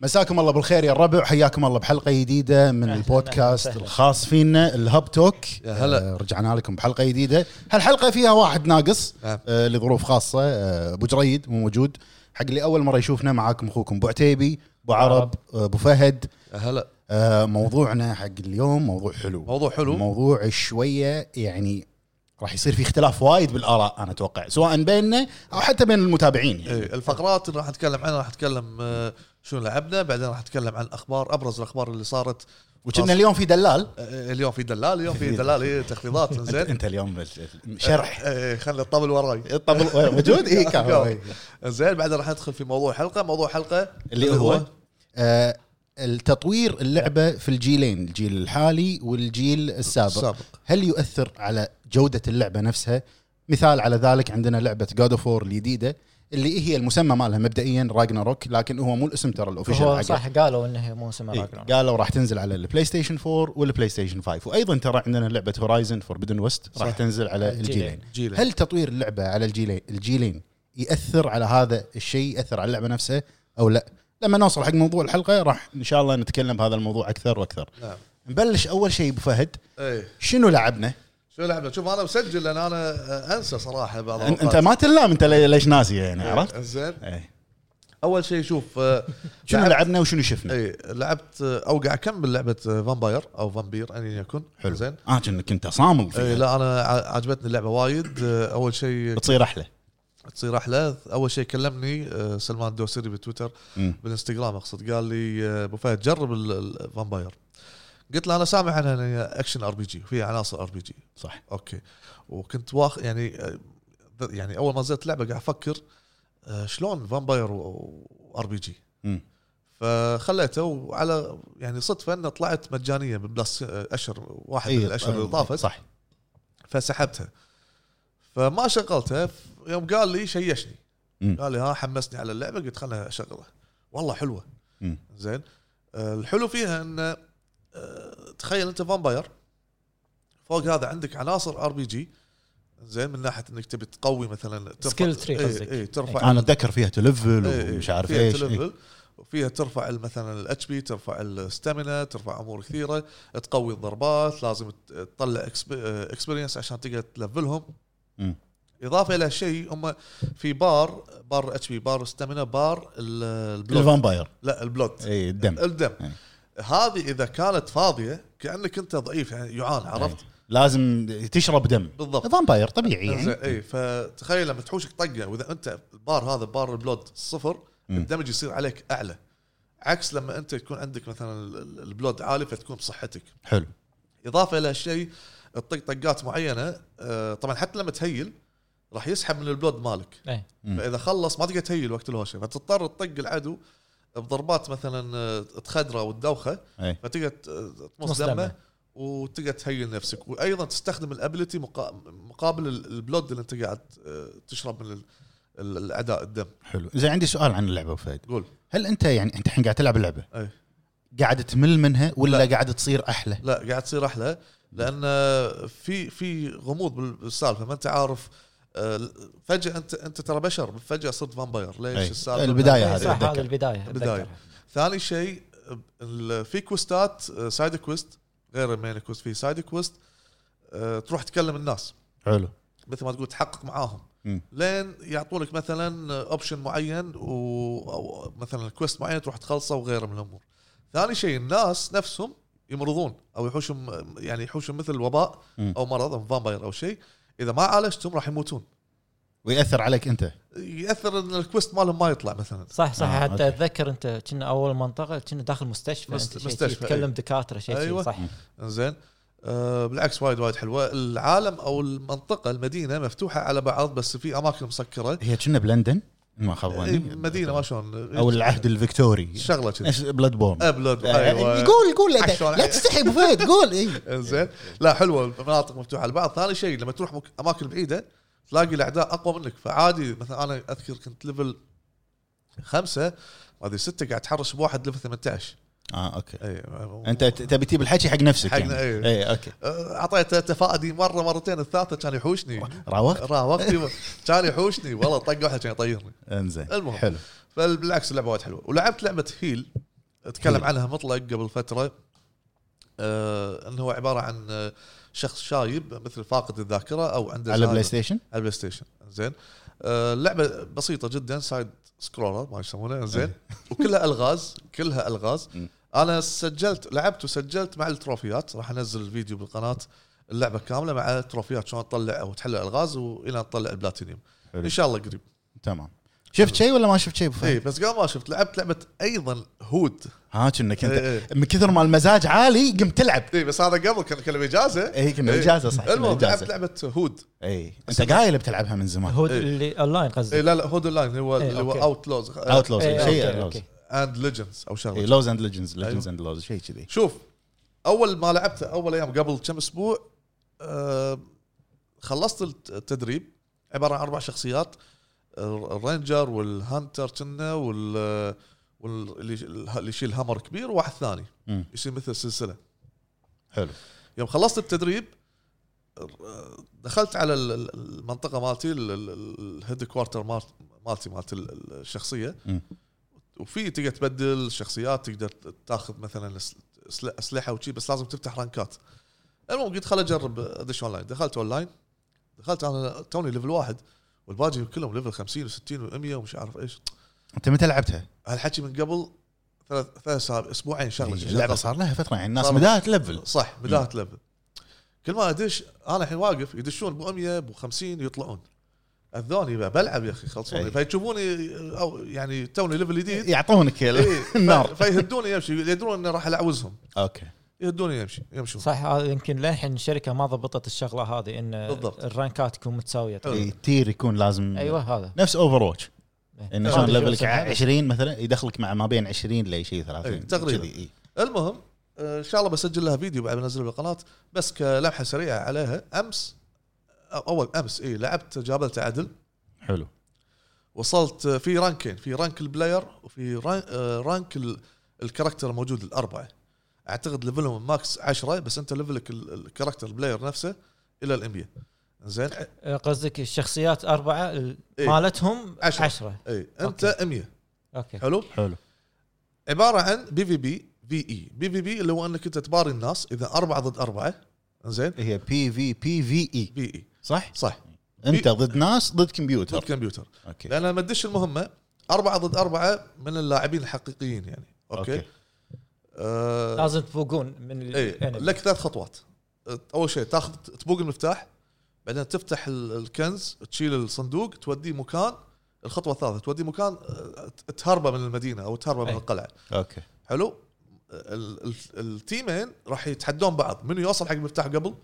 مساكم الله بالخير يا الربع حياكم الله بحلقه جديده من أهلاً، البودكاست أهلاً. الخاص فينا الهب توك يا هلا. آه، رجعنا لكم بحلقه جديده هالحلقه فيها واحد ناقص نعم. آه، لظروف خاصه آه، ابو جريد مو موجود حق اللي اول مره يشوفنا معاكم اخوكم ابو عتيبي ابو عرب آه، ابو فهد يا هلا آه، موضوعنا حق اليوم موضوع حلو موضوع حلو موضوع شويه يعني راح يصير في اختلاف وايد بالاراء انا اتوقع سواء بيننا او حتى بين المتابعين يعني. إيه الفقرات اللي راح نتكلم عنها راح نتكلم آه، شو لعبنا بعدين راح نتكلم عن الاخبار ابرز الاخبار اللي صارت وكنا اليوم في دلال آه، اليوم في دلال اليوم في دلال إيه، تخفيضات انت, زين انت اليوم بال- شرح إيه، خلي الطبل وراي الطبل موجود إيه، اي كان زين بعدين راح ندخل في موضوع حلقه موضوع حلقه اللي هو آه، التطوير اللعبه في الجيلين الجيل الحالي والجيل السابق السابق هل يؤثر على جوده اللعبه نفسها مثال على ذلك عندنا لعبه جود اوف الجديده اللي هي المسمى مالها مبدئيا راجنا روك لكن هو مو الاسم ترى الاوفيشال هو حقه. صح قالوا انه هي مو اسمها إيه، راجناروك قالوا راح تنزل على البلاي ستيشن 4 والبلاي ستيشن 5 وايضا ترى عندنا لعبه هورايزن فوربدن ويست راح صح. تنزل على الجيلين. الجيلين جيل هل تطوير اللعبه على الجيلين الجيلين ياثر على هذا الشيء ياثر على اللعبه نفسها او لا لما نوصل حق موضوع الحلقه راح ان شاء الله نتكلم بهذا الموضوع اكثر واكثر نعم نبلش اول شيء ابو فهد ايه شنو لعبنا شو لعبنا شوف انا مسجل لان انا آه، انسى صراحه بعض أن- انت الأوقات. ما تلام انت لي- ليش ناسي يعني عرفت إيه، زين إيه. اول شيء شوف آه، شنو لعبت- لعبنا وشنو شفنا اي لعبت آه، او قاعد اكمل لعبه فامباير او فامبير ان يكن حلو. زين اه كأنك كنت صامل اي فيها إيه، لا انا ع- عجبتني اللعبه وايد آه، اول شيء بتصير احلى تصير احلى اول شيء كلمني آه، سلمان الدوسري بتويتر مم. بالانستغرام اقصد قال لي آه، ابو فهد جرب ال- الفامباير قلت له انا سامع يعني عنها إن هي اكشن ار بي جي فيها عناصر ار بي جي صح اوكي وكنت واخ يعني يعني اول ما نزلت اللعبه قاعد افكر آه، شلون فامباير وار بي جي مم. فخليته وعلى يعني صدفه انه طلعت مجانيه بلس آه، اشهر واحد من إيه، الاشهر اللي آه، طافت صح فسحبتها فما شغلتها ف- يوم قال لي شيشني مم. قال لي ها حمسني على اللعبه قلت خلنا اشغلها والله حلوه مم. زين آه، الحلو فيها انه آه، تخيل انت فامباير فوق هذا عندك عناصر ار بي جي زين من ناحيه انك تبي تقوي مثلا Skill tree قصدك. آه. اي إيه، ترفع انا اتذكر فيها تلفل طيب. إيه، إيه. ومش عارف فيها ايش إيه. تلفل وفيها ترفع ال- مثلا الاتش بي ترفع الستامينا ترفع امور كثيره تقوي الضربات لازم ت- تطلع اكسبيرينس عشان تقدر تلفلهم مم. اضافه الى شيء هم في بار بار اتش بي بار ستامينا بار ال- البلوت الفامباير لا البلوت اي الدم الدم إيه. هذه اذا كانت فاضيه كانك انت ضعيف يعني يعان عرفت إيه. لازم تشرب دم بالضبط فامباير طبيعي انزين يعني اي إيه، فتخيل لما تحوشك طقه واذا انت البار هذا بار البلود صفر مم. الدمج يصير عليك اعلى عكس لما انت تكون عندك مثلا ال- ال- البلود عالي فتكون بصحتك حلو اضافه الى شيء تطق طقات معينه آه، طبعا حتى لما تهيل راح يسحب من البلود مالك إيه. مم. فاذا خلص ما تقدر تهيل وقت الهوشه فتضطر تطق العدو بضربات مثلا آه، تخدره وتدوخه اي فتقدر ت- آه، تمص تمص دمه دمه. وتقدر تهيل نفسك وايضا تستخدم الابيلتي مقابل ال- البلود اللي انت قاعد آه، تشرب من ال- ال- الاعداء الدم حلو زين عندي سؤال عن اللعبه أبو فهد قول هل انت يعني انت الحين قاعد تلعب اللعبه أي. قاعد تمل منها ولا إيه. لا. قاعد تصير احلى لا قاعد تصير احلى لان آه، في في غموض بال- بالسالفه ما انت عارف آه، فجاه انت انت ترى بشر فجاه صرت فامباير أي. ليش السالفه البداية إيه، هذه صح أتذكر. هذه البدايه البداية. أتذكرها. ثاني شيء آه، ال- في كوستات آه، سايد كويست غير المين كويست في سايد كويست آه، تروح تكلم الناس حلو مثل ما تقول تحقق معاهم مم. لين يعطونك مثلا اوبشن معين و... او مثلا كويست معين تروح تخلصه وغيره من الامور. ثاني شيء الناس نفسهم يمرضون او يحوشهم يعني يحوشهم مثل وباء مم. او مرض او فامباير او شيء اذا ما عالجتهم راح يموتون. وياثر عليك انت ياثر ان الكويست مالهم ما يطلع مثلا. صح صح آه، حتى أوكي. اتذكر انت كنا اول منطقه كنا داخل مستشفى مست- أنت شيء مستشفى، شي تكلم أي. دكاتره شيء أيوة. أيوة. صح مم. زين آه بالعكس وايد وايد حلوه، العالم او المنطقه المدينه مفتوحه على بعض بس في اماكن مسكره. هي كنا بلندن ما خاب إيه، ظني مدينه ما شلون او العهد الفكتوري شغله كذي. أيوة. نفس بلاد بورن ابلود آه، قول قول لا عكس ولا لا عكس. تستحي ابو فهد قول إيه. اي إيه، زين لا حلوه المناطق مفتوحه على بعض ثاني شيء لما تروح مك- اماكن بعيده تلاقي الاعداء اقوى منك فعادي مثلا انا اذكر كنت ليفل خمسه ما ادري سته قاعد اتحرش بواحد إيه، ليفل 18 اه اوكي اي انت ت- تبي تجيب الحكي حق نفسك حق- يعني إيه. اي اوكي آه، اعطيته تفادي مره مرتين الثالثه كان يحوشني راوغ راوغتي كان يحوشني والله طق واحد كان يطيرني انزين المهم. حلو فبالعكس اللعبه وايد حلوه ولعبت لعبه هيل تكلم عنها مطلق قبل فتره آه انه هو عباره عن آه، شخص شايب مثل فاقد الذاكره او عنده على زهايمر. البلاي ستيشن على البلاي ستيشن زين آه، اللعبه بسيطه جدا سايد سكرولر ما يسمونها زين وكلها الغاز كلها الغاز مم. انا سجلت لعبت وسجلت مع التروفيات راح انزل الفيديو بالقناه اللعبه كامله مع التروفيات شلون تطلع وتحل الالغاز والى تطلع البلاتينيوم حلو. ان شاء الله قريب تمام شفت شيء ولا ما شفت شيء ابو اي فهد؟ بس قبل ما شفت لعبت لعبه ايضا هود ها كنا كنت إيه. من كثر ما المزاج عالي قمت تلعب اي إيه، بس هذا قبل كان كلمه اجازه اي كنا إيه. اجازه صح كنا المهم لعبت اجازه لعبه هود اي انت قايل إيه. بتلعبها من زمان هو إيه. اللي اونلاين اي قصدي لا لا هود اللاين هو إيه، اللي هو أوكي. اوت لوز اوتلوز إيه، شيء إيه، أوكي، لوز أوكي. اند ليجندز او شغله لوز اند ليجندز ليجندز أيوة. اند لوز شيء كذي شوف اول ما لعبته اول ايام قبل كم اسبوع آه، خلصت الت- التدريب عباره عن اربع شخصيات الر- الرينجر والهانتر كنا وال واللي اللي يشيل هامر كبير وواحد ثاني مم. يصير مثل سلسله حلو يوم خلصت التدريب آه، دخلت على ال- ال- المنطقه مالتي ال- ال- الهيد كوارتر مالت- مالتي مالت ال- ال- الشخصيه مم. وفي تقدر تبدل شخصيات تقدر تاخذ مثلا أس- أسل- اسلحه وشي بس لازم تفتح رانكات المهم قلت خل اجرب ادش اونلاين دخلت اونلاين دخلت انا توني ليفل واحد والباقي كلهم ليفل 50 و60 و100 ومش عارف ايش انت متى لعبتها؟ هالحكي من قبل ثلاث ثلاث أسابيع- اسبوعين شغله شغلة. اللعبه إيه، صار لها فتره يعني الناس صار- بدايه تلفل صح بدايه ليفل كل ما ادش انا الحين واقف يدشون ب 100 ب 50 يطلعون اذوني بقى، بلعب يا اخي خلصوني أي. فيشوفوني او يعني توني ليفل جديد يعطونك ال- إيه، النار في- فيهدوني يمشي يدرون اني راح العوزهم اوكي يهدوني يمشي يمشون صح هذا يمكن للحين الشركه ما ضبطت الشغله هذه ان بالضبط. الرانكات تكون متساويه حلو. إيه، تير يكون لازم ايوه هذا نفس اوفر واتش إيه. انه آه، شلون هذا ليفلك شو اسمه؟ 20 مثلا يدخلك مع ما بين 20 لشيء 30 إيه، تقريباً. كذي، إيه. المهم آه، ان شاء الله بسجل لها فيديو بعد ما انزله بالقناه بس كلمحه سريعه عليها امس أو- اول امس اي لعبت جابلت عدل حلو وصلت آه، في رانكين في رانك البلاير وفي ران- آه، رانك ال- الكاركتر الموجود الاربعه اعتقد ليفلهم ماكس 10 بس انت ليفلك ال- الكاركتر البلاير نفسه الى الانبياء زين آه، قصدك الشخصيات اربعه ال- إيه. مالتهم عشرة. عشرة اي انت أوكي. 100 اوكي حلو حلو عباره عن بي في بي في اي بي في بي اللي هو انك انت تباري الناس اذا اربعه ضد اربعه زين هي بي في بي في اي في اي E، صح؟ صح انت ضد ناس ضد إيه. ضد كمبيوتر كمبيوتر اوكي لان لما تدش المهمه اربعه ضد اربعه من اللاعبين الحقيقيين يعني اوكي, أوكي. أوكي. آه لازم تفوقون من ال- يعني. ايه enemy. لك ثلاث خطوات آه، اول شيء تاخذ تبوق المفتاح بعدين تفتح ال- الكنز تشيل الصندوق توديه مكان الخطوه الثالثه توديه مكان آه، تهربه من المدينه او تهربه من أي. القلعه اوكي حلو ال- ال- التيمين راح يتحدون بعض من يوصل حق المفتاح قبل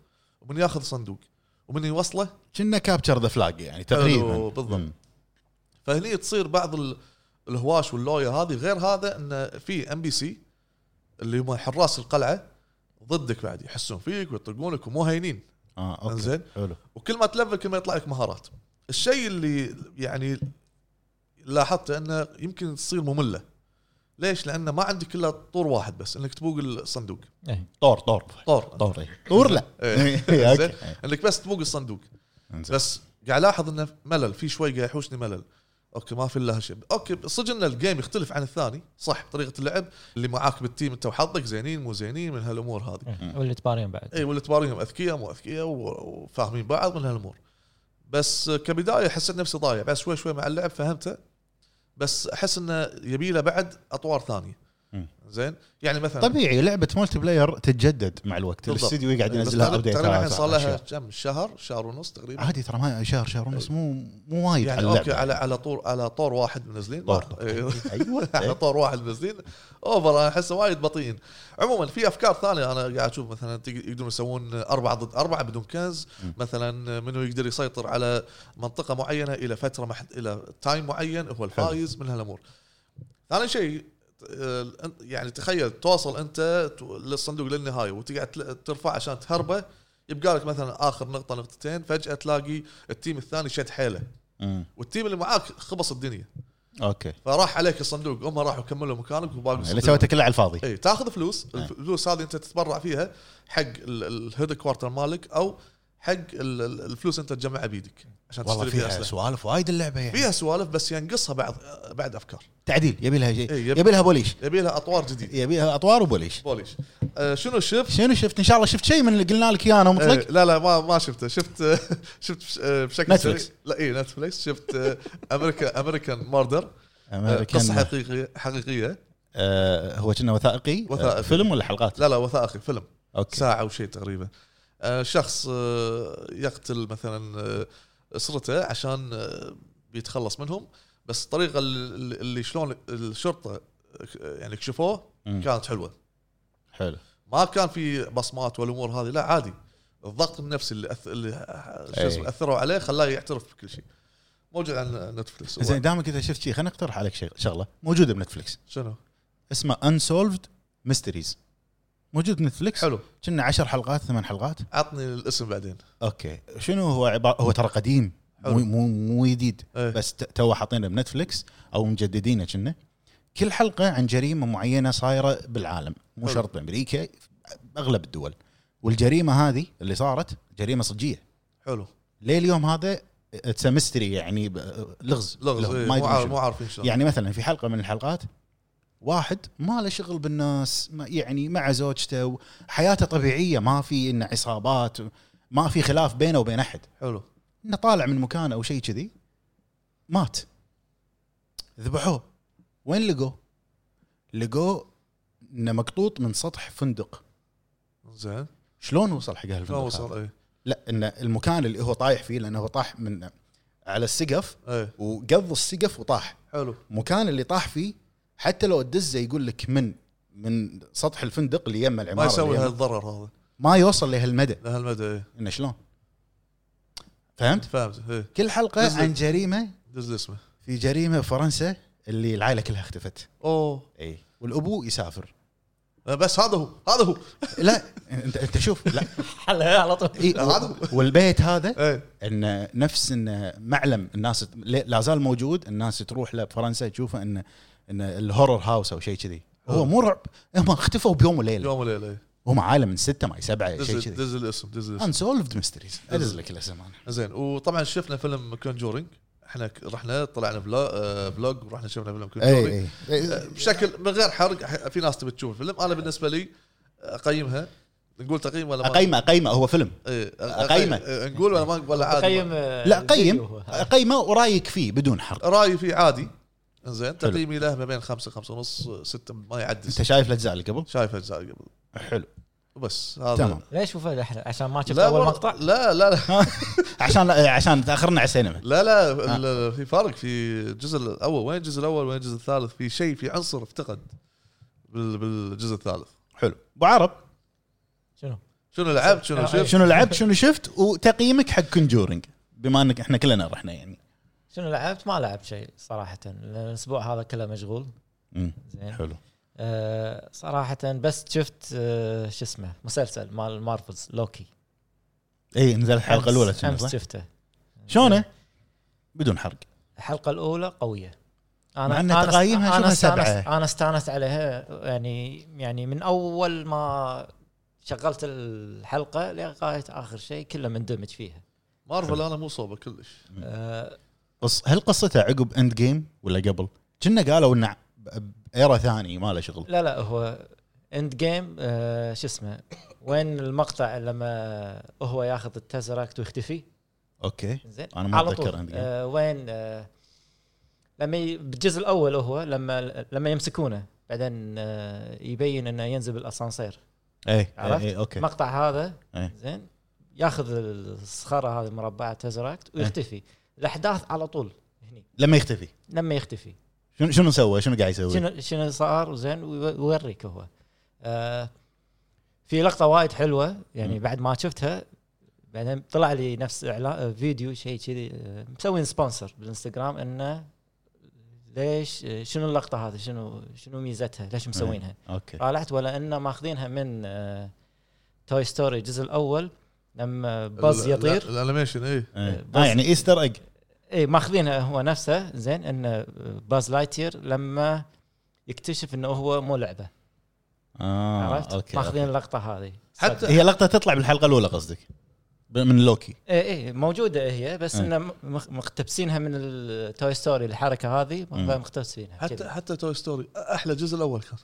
ومن ياخذ صندوق ومن يوصله كنا كابتشر ذا فلاج يعني حلو، تقريبا بالضبط. مم. فهني تصير بعض ال- الهواش واللويا هذه غير هذا ان في ام بي سي اللي هم حراس القلعه ضدك بعد يحسون فيك ويطقونك ومو هينين اه اوكي إنزين. حلو وكل ما تلفل كل ما يطلع لك مهارات الشيء اللي يعني لاحظته انه يمكن تصير ممله ليش؟ لانه ما عندك الا طور واحد بس انك تبوق الصندوق إيه. طور طور طور طور إيه. طور لا إيه. إيه، زين. اوكي انك بس تبوق الصندوق إنزين. بس قاعد الاحظ انه ملل في شوي قاعد يحوشني ملل اوكي ما في لها شيء اوكي صدق ان الجيم يختلف عن الثاني صح طريقه اللعب اللي معاك بالتيم انت وحظك زينين مو زينين من هالامور هذه إيه. واللي تبارين بعد اي واللي تباريهم اذكياء مو اذكياء و- وفاهمين بعض من هالامور بس كبدايه حسيت نفسي ضايع بس شوي شوي مع اللعب فهمته بس احس انه يبي له بعد اطوار ثانيه مم. زين يعني مثلا طبيعي لعبه ملتي بلاير تتجدد مع الوقت بالضبط. الاستديو يقعد بس ينزلها تقريبا- ابديت تقريبا الحين صار لها كم شهر شهر ونص تقريبا عادي ترى ما شهر شهر ونص مو مو وايد يعني على اللعبة. اوكي على على طور على طور واحد منزلين طور. أيوه. ايوه على طور واحد منزلين اوفر انا احسه وايد بطيئين عموما في افكار ثانيه انا قاعد اشوف مثلا تق- يقدرون يسوون اربعه ضد اربعه بدون كنز مثلا منو يقدر يسيطر على منطقه معينه الى فتره محد الى تايم معين هو الفايز من هالامور ثاني شيء آه، يعني تخيل توصل انت تو- للصندوق للنهايه وتقعد تل- ترفع عشان تهربه يبقى لك مثلا اخر نقطه نقطتين فجاه تلاقي التيم الثاني شد حيله مم. والتيم اللي معاك خبص الدنيا اوكي فراح عليك الصندوق هم راحوا كملوا مكانك وباقي يعني اللي إيه. الصندوق. إيه، سويته كله على الفاضي اي تاخذ فلوس الفلوس هذه انت تتبرع فيها حق الهيد كوارتر مالك او حق ال- ال- الفلوس انت تجمعها بيدك عشان والله تشتري فيها فيها اسلحه سوالف وايد اللعبه يعني فيها سوالف بس ينقصها بعض بعد افكار تعديل يبي لها شيء إيه، يب- يبي لها بوليش يبي لها اطوار جديده يبي لها اطوار وبوليش بوليش آه، شنو شفت؟ شنو شفت ان شاء الله شفت شيء من اللي قلنا لك اياه انا آه، مطلق لا لا ما ما شفته شفت آه، شفت بش- آه، بشكل نتفليكس. سريع. لا اي نتفليكس شفت آه، امريكا امريكان ماردر آه، قصه أمريكان حقيقيه حقيقيه آه هو كنا وثائقي وثائقي. آه فيلم ولا حلقات؟ لا لا وثائقي فيلم اوكي ساعه وشيء تقريبا آه، شخص آه، يقتل مثلا آه، اسرته عشان آه، بيتخلص منهم بس الطريقه اللي اللي شلون الشرطه آه، يعني كشفوه مم. كانت حلوه حلو ما كان في بصمات والامور هذه لا عادي الضغط النفسي اللي أث... اللي شو اسمه أي. اثروا عليه خلاه يعترف بكل شيء موجود على نتفلكس زين دامك انت شفت شيء خليني اقترح عليك شيء شغله موجوده بنتفلكس شنو اسمه انسولفد ميستريز موجود بنتفلكس حلو كنا عشر حلقات ثمان حلقات عطني الاسم بعدين اوكي شنو هو عبارة هو ترى قديم مو حلو. مو مو جديد إيه. بس ت- تو حاطينه بنتفلكس او مجددينه كنا كل حلقه عن جريمه معينه صايره بالعالم مو حلو. شرط بامريكا اغلب الدول والجريمه هذه اللي صارت جريمه صجيه حلو ليه اليوم هذا تسمستري يعني ب- لغز لغز إيه، ما مو يدرون عارف- شنو. مو عارفين شلون يعني مثلا في حلقه من الحلقات واحد ما له شغل بالناس ما يعني مع زوجته حياته طبيعيه ما في انه عصابات ما في خلاف بينه وبين احد حلو انه طالع من مكان او شيء كذي مات ذبحوه وين لقوه؟ لقوه انه مقطوط من سطح فندق زين شلون وصل حق هالفندق؟ شلون هذا؟ وصل اي لا ان المكان اللي هو طايح فيه لانه هو طاح من على السقف اي وقض السقف وطاح حلو المكان اللي طاح فيه حتى لو تدزه يقول لك من من سطح الفندق اللي يم العماره ما يسوي اللي يم- هالضرر هذا ما يوصل لهالمدى لهالمدى اي انه شلون فهمت فهمت اي كل حلقه نزل. عن جريمه إيه. دز لي اسمه في جريمه فرنسا اللي العائله كلها اختفت اوه اي والابو يسافر أه، بس هذا هو هذا هو لا انت انت شوف لا حلها على طول إي هذا. والبيت هذا اي ان نفس ان معلم الناس ت- لا لا زال موجود الناس تروح له بفرنسا تشوفه ان ان الهورر هاوس او شيء كذي هو مو رعب هم اختفوا بيوم وليله يوم وليله إي. هم عالم من سته ما سبعه إيه. شيء دز كذي دز الاسم دز الاسم انسولفد ميستريز ادز لك الاسم انا زين وطبعا شفنا فيلم كونجورينج احنا ك- رحنا طلعنا بلا- آه، بلوج ورحنا شفنا فيلم كونجورينج اي اي بشكل من غير حرق ح- في ناس تبي تشوف الفيلم انا بالنسبه لي اقيمها نقول تقييم ولا ما اقيمه اقيمه هو فيلم إيه، أقيمه. إيه، نقول ولا ما ولا عادي قيم تقييم لا قيم آه. قيمه ورايك فيه بدون حرق رايي فيه عادي زين حلو. تقييمي له ما بين خمسة خمسة ونص ستة ما يعدي انت ستة. شايف الاجزاء اللي قبل؟ شايف اجزاء قبل حلو وبس هذا تمام ليش مو فهد احلى عشان ما شفت لا اول والله- مقطع لا لا لا عشان إيه، عشان تاخرنا على السينما لا, لا آه. ال- في فرق في الجزء الاول وين الجزء الاول وين الجزء الثالث في شيء في عنصر افتقد بال- بالجزء الثالث حلو ابو عرب شنو؟ شنو لعبت شنو آه، شفت شنو لعبت شنو شفت وتقييمك حق كونجورنج بما انك احنا كلنا رحنا يعني شنو لعبت؟ ما لعبت شيء صراحه لان الاسبوع هذا كله مشغول أمم، زين حلو آه صراحه بس شفت آه شو اسمه مسلسل مال مارفلز لوكي اي نزل الحلقه أمس- الاولى كنا، امس صح؟ شفته شلونه؟ بدون حرق الحلقه الاولى قويه مع إن تقايمها شوفها استانست سبعة. انا استانست عليها يعني يعني من اول ما شغلت الحلقه لغايه اخر شيء كله مندمج فيها مارفل انا مو صوبه كلش آه قص هل قصته عقب اند جيم ولا قبل؟ كنا قالوا انه ايرا ثاني ما له شغل لا لا هو اند جيم آه شو اسمه وين المقطع لما هو ياخذ التزركت ويختفي اوكي زين أنا ما على أتذكر طول Endgame. آه وين آه لما ي- بالجزء الاول هو لما لما يمسكونه بعدين آه يبين انه ينزل بالاسانسير اي عرفت؟ اي اوكي المقطع هذا إيه. زين ياخذ الصخره هذه المربعه تزراكت إيه. ويختفي الاحداث على طول هني لما يختفي لما يختفي شنو شنو سوى؟ شنو قاعد يسوي؟ شنو شنو صار زين ويوريك هو آه في لقطه وايد حلوه يعني مم. بعد ما شفتها بعدين طلع لي نفس اعلان فيديو شيء كذي آه، مسوين سبونسر بالانستغرام انه ليش آه، شنو اللقطه هذه شنو شنو ميزتها ليش مسوينها اوكي طالعت ولا انه ماخذينها من توي ستوري الجزء الاول لما باز بز يطير الانيميشن اي إيه. بس- اه يعني ايستر ايج اي ماخذينها هو نفسه زين ان باز لايتير لما يكتشف انه هو مو لعبه اه عرفت؟ اوكي ماخذين اللقطه هذه حتى هي لقطه تطلع بالحلقه الاولى قصدك من لوكي اي اي موجوده إيه، هي بس إيه. انه مخ- مقتبسينها من التوي ستوري الحركه هذه مم. مقتبسينها حتى كذي. حتى توي ستوري احلى جزء الاول كان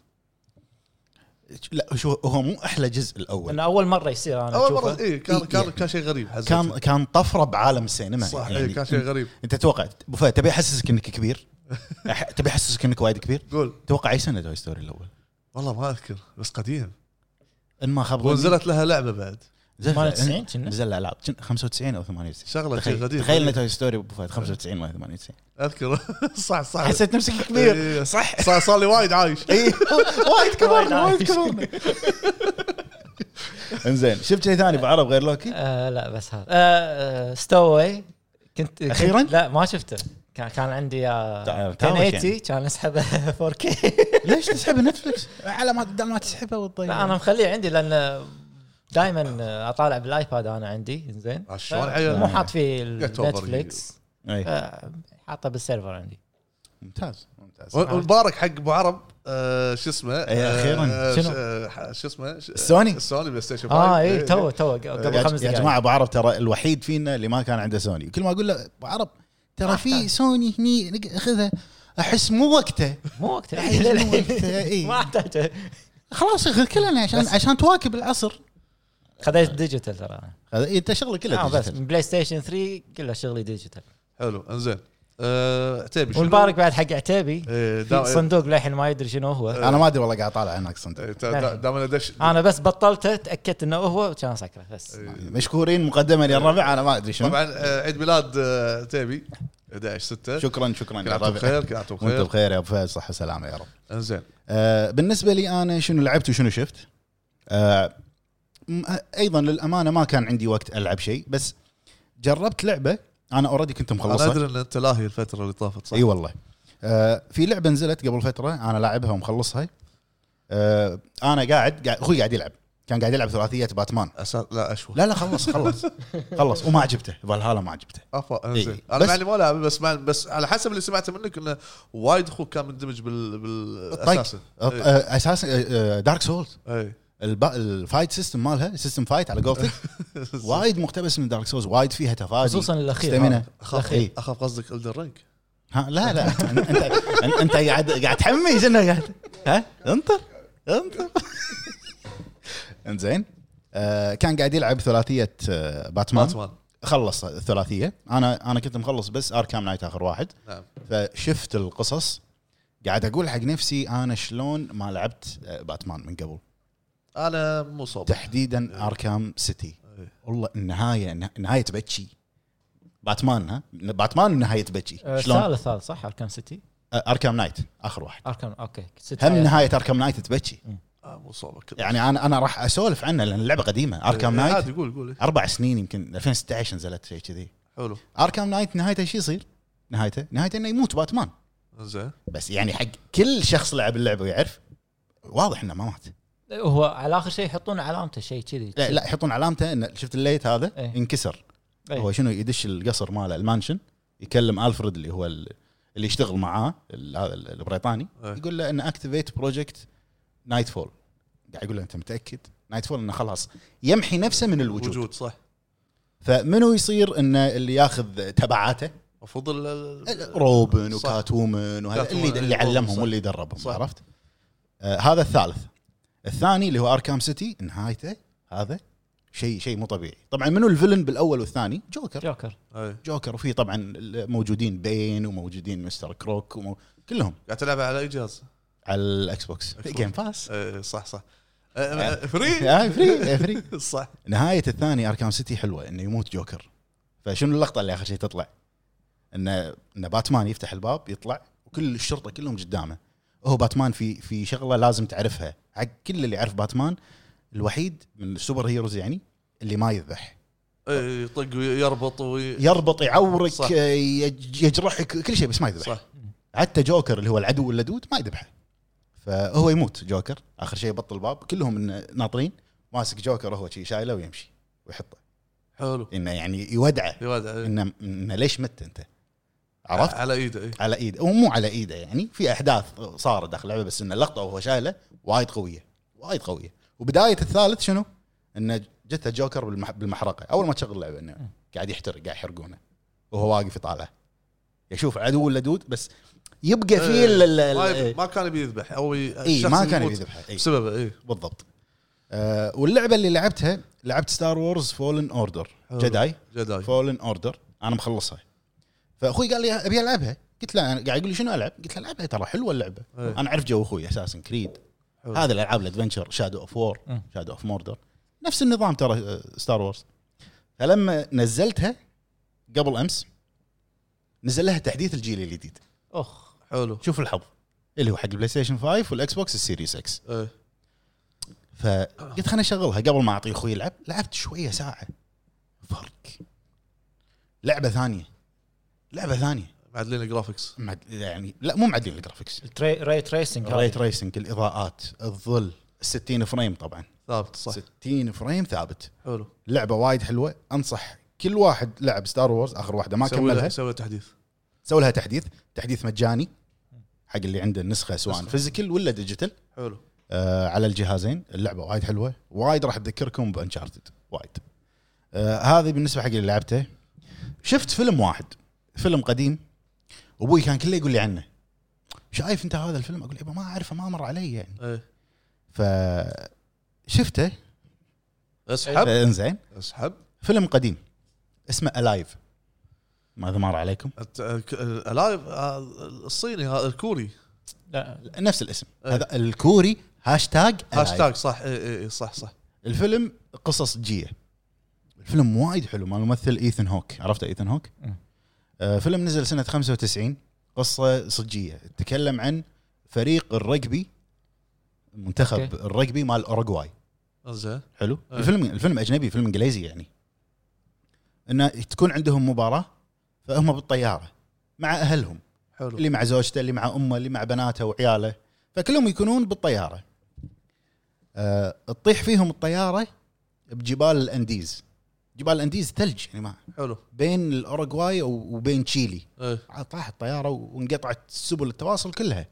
لا شو هو مو احلى جزء الاول انه اول مره يصير انا اول أشوفه. مره اي كان إيه، كان إيه. كان شيء غريب حسيت كان كان طفره بعالم السينما صح يعني إيه كان شيء غريب انت تتوقع ابو فهد تبي احسسك انك كبير أح- تبي احسسك انك وايد كبير قول توقع اي سنه توي ستوري الاول والله ما اذكر بس قديم ان ما خاب ظني- ونزلت لها لعبه بعد نزل- 98 كنا؟ نزل الالعاب كنا 95 او 98 شغله شيء تخيل غريب تخيل إن توي ستوري ابو فهد 95 ولا 98 اذكر صح صح حسيت نفسك كبير إيه، صح صار صار لي وايد عايش اي وايد كبرنا وايد وايد كبرنا انزين شفت شيء ثاني بعرب غير لوكي؟ آه لا بس هذا آه آه ستوي كنت أخيراً؟ كنت لا ما شفته كان كان عندي آه، تعال- تعال 1080 يعني. طيب. كان اسحبه 4K ليش تسحب نتفلكس؟ على ما بدل ما تسحبه وتضيع لا انا مخليه عندي لان دائما اطالع بالايباد انا عندي زين آه، شلون عيل؟ مو حاط فيه Get over نتفلكس اي حاطه بالسيرفر عندي إيه، ممتاز ممتاز والمبارك حق ابو عرب آه، شو اسمه إيه، أخيراً. آه، شنو؟ آه، ح- شو اسمه ش- السوني؟ السوني بلاي ستيشن اه فايف. إيه، اي تو تو قبل إيه، يا- خمس يا دقائق جماعه ابو عرب ترى الوحيد فينا اللي ما كان عنده سوني كل ما اقول له ابو عرب ترى في سوني هني نق- خذها احس مو وقته مو وقته أحس مو وقته، إي. ما احتاجه خلاص خذ كلنا عشان عشان تواكب العصر خذيت ديجيتال ترى انا هذا إيه، انت شغله آه كله بس ديجيتال. من بلاي ستيشن 3 كله شغلي ديجيتال حلو انزين آه، عتيبي شنو؟ والمبارك بعد حق عتيبي إيه، في دا- صندوق للحين ما يدري شنو هو انا ما ادري والله قاعد اطالع هناك صندوق إيه، تا- دا- دام انا دش انا بس بطلته تاكدت انه هو كان سكره بس إيه. آه. مشكورين مقدما يا الربع انا ما ادري شنو طبعا آه، عيد ميلاد آه، عتيبي 11 6 شكرا شكرا كل يا عام وانتم الربع بخير كل عام وانتم وانت بخير بخير يا ابو فهد صحه وسلامه يا رب انزين آه، بالنسبه لي انا شنو لعبت وشنو شفت آه، م- ايضا للامانه ما كان عندي وقت العب شيء بس جربت لعبه انا اوريدي كنت انا مخلصها ادري ان انت لاهي الفتره اللي طافت صح؟ اي والله آه، في لعبه نزلت قبل فتره انا لاعبها ومخلصها آه، انا قاعد قاعد اخوي قاعد يلعب كان قاعد يلعب ثلاثيه باتمان أساس لا اشوف لا لا خلص خلص خلص وما عجبته فالهالا ما عجبته افا انزين إيه. انا بس- مع اني ما لاعب بس مع بس على حسب اللي سمعته منك انه وايد اخوك كان مندمج بال إيه. الطق. بالاساس آه، آه، اساسا دارك سولز اي الفايت سيستم مالها سيستم فايت على قولتك وايد مقتبس من دارك سولز وايد فيها تفادي خصوصا الاخير stamina. هذا. اخاف إيه. اخاف قصدك الدر رينج ها لا لا انت أنت- انت قاعد قاعد تحمي شنو قاعد ها انطر انطر انزين آه، كان قاعد يلعب ثلاثيه آه، باتمان باتمان خلص الثلاثيه انا انا كنت مخلص بس اركام نايت اخر واحد نعم فشفت القصص قاعد اقول حق نفسي انا شلون ما لعبت آه، باتمان من قبل انا مو صوب تحديدا اركام سيتي والله النهايه النهايه تبكي باتمان ها باتمان النهايه تبكي آه، شلون الثالث هذا صح اركان سيتي آه، اركام نايت اخر واحد اركان اوكي ستي هم نهايه اركام نايت تبكي آه، مو صوبك يعني انا انا راح اسولف عنها لان اللعبه قديمه اركام نايت إيه، عادي قول قول إيه. اربع سنين يمكن 2016 نزلت شيء كذي حلو اركام نايت نهايته شو يصير؟ نهايته نهايته انه يموت باتمان زين بس يعني حق كل شخص لعب اللعبه ويعرف واضح انه ما مات هو على اخر شيء يحطون علامته شيء كذي لا لا يحطون علامته انه شفت الليت هذا إيه. انكسر إيه. هو شنو يدش القصر ماله المانشن يكلم الفريد اللي هو ال- اللي يشتغل معاه ال- هذا ال- البريطاني إيه. يقول له ان اكتيفيت بروجكت نايت فول قاعد يقول له انت متاكد نايت فول انه خلاص يمحي نفسه من الوجود وجود صح فمنو يصير انه اللي ياخذ تبعاته المفروض ال- ال- روبن صح. وكات وومن وهذا كات اللي وومن، اللي روبن، علمهم صح. واللي دربهم صح. عرفت؟ آه هذا الثالث الثاني اللي هو اركام سيتي نهايته هذا شيء شيء مو طبيعي طبعا منو الفيلن بالاول والثاني جوكر جوكر إيه. جوكر وفي طبعا ال- موجودين بين وموجودين مستر كروك ومو... كلهم قاعد تلعب على اي جهاز؟ على الاكس بوكس Xbox. جيم باس إيه، صح صح إيه، فري آه، فري آه، فري صح نهايه الثاني اركام سيتي حلوه انه يموت جوكر فشنو اللقطه اللي اخر شيء تطلع؟ انه انه باتمان يفتح الباب يطلع وكل الشرطه كلهم قدامه هو باتمان في في شغله لازم تعرفها حق كل اللي يعرف باتمان الوحيد من السوبر هيروز يعني اللي ما يذبح إيه، يطق ويربط وي... يربط يعورك صح. آه، يج- يجرحك كل شيء بس ما يذبح صح حتى جوكر اللي هو العدو اللدود ما يذبحه فهو يموت جوكر اخر شيء يبطل الباب كلهم ناطرين ماسك جوكر هو شي شايله ويمشي ويحطه حلو انه يعني يودعه يا ولد، إيه. انه انه ليش مت انت؟ عرفت؟ على ايده إيه. على ايده هو مو على ايده يعني في احداث صارت داخل اللعبه بس انه اللقطه وهو شايله وايد قويه وايد قويه وبدايه الثالث شنو؟ انه جته جوكر بالمح- بالمحرقه اول ما تشغل اللعبه انه قاعد يحترق قاعد يحرقونه وهو واقف يطالع يشوف عدو لدود بس يبقى فيه ال- ال- ال- إيه، ما يب- ما كان يبي يذبح او ي- اي الشخص ما اللي كان إيه. يموت يبي يذبحه اي بسببه إيه. اي بالضبط آه واللعبه اللي لعبتها لعبت ستار وورز فولن اوردر حلو. جداي جداي فولن اوردر انا مخلصها فاخوي قال لي ابي العبها قلت له أنا قاعد يقول لي شنو العب؟ قلت له العبها ترى حلوه اللعبه إيه. انا اعرف جو اخوي اساسا كريد حلو. هذه الالعاب الادفنشر شادو اوف وور مم. شادو اوف موردر نفس النظام ترى ستار وورز فلما نزلتها قبل امس نزل لها تحديث الجيل الجديد اخ حلو شوف الحظ اللي هو حق البلاي ستيشن 5 والاكس بوكس السيريس اكس ايه فقلت خليني اشغلها قبل ما اعطي اخوي يلعب لعبت شويه ساعه فرق لعبه ثانيه لعبه ثانيه معدلين جرافيكس معد- يعني لا مو معدلين الجرافكس ري تريسنج ريت ريسنج الاضاءات الظل 60 فريم طبعا ثابت صح 60 فريم ثابت حلو لعبه وايد حلوه انصح كل واحد لعب ستار وورز اخر واحده ما سوي له- كملها سوي له تحديث سوي لها تحديث تحديث مجاني حق اللي عنده النسخه سواء نسخة. فيزيكال ولا ديجيتال حلو آه، على الجهازين اللعبه وايد حلوه وايد راح تذكركم بانشارتد وايد آه، هذه بالنسبه حق اللي لعبته شفت فيلم واحد فيلم قديم ابوي كان كله يقول لي عنه شايف انت هذا الفيلم اقول له ما اعرفه ما مر علي يعني ايه ف شفته اسحب انزين إيه. اسحب فيلم قديم اسمه الايف ماذا مر عليكم انت آه، ك- آه، لايف آه، الصيني هذا الكوري إيه. لا نفس الاسم إيه. هذا الكوري هاشتاج Alive. هاشتاج صح اي اي اي صح صح الفيلم قصص جيه الفيلم وايد حلو مال الممثل ايثن هوك عرفت ايثن هوك مم. آه فيلم نزل سنه 95 قصه صجيه تتكلم عن فريق الرقبي منتخب أوكي. الرقبي مال اوروغواي زين حلو أي. الفيلم الفيلم اجنبي فيلم انجليزي يعني انه تكون عندهم مباراه فهم بالطياره مع اهلهم حلو اللي مع زوجته اللي مع امه اللي مع بناته وعياله فكلهم يكونون بالطياره أه تطيح فيهم الطياره بجبال الانديز جبال الانديز ثلج يعني ما حلو بين الاوروغواي و- وبين تشيلي ايه طاحت الطياره وانقطعت سبل التواصل كلها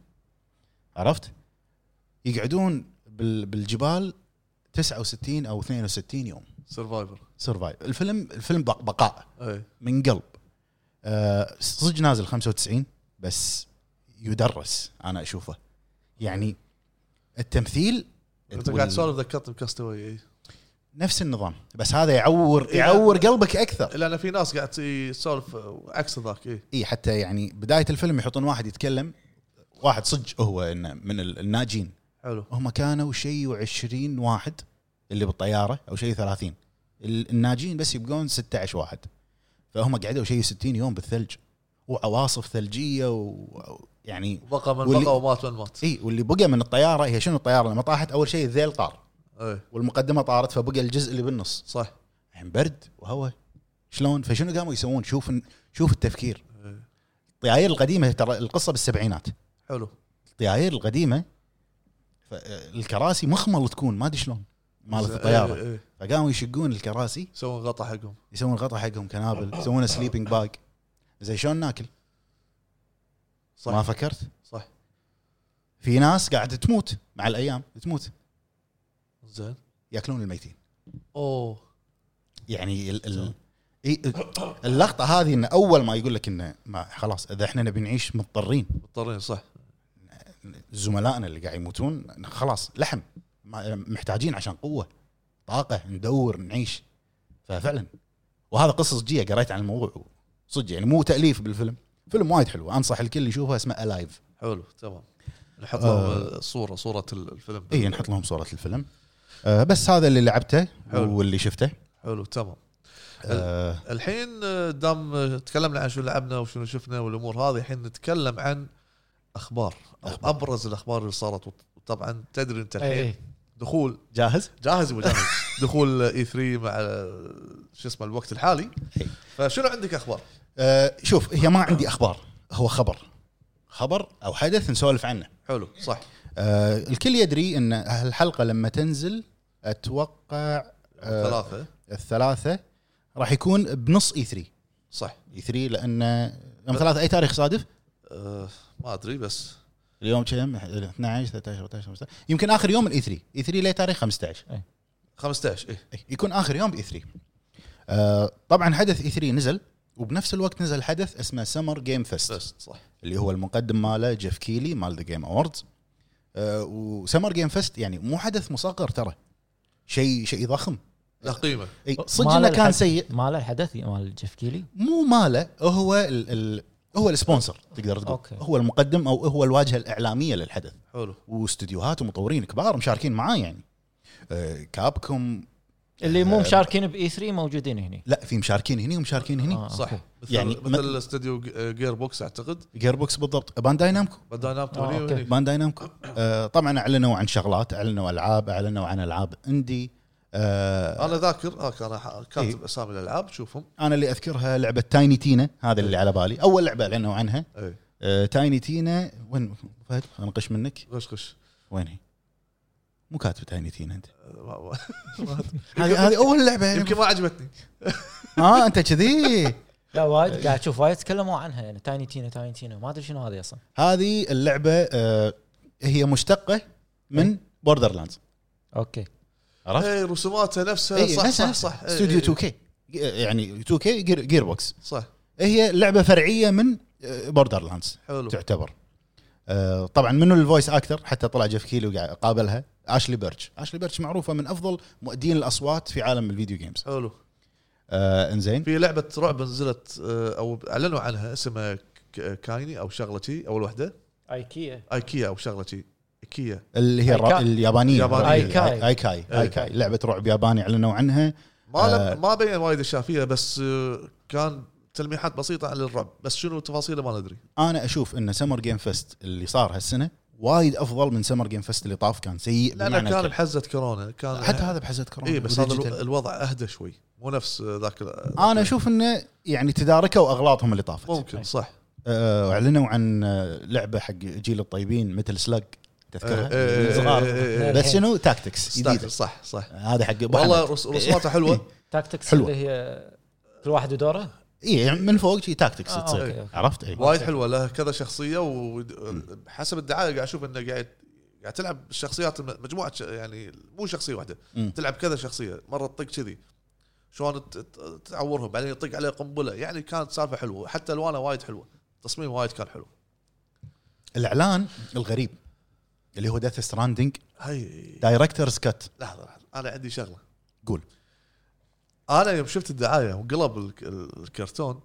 عرفت يقعدون بال- بالجبال 69 او 62 يوم سرفايفر سرفايف الفيلم الفيلم بق- بقاء ايه من قلب آه، صدق نازل 95 بس يدرس انا اشوفه يعني التمثيل انت قاعد تسولف ذكرتني بكاستوي إيه. اي نفس النظام بس هذا يعور إيه. يعور قلبك اكثر لان في ناس قاعد تسولف آه، عكس ذاك اي اي حتى يعني بدايه الفيلم يحطون واحد يتكلم واحد صدق هو إنه من ال- الناجين حلو هم كانوا شيء و20 واحد اللي بالطياره او شيء 30 ال- الناجين بس يبقون 16 واحد فهم قعدوا شيء 60 يوم بالثلج وعواصف ثلجيه ويعني بقى من واللي- بقى ومات من مات اي يعني واللي بقى من الطياره هي شنو الطياره لما طاحت اول شيء الذيل طار ايه والمقدمه طارت فبقى الجزء اللي بالنص صح الحين برد وهواء شلون فشنو قاموا يسوون شوف شوف التفكير إيه. الطياير القديمه ترى القصه بالسبعينات حلو الطياير القديمه ف- الكراسي مخمل تكون ما ادري شلون مالت زين. الطياره إيه، إيه. فقاموا يشقون الكراسي يسوون غطا حقهم يسوون غطا حقهم كنابل يسوون سليبنج باج زي شلون ناكل صح ما فكرت صح في ناس قاعده تموت مع الايام تموت زين ياكلون الميتين اوه يعني ال ال إي- اللقطه هذه ان اول ما يقول لك انه ما خلاص اذا احنا نبي نعيش مضطرين مضطرين صح زملائنا اللي قاعد يموتون خلاص لحم ما- محتاجين عشان قوه طاقه ندور نعيش ففعلا وهذا قصص جيه قريت عن الموضوع صدق يعني مو تاليف بالفيلم فيلم وايد حلو انصح الكل يشوفه اسمه الايف حلو تمام نحط آه. إيه. لهم صوره صوره ال- الفيلم اي نحط لهم صوره الفيلم آه بس هذا اللي لعبته حلو. واللي شفته حلو تمام آه الحين آه، دام آه، تكلمنا عن شو لعبنا وشنو شفنا والامور هذه الحين نتكلم عن اخبار او أخبار. إيه. ابرز الاخبار اللي صارت وط- وطبعا تدري انت اي الحين اي دخول جاهز جاهز وجاهز دخول اي 3 مع آه، شو اسمه الوقت الحالي إي. فشنو عندك اخبار؟ آه شوف هي ما عندي اخبار هو خبر خبر او حدث نسولف عنه حلو صح آه الكل يدري ان الحلقه لما تنزل اتوقع آه، ثلاثه الثلاثه راح يكون بنص E اي 3 صح اي 3 لان يوم ثلاثه اي تاريخ صادف آه، ما ادري بس E اليوم كم 12 13 14 15 يمكن اخر يوم الاي 3 اي 3 ليه تاريخ 15 15 اي إيه، يكون اخر يوم باي 3 آه طبعا حدث اي 3 نزل وبنفس الوقت نزل حدث اسمه سمر جيم فيست بس صح اللي هو المقدم ماله جيف كيلي مال ذا جيم اووردز آه، وسمر جيم فيست يعني مو حدث مصغر ترى شيء شيء ضخم له قيمه اي صدق انه كان سيء ماله الحدث مال جيف كيلي مو ماله هو ال ال هو السبونسر تقدر تقول أوكي. أوكي. هو المقدم او هو الواجهه الاعلاميه للحدث حلو واستديوهات ومطورين كبار مشاركين معاه يعني آه، كابكم اللي آه. مو مشاركين باي 3 موجودين هنا لا في مشاركين هني ومشاركين هني آه. آه، صح أوكي. مثل يعني يعني مثل استوديو جير بوكس اعتقد جير بوكس بالضبط بانداي نامكو بداينات آه، أوكي. وني بانداي نامكو آه طبعا اعلنوا عن شغلات اعلنوا العاب اعلنوا عن العاب اندي آه انا ذاكر اه كان ح- كاتب إي. اسامي الالعاب شوفهم انا اللي اذكرها لعبه تايني تينا هذا اللي على بالي اول لعبه اعلنوا عنها اي آه تايني تينا وين فهد انقش منك غش غش وين هي؟ مو كاتب تايني تينا انت آه، ما- ما- هذه هذه اول لعبه يعني يمكن ما عجبتني اه انت كذي لا آه. وايد قاعد اشوف وايد تكلموا عنها يعني تايني تينا تايني تينا ما ادري شنو هذه اصلا هذه اللعبه آه هي مشتقه من بوردر لاندز اوكي عرفت؟ اي إيه، رسوماتها نفسها اي آه، صح صح إيه، نفسها صح إيه، إي، استوديو إي، 2 كي يعني 2 كي جير بوكس صح هي لعبه فرعيه من بوردر لاندز حلو تعتبر آه، طبعا منو الفويس اكتر حتى طلع جيف كيلو قاعد قابلها اشلي بيرتش اشلي بيرتش معروفه من افضل مؤدين الاصوات في عالم الفيديو جيمز حلو آه انزين في لعبه رعب نزلت آه، او اعلنوا عنها اسمها ك- كايني او شغلتي اول وحده ايكيا ايكيا او شغلتي ايكيا اللي هي الر- آيكاي. اليابانيه يابانية. آيكاي. ايكاي ايكاي لعبه رعب ياباني اعلنوا عنها ما آه. لم- ما بين وايد اشياء فيها بس آه، كان تلميحات بسيطه عن الرعب بس شنو تفاصيله ما ندري انا اشوف ان سمر جيم فيست اللي صار هالسنه وايد افضل من سمر جيم فيست اللي طاف كان سيء لا لا بمعنى كان الكلمة. بحزه كورونا كان حتى هذا بحزه كورونا اي إيه، بس هذا الو- وديجيتال. الوضع اهدى شوي مو نفس آه، ذاك ال- انا اشوف انه يعني تداركوا اغلاطهم اللي طافت ممكن صح آه، اعلنوا عن آه، لعبه حق جيل الطيبين مثل سلاج تذكرها إيه، إيه، إيه، صغار. إيه، إيه. بس شنو تاكتكس جديده صح صح هذا حق أبو والله حمد. رس- رسوماته حلوه تاكتكس حلوة. اللي هي كل واحد ودوره اي يعني من فوق شي تاكتكس آه، تصير أوكي، أوكي. عرفت إيه. اي وايد حلوه لها كذا شخصيه وحسب الدعايه قاعد اشوف انه قاعد قاعد تلعب الشخصيات الم- مجموعه ش- يعني مو شخصيه واحده مم. تلعب كذا شخصيه مره تطق كذي شلون ت- ت- تعورهم بعدين يطق عليه قنبله يعني كانت سالفه حلوه حتى الوانها وايد حلوه تصميم وايد كان حلو الاعلان الغريب اللي هو ديث ستراندنج هاي دايركترز كات لحظه لحظه انا عندي شغله قول انا يوم شفت الدعايه وقلب الك- الكرتون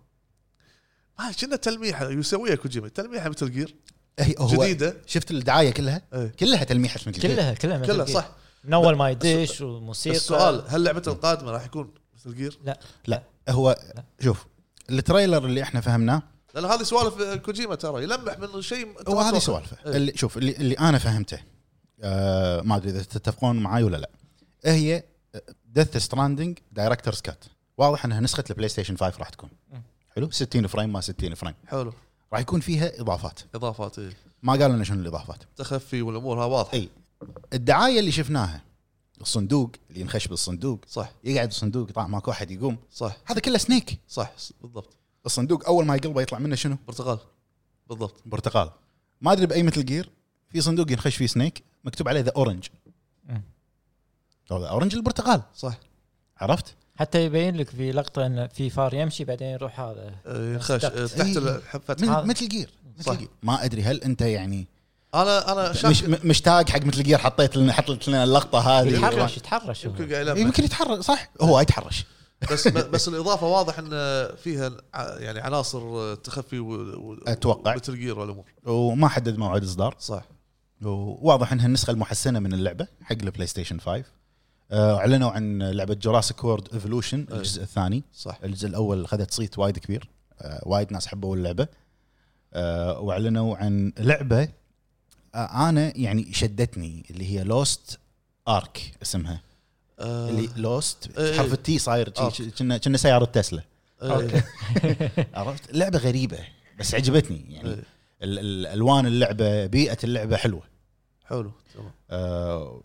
ما كنا تلميحه يسويها كوجيما تلميحه مثل جير هي إيه، هو جديدة شفت الدعايه كلها إيه. كلها تلميحه مثل جير. كلها كلها مثل كلها جير. صح من اول ما يدش وموسيقى السؤال هل لعبته القادمه راح يكون مثل جير؟ لا لا هو شوف التريلر اللي احنا فهمناه لان هذه سوالف كوجيما ترى يلمح من شيء أنت هو ما هذه تتوقع. سوالفه إيه. اللي شوف اللي, اللي انا فهمته آه ما ادري اذا تتفقون معاي ولا لا هي آه، ديث ستراندنج دايركترز كات واضح انها نسخه البلاي ستيشن 5 راح تكون مم. حلو 60 فريم ما 60 فريم حلو راح يكون فيها اضافات اضافات إيه. ما قالوا لنا شنو الاضافات تخفي والامور ها واضحه اي الدعايه اللي شفناها الصندوق اللي ينخش بالصندوق صح يقعد الصندوق طبعا ماكو احد يقوم صح هذا كله سنيك صح س- بالضبط الصندوق اول ما يقلبه يطلع منه شنو برتقال بالضبط برتقال ما ادري باي مثل جير في صندوق ينخش فيه سنيك مكتوب عليه ذا اورنج مم. هذا اورنج البرتقال صح عرفت؟ حتى يبين لك في لقطه ان في فار يمشي بعدين يروح هذا آه، ينخش آه، أصدقت. تحت إيه. الحفه هذا. مثل مثل جير صح. مثل جير ما ادري هل انت يعني انا انا مش شاك م- مشتاق حق مثل جير حطيت لنا حطيت لنا اللقطه هذه يتحرش يتحرش هو. يمكن قاعد يلمح يمكن يتحرش صح هو يتحرش بس ب- بس الاضافه واضح ان آه، فيها ع- يعني عناصر آه، تخفي و... و... أتوقع. مثل جير والامور وما حدد موعد اصدار صح وواضح انها النسخه المحسنه من اللعبه حق البلاي ستيشن 5 آه، اعلنوا عن لعبه جوراسيك وورد ايفولوشن الجزء الثاني صح الجزء الاول اخذت صيت وايد كبير آه، وايد ناس حبوا اللعبه آه، واعلنوا عن لعبه آه، انا يعني شدتني اللي هي لوست ارك اسمها آه، اللي لوست إيه. حرف التي صاير آه. شي- كنا كنا سياره تسلا آه، أوكي. عرفت لعبه غريبه بس عجبتني يعني إيه. ال- ال- الوان اللعبه بيئه اللعبه حلوه حلو تمام آه، آه،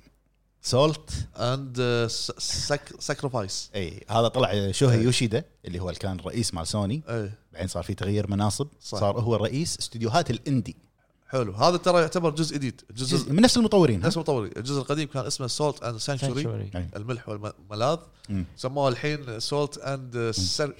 سولت اند ساكرفايس اي هذا طلع شوهي إيه. يوشيدا اللي هو اللي كان رئيس مال سوني اي بعدين صار في تغيير مناصب صح. صار هو رئيس استديوهات الاندي حلو هذا ترى يعتبر جزء جديد جزء الجزء من نفس المطورين ها؟ نفس المطورين الجزء القديم كان اسمه سولت اند سانكشوري Sanctuary. أي. الملح والملاذ مم. سموه الحين آه، سولت اند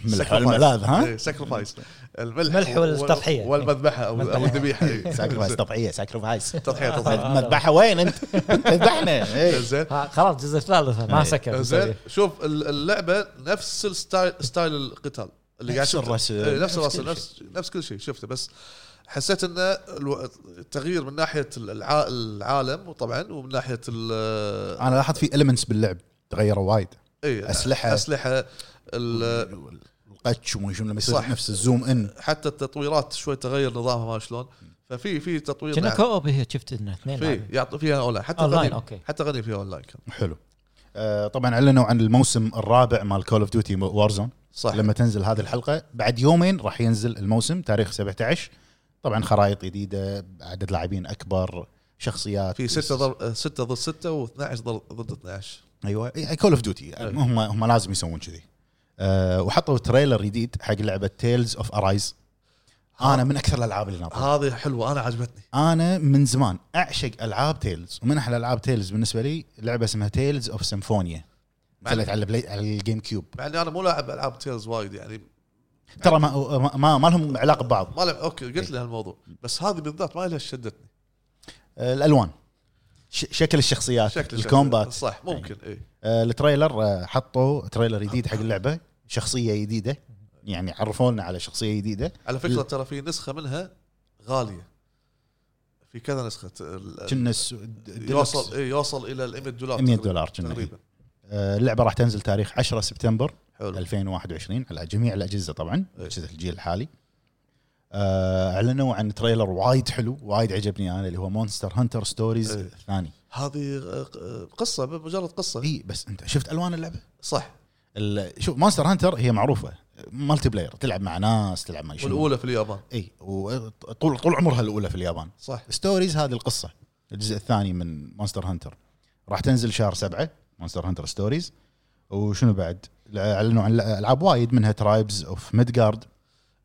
ملح والملاذ، ها؟ ساكرفايس إيه، الملح الملح والتضحية. والمذبحه او أو إيه. الذبيحه إي. ساكرفايس تضحيه ساكرفايس تضحيه تضحيه مذبحه وين انت؟ تذبحنا إيه. زين ها، خلاص الجزء الثالث ما أي. سكر إيه. زين شوف ال- اللعبه نفس الستايل ستايل القتال اللي قاعد نفس شفته. الرسم. إيه، نفس نفس الرسم كل نفس نفس كل شيء شفته بس حسيت انه الو- التغيير من ناحيه الع- العالم وطبعا ومن ناحيه ال- انا لاحظت في المنتس باللعب تغيروا وايد إيه، أسلحة. اسلحه ال- القتش وما شنو لما صح. يصير نفس الزوم ان حتى التطويرات شوي تغير نظامها ما شلون ففي في تطوير كنا نعم. كوب هي شفت انه اثنين في لاعبين. يعطي فيها اونلاين حتى أونلاين، قديم أوكي. حتى قديم فيها اونلاين كان حلو آه، طبعا اعلنوا عن الموسم الرابع مال كول اوف ديوتي وارزون صح لما تنزل هذه الحلقه بعد يومين راح ينزل الموسم تاريخ 17 طبعا خرائط جديده عدد لاعبين اكبر شخصيات في 6 ضرب 6 ضد 6 و12 ضد 12 ايوه كول اوف ديوتي أيوة. هم هم لازم يسوون كذي أه وحطوا تريلر جديد حق لعبه تيلز اوف ارايز آه. انا من اكثر الالعاب اللي ناطرها هذه حلوه انا عجبتني انا من زمان اعشق العاب تيلز ومن احلى العاب تيلز بالنسبه لي لعبه اسمها تيلز اوف سيمفونيا نزلت على البلاي على الجيم كيوب مع اني انا مو لاعب العاب تيلز وايد يعني ترى ما ما- ما, ما لهم علاقه ببعض ما لعب اوكي إيه. قلت لي هالموضوع بس هذه بالذات ما لها شدتني أه الالوان ش- شكل الشخصيات شكل شكل الكومبات صح ممكن إيه. اي آه، التريلر آه، حطوا تريلر جديد حق اللعبه شخصيه جديده يعني عرفونا على شخصيه جديده على فكره ترى في نسخه منها غاليه في كذا نسخه ال- كنا الس- يوصل إيه يوصل الى ال 100 دولار 100 تقريباً. دولار إيه. كنا. تقريبا آه، اللعبه راح تنزل تاريخ 10 سبتمبر حلو 2021 على جميع الاجهزه طبعا إيه. اجهزه الجيل الحالي آه، اعلنوا عن تريلر وايد حلو وايد عجبني انا اللي هو مونستر هانتر ستوريز إيه. الثاني هذه آه، آه، قصه مجرد قصه اي بس انت شفت الوان اللعبه صح ال- شوف مونستر هانتر هي معروفه مالتي بلاير تلعب مع ناس تلعب مع شنو والاولى في اليابان اي وطول طول عمرها الاولى في اليابان صح ستوريز هذه القصه الجزء الثاني من مونستر هانتر راح تنزل شهر سبعة مونستر هانتر ستوريز وشنو بعد اعلنوا عن العاب وايد منها ترايبز اوف ميدجارد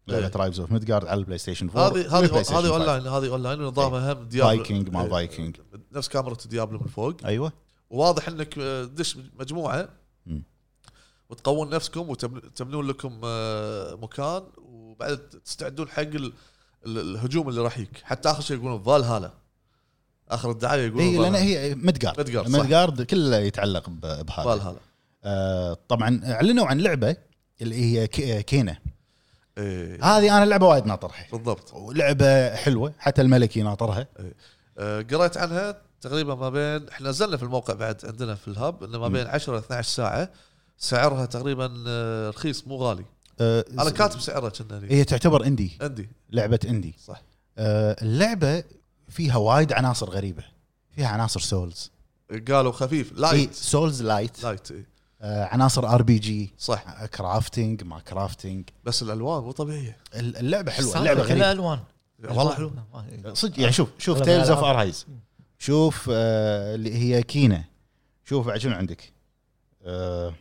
إيه. ترايبز اوف ميدجارد على البلاي ستيشن 4 هذه هذه هذه اونلاين هذه اونلاين ونظامها هم ديابلو فايكنج ما إيه، فايكنج نفس كاميرا ديابلو من فوق ايوه وواضح انك آه، دش مجموعه مم. وتقوون نفسكم وتبنون لكم آه، مكان وبعد تستعدون حق ال- ال- الهجوم اللي راح يجيك حتى اخر شيء يقولون فالهالا اخر الدعايه يقولون اي لان فالهالا. إيه، هي ميدجارد ميدجارد، صح. ميدجارد كله يتعلق ب- بهذا فالهالا آه، طبعا اعلنوا عن لعبه اللي هي ك- آه، كينا إيه، هذه انا لعبه وايد ناطرها بالضبط ولعبه حلوه حتى الملكي ناطرها آه، قريت عنها تقريبا ما بين احنا نزلنا في الموقع بعد عندنا في الهب انه ما مم. بين 10 ل 12 ساعه سعرها تقريبا آه، رخيص مو غالي آه، انا كاتب سعرها كنا لي. هي تعتبر اندي عندي لعبه اندي صح آه، اللعبه فيها وايد عناصر غريبه فيها عناصر سولز قالوا خفيف إيه، لايت سولز لايت لايت إيه، آه، عناصر ار بي جي صح كرافتنج آه، ما كرافتنج بس الالوان مو طبيعيه ال- اللعبه حلوه صار اللعبه كلها غريبه الوان والله حلو صدق يعني شوف شوف أغلب تيلز اوف الألعاب. ارايز شوف آه، اللي هي كينا شوف بعد شنو عندك آه،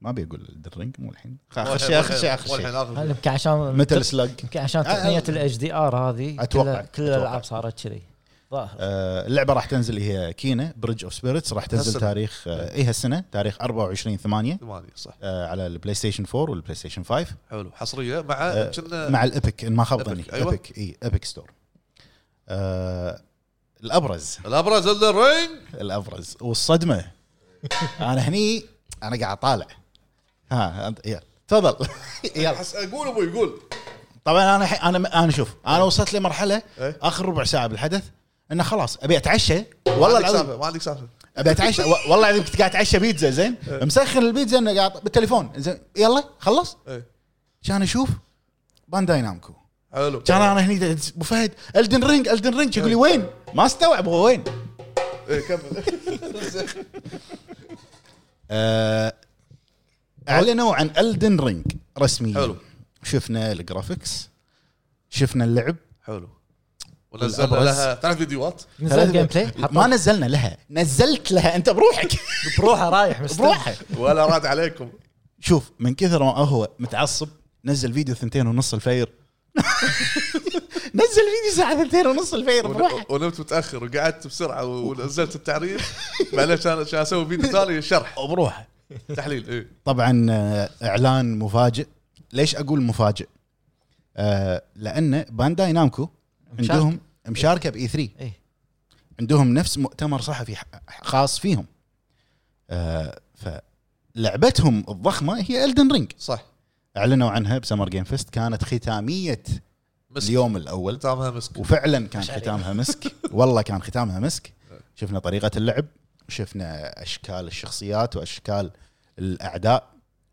ما ابي اقول الدرينج مو الحين خ- اخر شيء اخر شيء اخر شيء هذا شيء يمكن عشان متل سلاج يمكن عشان آه، آه. تقنيه الاتش دي ار هذه أتوقع. كل- كل أتوقع. الالعاب صارت كذي ظاهر آه، اللعبه راح تنزل هي كينا بريدج اوف سبيريتس راح تنزل هالسنة. إيه. تاريخ آه، اي هالسنه تاريخ 24 8 ثمانية صح آه، على البلاي ستيشن 4 والبلاي ستيشن 5 حلو حصريه مع آه، كنا مع الابيك ان ما خاب Epic، ظني أيوة. ابيك اي ابيك ستور آه، الابرز الابرز الرينج الابرز والصدمه انا هني انا قاعد طالع ها أنت- يلا تفضل يلا احس اقول ابوي قول طبعا انا الحين- انا انا شوف انا وصلت لمرحله إيه. اخر ربع ساعه بالحدث انه خلاص ابي اتعشى والله العظيم ما عندك سالفه ابي اتعشى و- والله العظيم كنت قاعد اتعشى بيتزا زين مسخن البيتزا انه قاعد بالتليفون زين يلا خلص إيه. كان اشوف بانداي نامكو حلو كان انا هني ابو فهد الدن رينج الدن رينج يقول لي وين؟ ما استوعب هو وين؟ إيه، كمل آه، اعلنوا عن الدن رينج رسميا حلو. شفنا الجرافكس شفنا اللعب حلو ونزلنا الأبرز. لها ثلاث فيديوهات نزل جيم بلاي ما نزلنا لها نزلت لها انت بروحك بروحه رايح مستني بروحك ولا رد عليكم شوف من كثر ما هو متعصب نزل فيديو ثنتين ونص الفير نزل فيديو الساعه 2 ونص الفجر بروحك ون- ونمت متاخر وقعدت بسرعه و- ونزلت التعريف بعدين عشان عشان اسوي فيديو ثاني شرح وبروحه تحليل إيه. اي طبعا آه، اعلان مفاجئ ليش اقول مفاجئ؟ آه لان بانداي نامكو عندهم مشاركه باي 3 إيه. عندهم نفس مؤتمر صحفي ح- خاص فيهم آه فلعبتهم الضخمه هي الدن رينج صح اعلنوا عنها بسمر جيم فيست كانت ختاميه مسك اليوم الاول ختامها مسك وفعلا كان مش عليك. ختامها مسك والله كان ختامها مسك شفنا طريقه اللعب شفنا اشكال الشخصيات واشكال الاعداء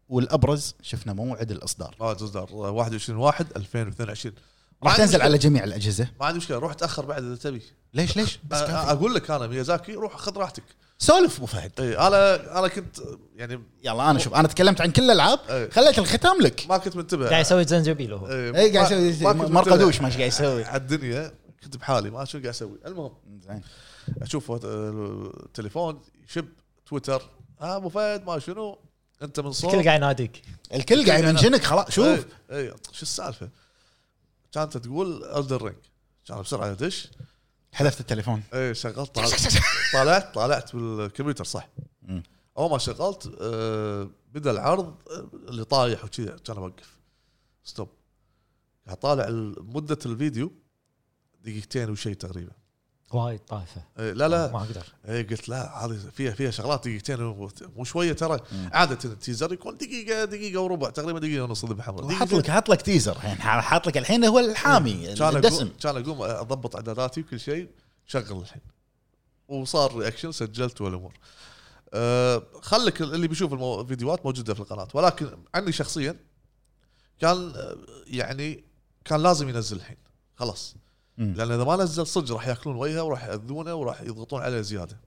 والابرز شفنا موعد الاصدار موعد اصدار 21 1 2022 راح عندي تنزل مشكلة. على جميع الاجهزه ما عندي مشكله روح تاخر بعد اذا تبي ليش ليش أ- بس كافي. اقول لك انا ميازاكي روح خذ راحتك سولف ابو فهد اي انا انا كنت يعني يلا انا شوف انا تكلمت عن كل الالعاب إيه. خليت الختام لك ما كنت منتبه قاعد يسوي زنجبيل هو إيه، اي قاعد ما- يسوي ما كنت مرقدوش ما ايش منتبه قاعد يسوي على الدنيا كنت بحالي ما شو قاعد اسوي المهم زين اشوف وات- التليفون يشب تويتر ها ابو فهد ما شنو انت من صوت الكل قاعد يناديك الكل قاعد يمنشنك خلاص شوف اي إي، شو السالفه كانت تقول الدر رينج كان بسرعه ادش حذفت التليفون اي شغلت طالعت- طالعت طالعت بالكمبيوتر صح مم. اول ما شغلت آه، بدا العرض آه، اللي طايح وكذا كان اوقف ستوب قاعد طالع ال- مده الفيديو دقيقتين وشي تقريبا وايد طايفه إي، لا لا ما اقدر اي قلت لا هذه فيها فيها شغلات دقيقتين وت- مو شويه ترى مم. عاده التيزر يكون دقيقه دقيقه وربع تقريبا دقيقه ونص ذبح حمراء حاط لك حاط لك تيزر الحين حاط لك الحين هو الحامي كان اقوم الدسم كان اقوم اضبط اعداداتي وكل شيء شغل الحين وصار رياكشن سجلت والامور أه خلك اللي بيشوف المو- الفيديوهات موجوده في القناه ولكن عني شخصيا كان آه، يعني كان لازم ينزل الحين خلاص مم. لان اذا ما نزل صدق راح ياكلون وجهه وراح ياذونه وراح يضغطون عليه زياده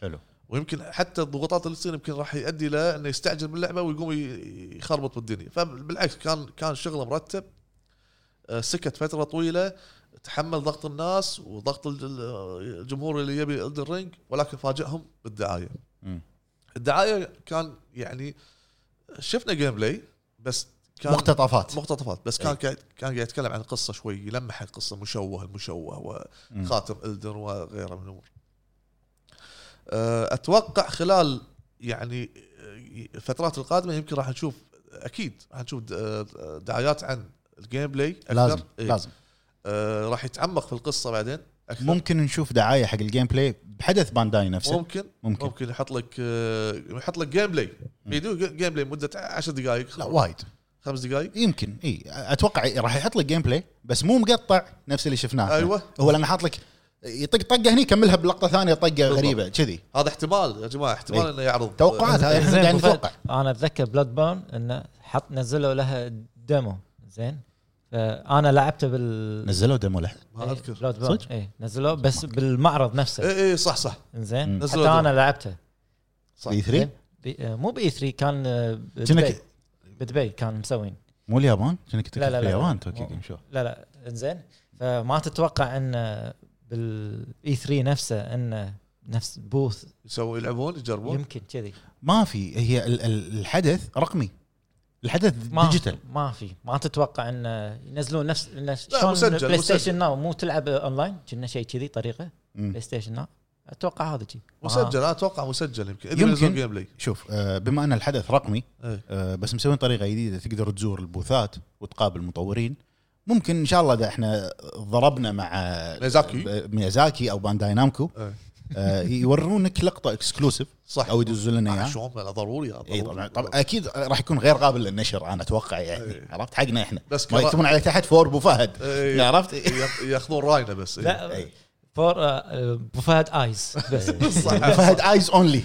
حلو ويمكن حتى الضغوطات اللي تصير يمكن راح يؤدي له انه يستعجل باللعبه ويقوم ي- يخربط بالدنيا فبالعكس كان كان شغله مرتب آه، سكت فتره طويله تحمل ضغط الناس وضغط ال- ال- الجمهور اللي يبي الرينج ولكن فاجئهم بالدعايه مم. الدعايه كان يعني شفنا جيم بلاي بس كان مقتطفات مقتطفات بس إيه. كان قاعد كان قاعد يتكلم عن القصه شوي يلمح القصه مشوه المشوه مم. وخاتم الدر وغيره من الامور. أه، اتوقع خلال يعني أه، الفترات القادمه يمكن راح نشوف اكيد راح نشوف د- أه، دعايات عن الجيم بلاي أكثر. لازم إيه. لازم أه، راح يتعمق في القصه بعدين اكثر ممكن نشوف دعايه حق الجيم بلاي بحدث بانداي نفسه ممكن ممكن ممكن يحط لك أه، يحط لك جيم بلاي فيديو جيم بلاي مده 10 لا دقائق وايد خمس دقائق يمكن اي اتوقع راح يحط لك جيم بلاي بس مو مقطع نفس اللي شفناه أيوة. هو لانه حاط لك يطق طقه هني يكملها بلقطه ثانيه طقه بالضبط. غريبه كذي هذا احتمال يا جماعه احتمال إيه. انه يعرض توقعات هذا احنا يعني قاعد زين أبو نتوقع فهد، انا اتذكر بلاد بيرن انه حط نزلوا لها ديمو زين فانا لعبته بال نزلوا ديمو له ما اذكر بلاد بيرن صدق؟ اي نزلوه بس بالمعرض نفسه اي اي إيه، صح صح مم. زين نزلوا حتى demo. انا لعبته صح اي 3 بي- آه، مو باي 3 كان آه، بدبي كأنك- بدبي كان مسوين مو اليابان كانك لا، لا، لا. اليابان مو- توكي جيم شو لا لا انزين فما تتوقع ان بالاي 3 نفسه ان نفس بوث يسوون يلعبون يجربون يمكن كذي ما في هي ال- ال- الحدث رقمي الحدث ما ديجيتال ما في ما تتوقع ان ينزلون نفس نفس- لا، شلون مسجل- بلاي مسجل. ستيشن ناو مو تلعب اونلاين كنا شيء كذي طريقه مم. بلاي ستيشن ناو اتوقع هذا شيء مسجل انا اتوقع مسجل يمكن آه. يمكن. يمكن جيم بلاي شوف آه، بما ان الحدث رقمي إيه. آه، بس مسوين طريقه جديده تقدر تزور البوثات وتقابل مطورين ممكن ان شاء الله ده احنا ضربنا مع ميازاكي. ب- ميازاكي او بانداي نامكو إيه. آه، يورونك لقطه اكسكلوسيف صح او يدزوا لنا آه، اياها شلون لا ضروري آه، اي ضروري. طبعا طبعا اكيد راح يكون غير قابل للنشر انا اتوقع يعني إيه. عرفت حقنا احنا بس ما كرا- يكتبون عليه تحت فور ابو فهد إيه. عرفت ياخ- ياخذون راينا بس إيه. لا إيه. فور آه، ابو فهد ايز بس ابو صح فهد ايز اونلي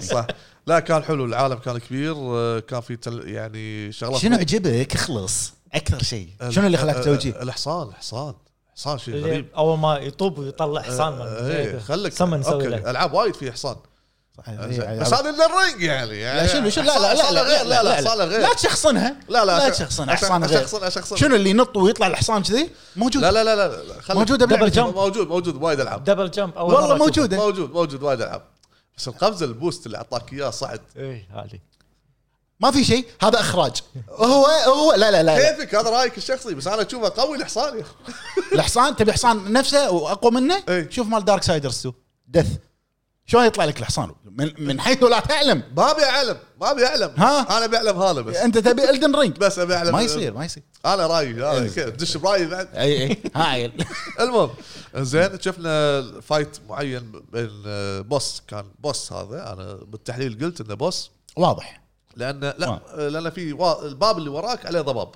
صح لا كان حلو العالم كان كبير آه، كان في تل يعني شغلات شنو عجبك اخلص اكثر شيء ال- شنو اللي خلاك آه، آه، تسوي شي؟ الحصان الحصان حصان شيء اللي غريب اول ما يطوب ويطلع حصان من- آه، إيه، خلك سمن يسوي له اوكي العاب وايد في حصان إيه. بس هذا اللي الرنج يعني إيه، لا شنو شنو لا لا لا لا لا لا لا حصانه غير لا تشخصنها لا لا لا أش- تشخصنها أش- حصان غير أشخصن- أشخصن. شنو اللي ينط ويطلع الحصان كذي موجود لا لا لا لا لا، خليك- موجودة بلعبة جمب. موجود موجود وايد العاب دبل جمب اول والله مرة أشوفه. موجوده إيه، موجود موجود وايد العاب بس القفزه البوست اللي اعطاك اياه صعد ايه هذه ما في شيء هذا اخراج هو هو لا لا لا, لا. كيفك هذا رايك الشخصي بس انا اشوفه قوي الحصان يا أخي. الحصان تبي حصان نفسه واقوى منه إي. شوف مال دارك سايدرز 2 دث شلون يطلع لك الحصان من, من حيث لا تعلم ما ابي اعلم ما ابي اعلم ها؟ انا بعلم هذا بس انت تبي الدن رينج بس ابي اعلم ما يصير إيه. ما يصير انا رايي أنا كذا دش برايي بعد اي اي ها عيل المهم زين شفنا فايت معين بين آه، بوس كان بوس هذا انا بالتحليل قلت انه بوس واضح لان لا لان في وا- الباب اللي وراك عليه ضباب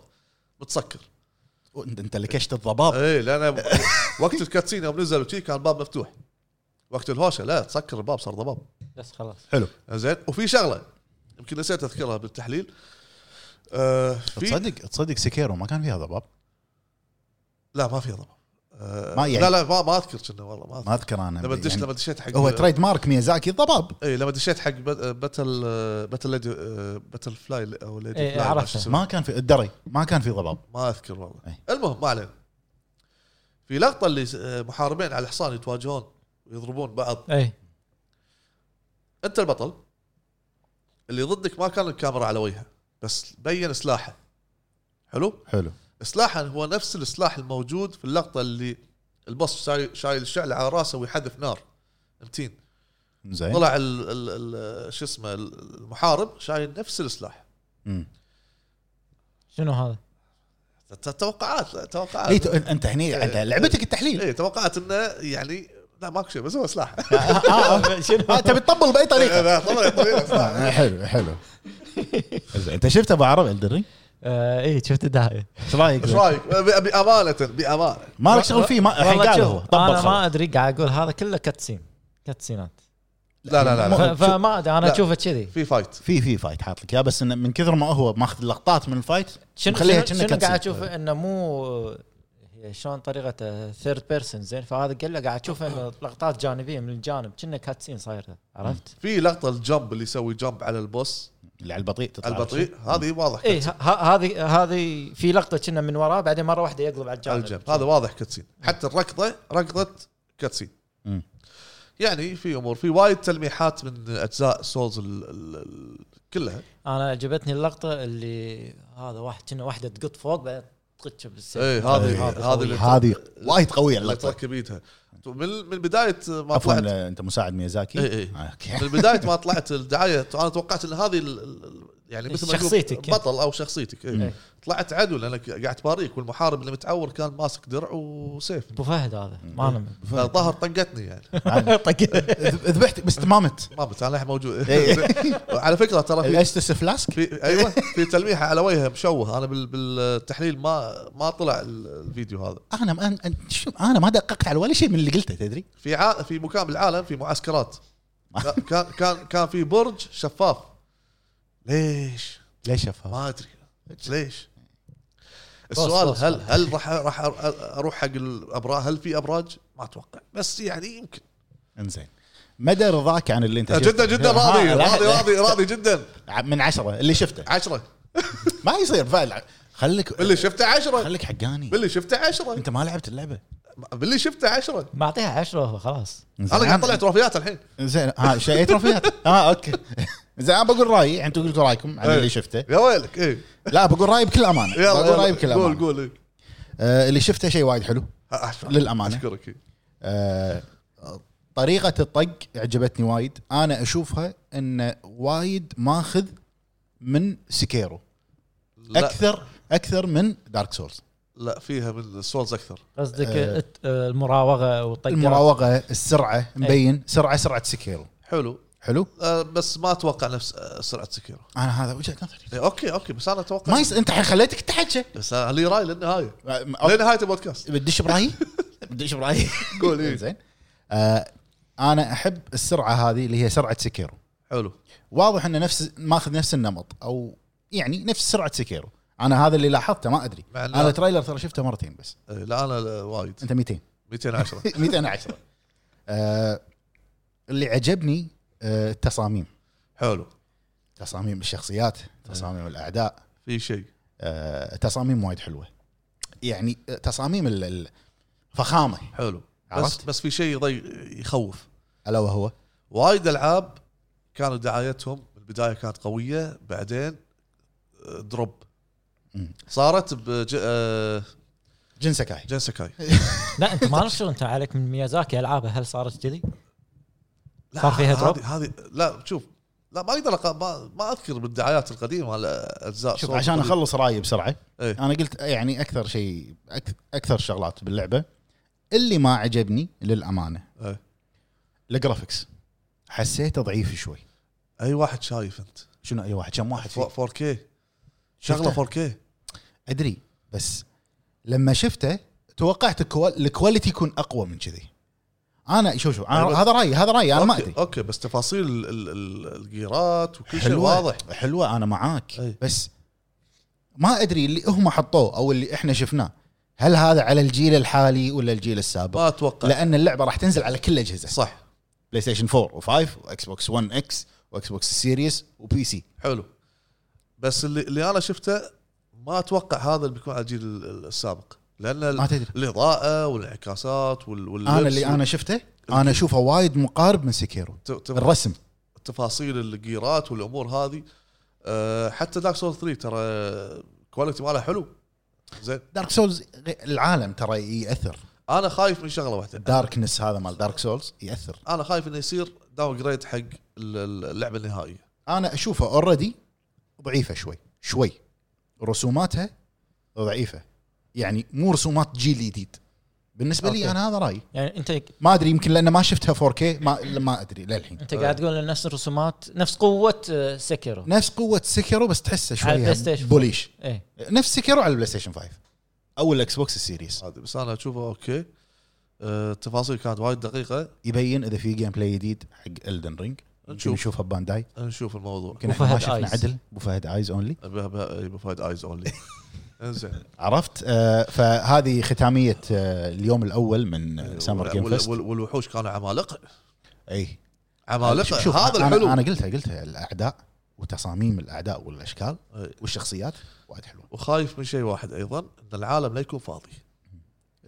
متسكر انت انت لكشت الضباب اي لان إيه، وقت الكاتسين يوم نزلوا شي كان الباب مفتوح وقت الهوشه لا تسكر الباب صار ضباب بس خلاص حلو زين وفي شغله يمكن نسيت اذكرها بالتحليل آه في تصدق تصدق سكيرو ما كان فيها ضباب لا ما فيها ضباب آه ما ما يعني- لا لا ما, ما اذكر كنا والله ما ما اذكر اذكر انا لما دش يعني لما دشيت حق هو تريد مارك ميازاكي الضباب اي لما دشيت حق بت- باتل باتل ليدي باتل فلاي او ليدي إيه، فلاي ما عرفته. شو اسمه. ما كان في الدري ما كان في ضباب ما اذكر والله إيه. المهم ما علينا في لقطه اللي س- آه، محاربين على الحصان يتواجهون ويضربون بعض اي انت البطل اللي ضدك ما كان الكاميرا على وجهه بس بين سلاحه حلو حلو سلاحه هو نفس السلاح الموجود في اللقطه اللي البص شايل شايل الشعل على راسه ويحذف نار متين زين طلع ال ال ال شو اسمه ال- المحارب شايل نفس السلاح مم. شنو هذا؟ ت- توقعات لا، أه. توقعات اي تو- انت إيه، إيه، هني انت لعبتك التحليل اي توقعت انه يعني لا ماكو شيء بس هو سلاح شنو آه، تبي تطبل باي إيه، طريقه لا، طبعاً- طبعاً سلاح. آه، حلو حلو زين، انت شفت ابو عرب الدري آه، اي شفت الدعايه ايش رايك إيه. ايش رايك؟ ب- بامانه بامانه ما لك شغل فيه ما الحين والله قال شوف، هو طبل انا ما خلاص. ادري قاعد اقول هذا كله كاتسين كاتسينات لا لا لا, ف- لا. شوف. فما ادري انا لا. اشوفه كذي في فايت في في فايت حاط لك اياه بس انه من كثر ما هو ماخذ اللقطات من الفايت شنو مخليها شنو, كأنه شنو كاتسين. قاعد اشوف انه مو هي شلون طريقه ثيرد بيرسون زين فهذا كله قاعد اشوف انه لقطات جانبيه من الجانب كنا كاتسين صايره عرفت؟ في لقطه الجمب اللي يسوي جمب على البوس اللي على البطيء تطلع على البطيء هذه واضح اي إيه، ه- ه- هذه هذه في لقطه كنا من وراه بعدين مره واحده يقلب على على الجانب الجنب هذا واضح كاتسين حتى الركضه ركضه كاتسين مم. يعني في امور في وايد تلميحات من اجزاء سولز ال ال ال كلها انا عجبتني اللقطه اللي هذا واحد كنا واحده تقط فوق بعدين تقطش بالسيف اي إيه، هذه هذه اللي هذه وايد قوية اللي اللقطة تركب ايدها من من بدايه ما عفوا طلعت لا، انت مساعد ميازاكي إيه، إي إي. آه، اوكي من بدايه ما طلعت الدعايه انا توقعت ان هذه ال- ال- يعني مثل ما يقول شخصيتك. بطل او شخصيتك إيه. إيه. طلعت عدو لانك قاعد تباريك والمحارب اللي متعور كان ماسك درع وسيف ابو فهد هذا إيه. ما انا الظاهر طقتني يعني طيب. ذ- ذبحتك طيب. بس ما مت ما بس انا الحين موجود إيه. على فكره طيب. ترى في الاستس فلاسك في ايوه في تلميحه على وجهه مشوه انا بال- بالتحليل ما ما طلع ال- الفيديو هذا انا ما أنا- شو انا ما دققت على ولا شيء من اللي قلته تدري في ع... في مكان بالعالم في معسكرات كان كان كان في برج شفاف ليش ليش افهم ما ادري ليش السؤال بص- بص- هل هل راح راح اروح حق الابراج هل في ابراج؟ ما اتوقع بس يعني يمكن انزين مدى رضاك عن اللي انت شفته جدا جدا ها، راضي لا، راضي لا، راضي راضي جدا من عشرة اللي شفته عشرة ما يصير فعلا خليك باللي شفته عشرة خليك حقاني باللي شفته عشرة انت ما لعبت اللعبه باللي شفته عشرة معطيها عشرة هو خلاص إنزين، انا قاعد اطلع تروفيات الحين زين ها شيء أي تروفيات اه اوكي زين انا بقول رايي انتم قلتوا رايكم عن إيه. اللي شفته يا ويلك ايه لا بقول رايي بكل امانه يلا بقول رايي بكل يلا قول امانه قول إيه. آه، اللي شفته شيء وايد حلو أشكرك. للأمانة. اشكرك إيه. آه، طريقة الطق عجبتني وايد انا اشوفها انه وايد ماخذ من سكيرو لا اكثر اكثر من دارك سولز لا فيها من السولز اكثر قصدك آه. الت- آه، المراوغه والطقات المراوغة السرعة إيه. مبين سرعة سرعة سكيرو حلو حلو أه بس ما اتوقع نفس أه، سرعه سكيرو انا هذا وجهة نظري إيه، اوكي اوكي بس انا اتوقع ما يس... انت الحين خليتك تحكي بس أنا لي راي للنهايه أو- لنهايه البودكاست بتدش برايي بتدش برايي قول إيه. زين آه انا احب السرعة هذه اللي هي سرعة سكيرو حلو واضح انه نفس ماخذ نفس النمط او يعني نفس سرعه سكيرو انا هذا اللي لاحظته ما ادري مع إنه- انا تريلر ترى شفته مرتين بس إيه، لا انا لا، وايد انت 200 210 210 آه اللي عجبني آه التصاميم حلو تصاميم الشخصيات تصاميم الاعداء في شيء آه تصاميم وايد حلوه يعني آه، تصاميم ال- ال- فخامه حلو بس عرفت؟ بس في شيء ضي- يخوف الا وهو وايد العاب كانوا دعايتهم بالبدايه كانت قويه بعدين دروب مم. صارت بج... آه، جن سكاي جين سكاي لا انت ما عرفت شو انت عليك من ميازاكي العابه هل صارت كذي؟ لا، صار فيها هذه- drop؟ هذه لا شوف لا ما اقدر أق... ما... ما اذكر بالدعايات القديمه على اجزاء شوف صوت عشان قديم. اخلص رايي بسرعه إيه. انا قلت يعني اكثر شيء أك- اكثر شغلات باللعبه اللي ما عجبني للامانه إيه. الجرافكس حسيته ضعيف شوي اي واحد شايف انت شنو اي واحد كم واحد فيه 4K شفته؟ شغله 4K ادري بس لما شفته توقعت الكوا- الكواليتي يكون اقوى من كذي انا شوف شوف أيوة. أنا هذا رايي هذا رايي انا ما أوكي- ادري اوكي بس تفاصيل ال- ال- الجيرات وكل شيء حلوة. واضح حلوه انا معاك أي. بس ما ادري اللي هم حطوه او اللي احنا شفناه هل هذا على الجيل الحالي ولا الجيل السابق ما اتوقع لان اللعبه راح تنزل على كل الاجهزه طيب. صح بلاي ستيشن 4 و5 واكس بوكس 1 اكس واكس بوكس سيريس وبي سي حلو بس اللي, اللي انا شفته ما اتوقع هذا اللي بيكون على الجيل ال- السابق لان ما ال- تدري الاضاءه والانعكاسات وال واللبس انا اللي انا شفته انا اشوفه وايد مقارب من سكيرو والت- تف- الرسم تفاصيل الجيرات والامور هذه أه حتى دارك سول 3 ترى كواليتي ماله حلو زين دارك سولز العالم ترى ياثر انا خايف من شغله واحده الداركنس هذا مال دارك سولز ياثر انا خايف انه يصير داون جريد حق ال- ال- اللعبه النهائيه انا اشوفها اوريدي ضعيفه شوي شوي رسوماتها ضعيفه يعني مو رسومات جيل جديد بالنسبه لي أوكي. انا هذا رايي يعني انت ما ادري يمكن لان ما شفتها 4K ما ما ادري للحين إيه. انت قاعد تقول إن نفس الرسومات نفس قوه آه، سكيرو نفس قوه سكرو بس تحسه على البلاي شوي ستيشن. بوليش ايه نفس سكرو على البلاي ستيشن 5 او الاكس بوكس السيريس هذه بس انا اشوفه اوكي أه التفاصيل كانت وايد دقيقه يبين اذا في جيم بلاي جديد حق الدن رينج نشوف. نشوف نشوفها ببانداي نشوف الموضوع يمكن احنا ما وفهد شفنا آيز. عدل ابو فهد ايز اونلي بفايد ايز اونلي انزين عرفت آه فهذه ختاميه آه اليوم الاول أيوة، من آه، سامر جيم وال- فيست وال- والوحوش كانوا عمالقه اي عمالقه شوف، آه، هذا أنا- الحلو انا قلتها قلتها الاعداء وتصاميم الاعداء والاشكال أي. والشخصيات وايد حلوه وخايف من شيء واحد ايضا ان العالم لا يكون فاضي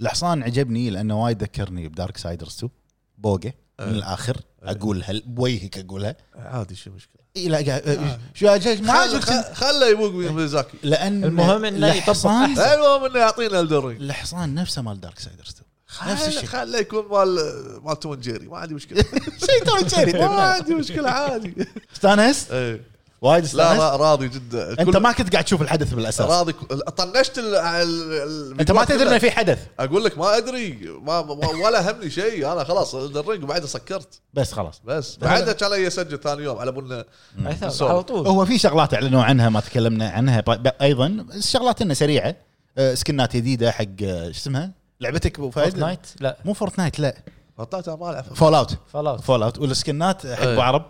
الحصان عجبني لانه وايد ذكرني بدارك سايدرز 2 بوقه من أي. الاخر إيه. اقولها بوجهك اقولها عادي شو المشكله إي لا قاعد- آه. شو أجل- ما خل- عجبتني. خل- خله يبوق ميزاكي لان المهم إنه يطبق الحصان أحسن. المهم انه يعطينا الدرينج الحصان نفسه مال دارك سايدرز 2 نفس الشيء. خله يكون مال مال توم جيري ما عندي مشكله شيء توي ما جيري عندي مشكله عادي استانست إيه. وايد لا استانست لا راضي جدا انت كل- ما كنت قاعد تشوف الحدث بالاساس راضي ك- طنشت ال- ال- ال- انت ما تدري انه في حدث اقول لك ما ادري ما ما- ولا همني شيء انا خلاص الدرينج وبعدها سكرت بس خلاص بس بعدها كان أي اسجل ثاني يوم على بنا عثر على طول هو في شغلات اعلنوا عنها ما تكلمنا عنها ب- ب- ايضا الشغلات انه سريعه آه، سكنات جديده حق آه، شو اسمها لعبتك ابو فهد نايت لا مو فورتنايت لا غطيتها ما العب فول اوت فال اوت فول اوت والسكنات حق ابو إيه. عرب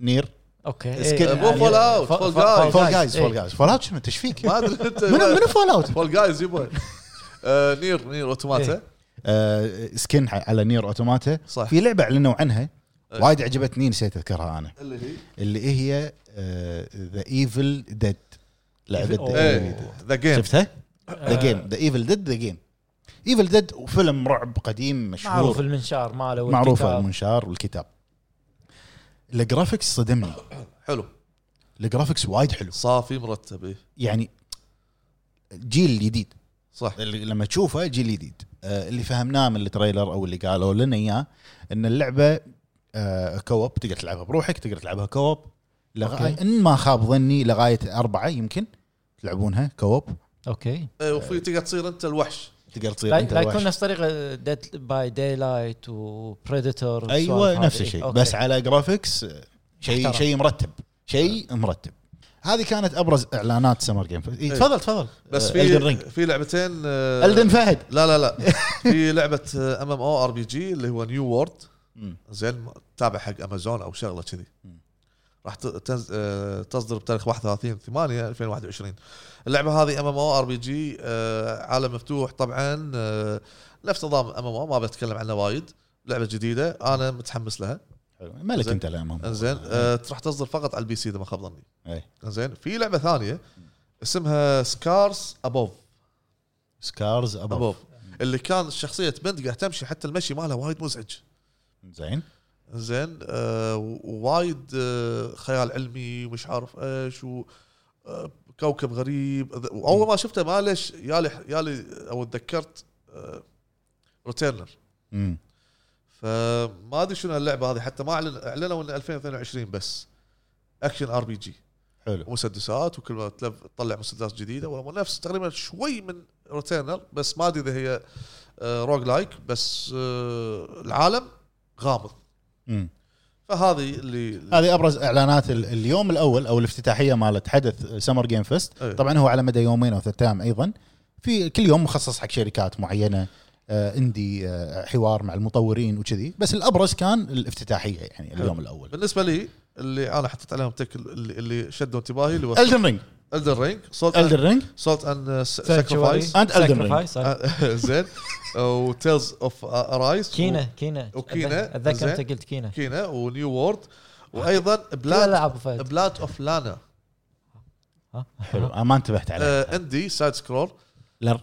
نير اوكي سكيل. إيه، مو يعني- فول أوت، فا- فول فا- جايز. فول جايز إيه. فول جايز فول اوت شنو انت ايش فيك؟ ما ادري انت منو منو فول اوت؟ فول جايز يبا آه، نير نير اوتوماتا آه، سكن ح- على نير اوتوماتا صح. في لعبه اعلنوا عنها إيه. وايد عجبتني نسيت اذكرها انا اللي هي اللي هي آه، ذا ايفل ديد لعبه Evil- The ايه Evil Dead. ذا جيم شفتها؟ ذا آه. جيم ذا ايفل ديد ذا جيم ايفل ديد وفيلم رعب قديم معروف مشهور المنشار ماله معروف والكتاب. المنشار والكتاب الجرافكس صدمني حلو الجرافكس وايد حلو صافي مرتب إيه. يعني جيل جديد صح اللي لما تشوفه جيل جديد آه، اللي فهمناه من التريلر او اللي قالوا لنا اياه ان اللعبه آه، كوب تقدر تلعبها بروحك تقدر تلعبها كوب لغايه أوكي. ان ما خاب ظني لغايه اربعه يمكن تلعبونها كوب اوكي إيه، وفي تقدر تصير انت الوحش تقدر تصير لا انت لا الوحش. يكون نفس طريقه ديد باي داي لايت وبريدتور ايوه نفس الشيء بس على جرافيكس آه، شيء احترم. شيء مرتب شيء مرتب هذه كانت ابرز اعلانات سمر جيم فيست. إيه، إيه. تفضل تفضل إيه، بس الدن في رينج في لعبتين آه، الدن فهد لا لا لا في آه، لعبه ام ام او ار بي جي اللي هو نيو وورد مم. زين تابع حق امازون او شغله كذي مم. راح ت- تنز... آه، تصدر بتاريخ 31 8 2021 اللعبه هذه ام ام او ار بي جي آه، عالم مفتوح طبعا آه، نفس نظام ام ام او ما بتكلم عنه وايد لعبه جديده انا متحمس لها ملك زين. انت الامام انزين آه، راح تصدر فقط على البي سي اذا ما خاب ظني إيه. انزين في لعبه ثانيه اسمها سكارز ابوف سكارز ابوف ابوف اللي كان شخصيه بنت قاعد تمشي حتى المشي مالها وايد مزعج زين زين آه، و- ووايد آه، خيال علمي ومش عارف ايش و آه، كوكب غريب أذ- واول ما شفته ما ليش يالي يالي او تذكرت آه، روتيرنر مم. فما ادري شنو هاللعبه هذه حتى ما اعلن اعلنوا ان 2022 بس اكشن ار بي جي حلو ومسدسات وكل ما تلف- تطلع مسدسات جديده ولا نفس تقريبا شوي من روتينر بس ما ادري اذا هي آه، روج لايك بس آه، العالم غامض مم. فهذه اللي هذه ابرز اعلانات ال- اليوم الاول او الافتتاحيه مالت حدث سمر جيم فيست إيه. طبعا هو على مدى يومين او ثلاثة ايام ايضا في كل يوم مخصص حق شركات معينه آه اندي آه حوار مع المطورين وكذي بس الابرز كان الافتتاحيه يعني اليوم الاول بالنسبه لي اللي انا حطيت عليهم تك اللي, اللي شدوا انتباهي اللي هو الدن رينج الدر رينج سولت الدن رينج سولت اند ساكرفايس And Elden Ring. Sacrifice. آه، زين وتيلز اوف ارايز أه، كينا كينا وكينا، اتذكر زين. انت قلت كينا كينا ونيو وورد وايضا لا بلاد لا ابو فهد بلاد اوف لانا حلو أنا آه، ما انتبهت عليه اندي سايد سكرول لر-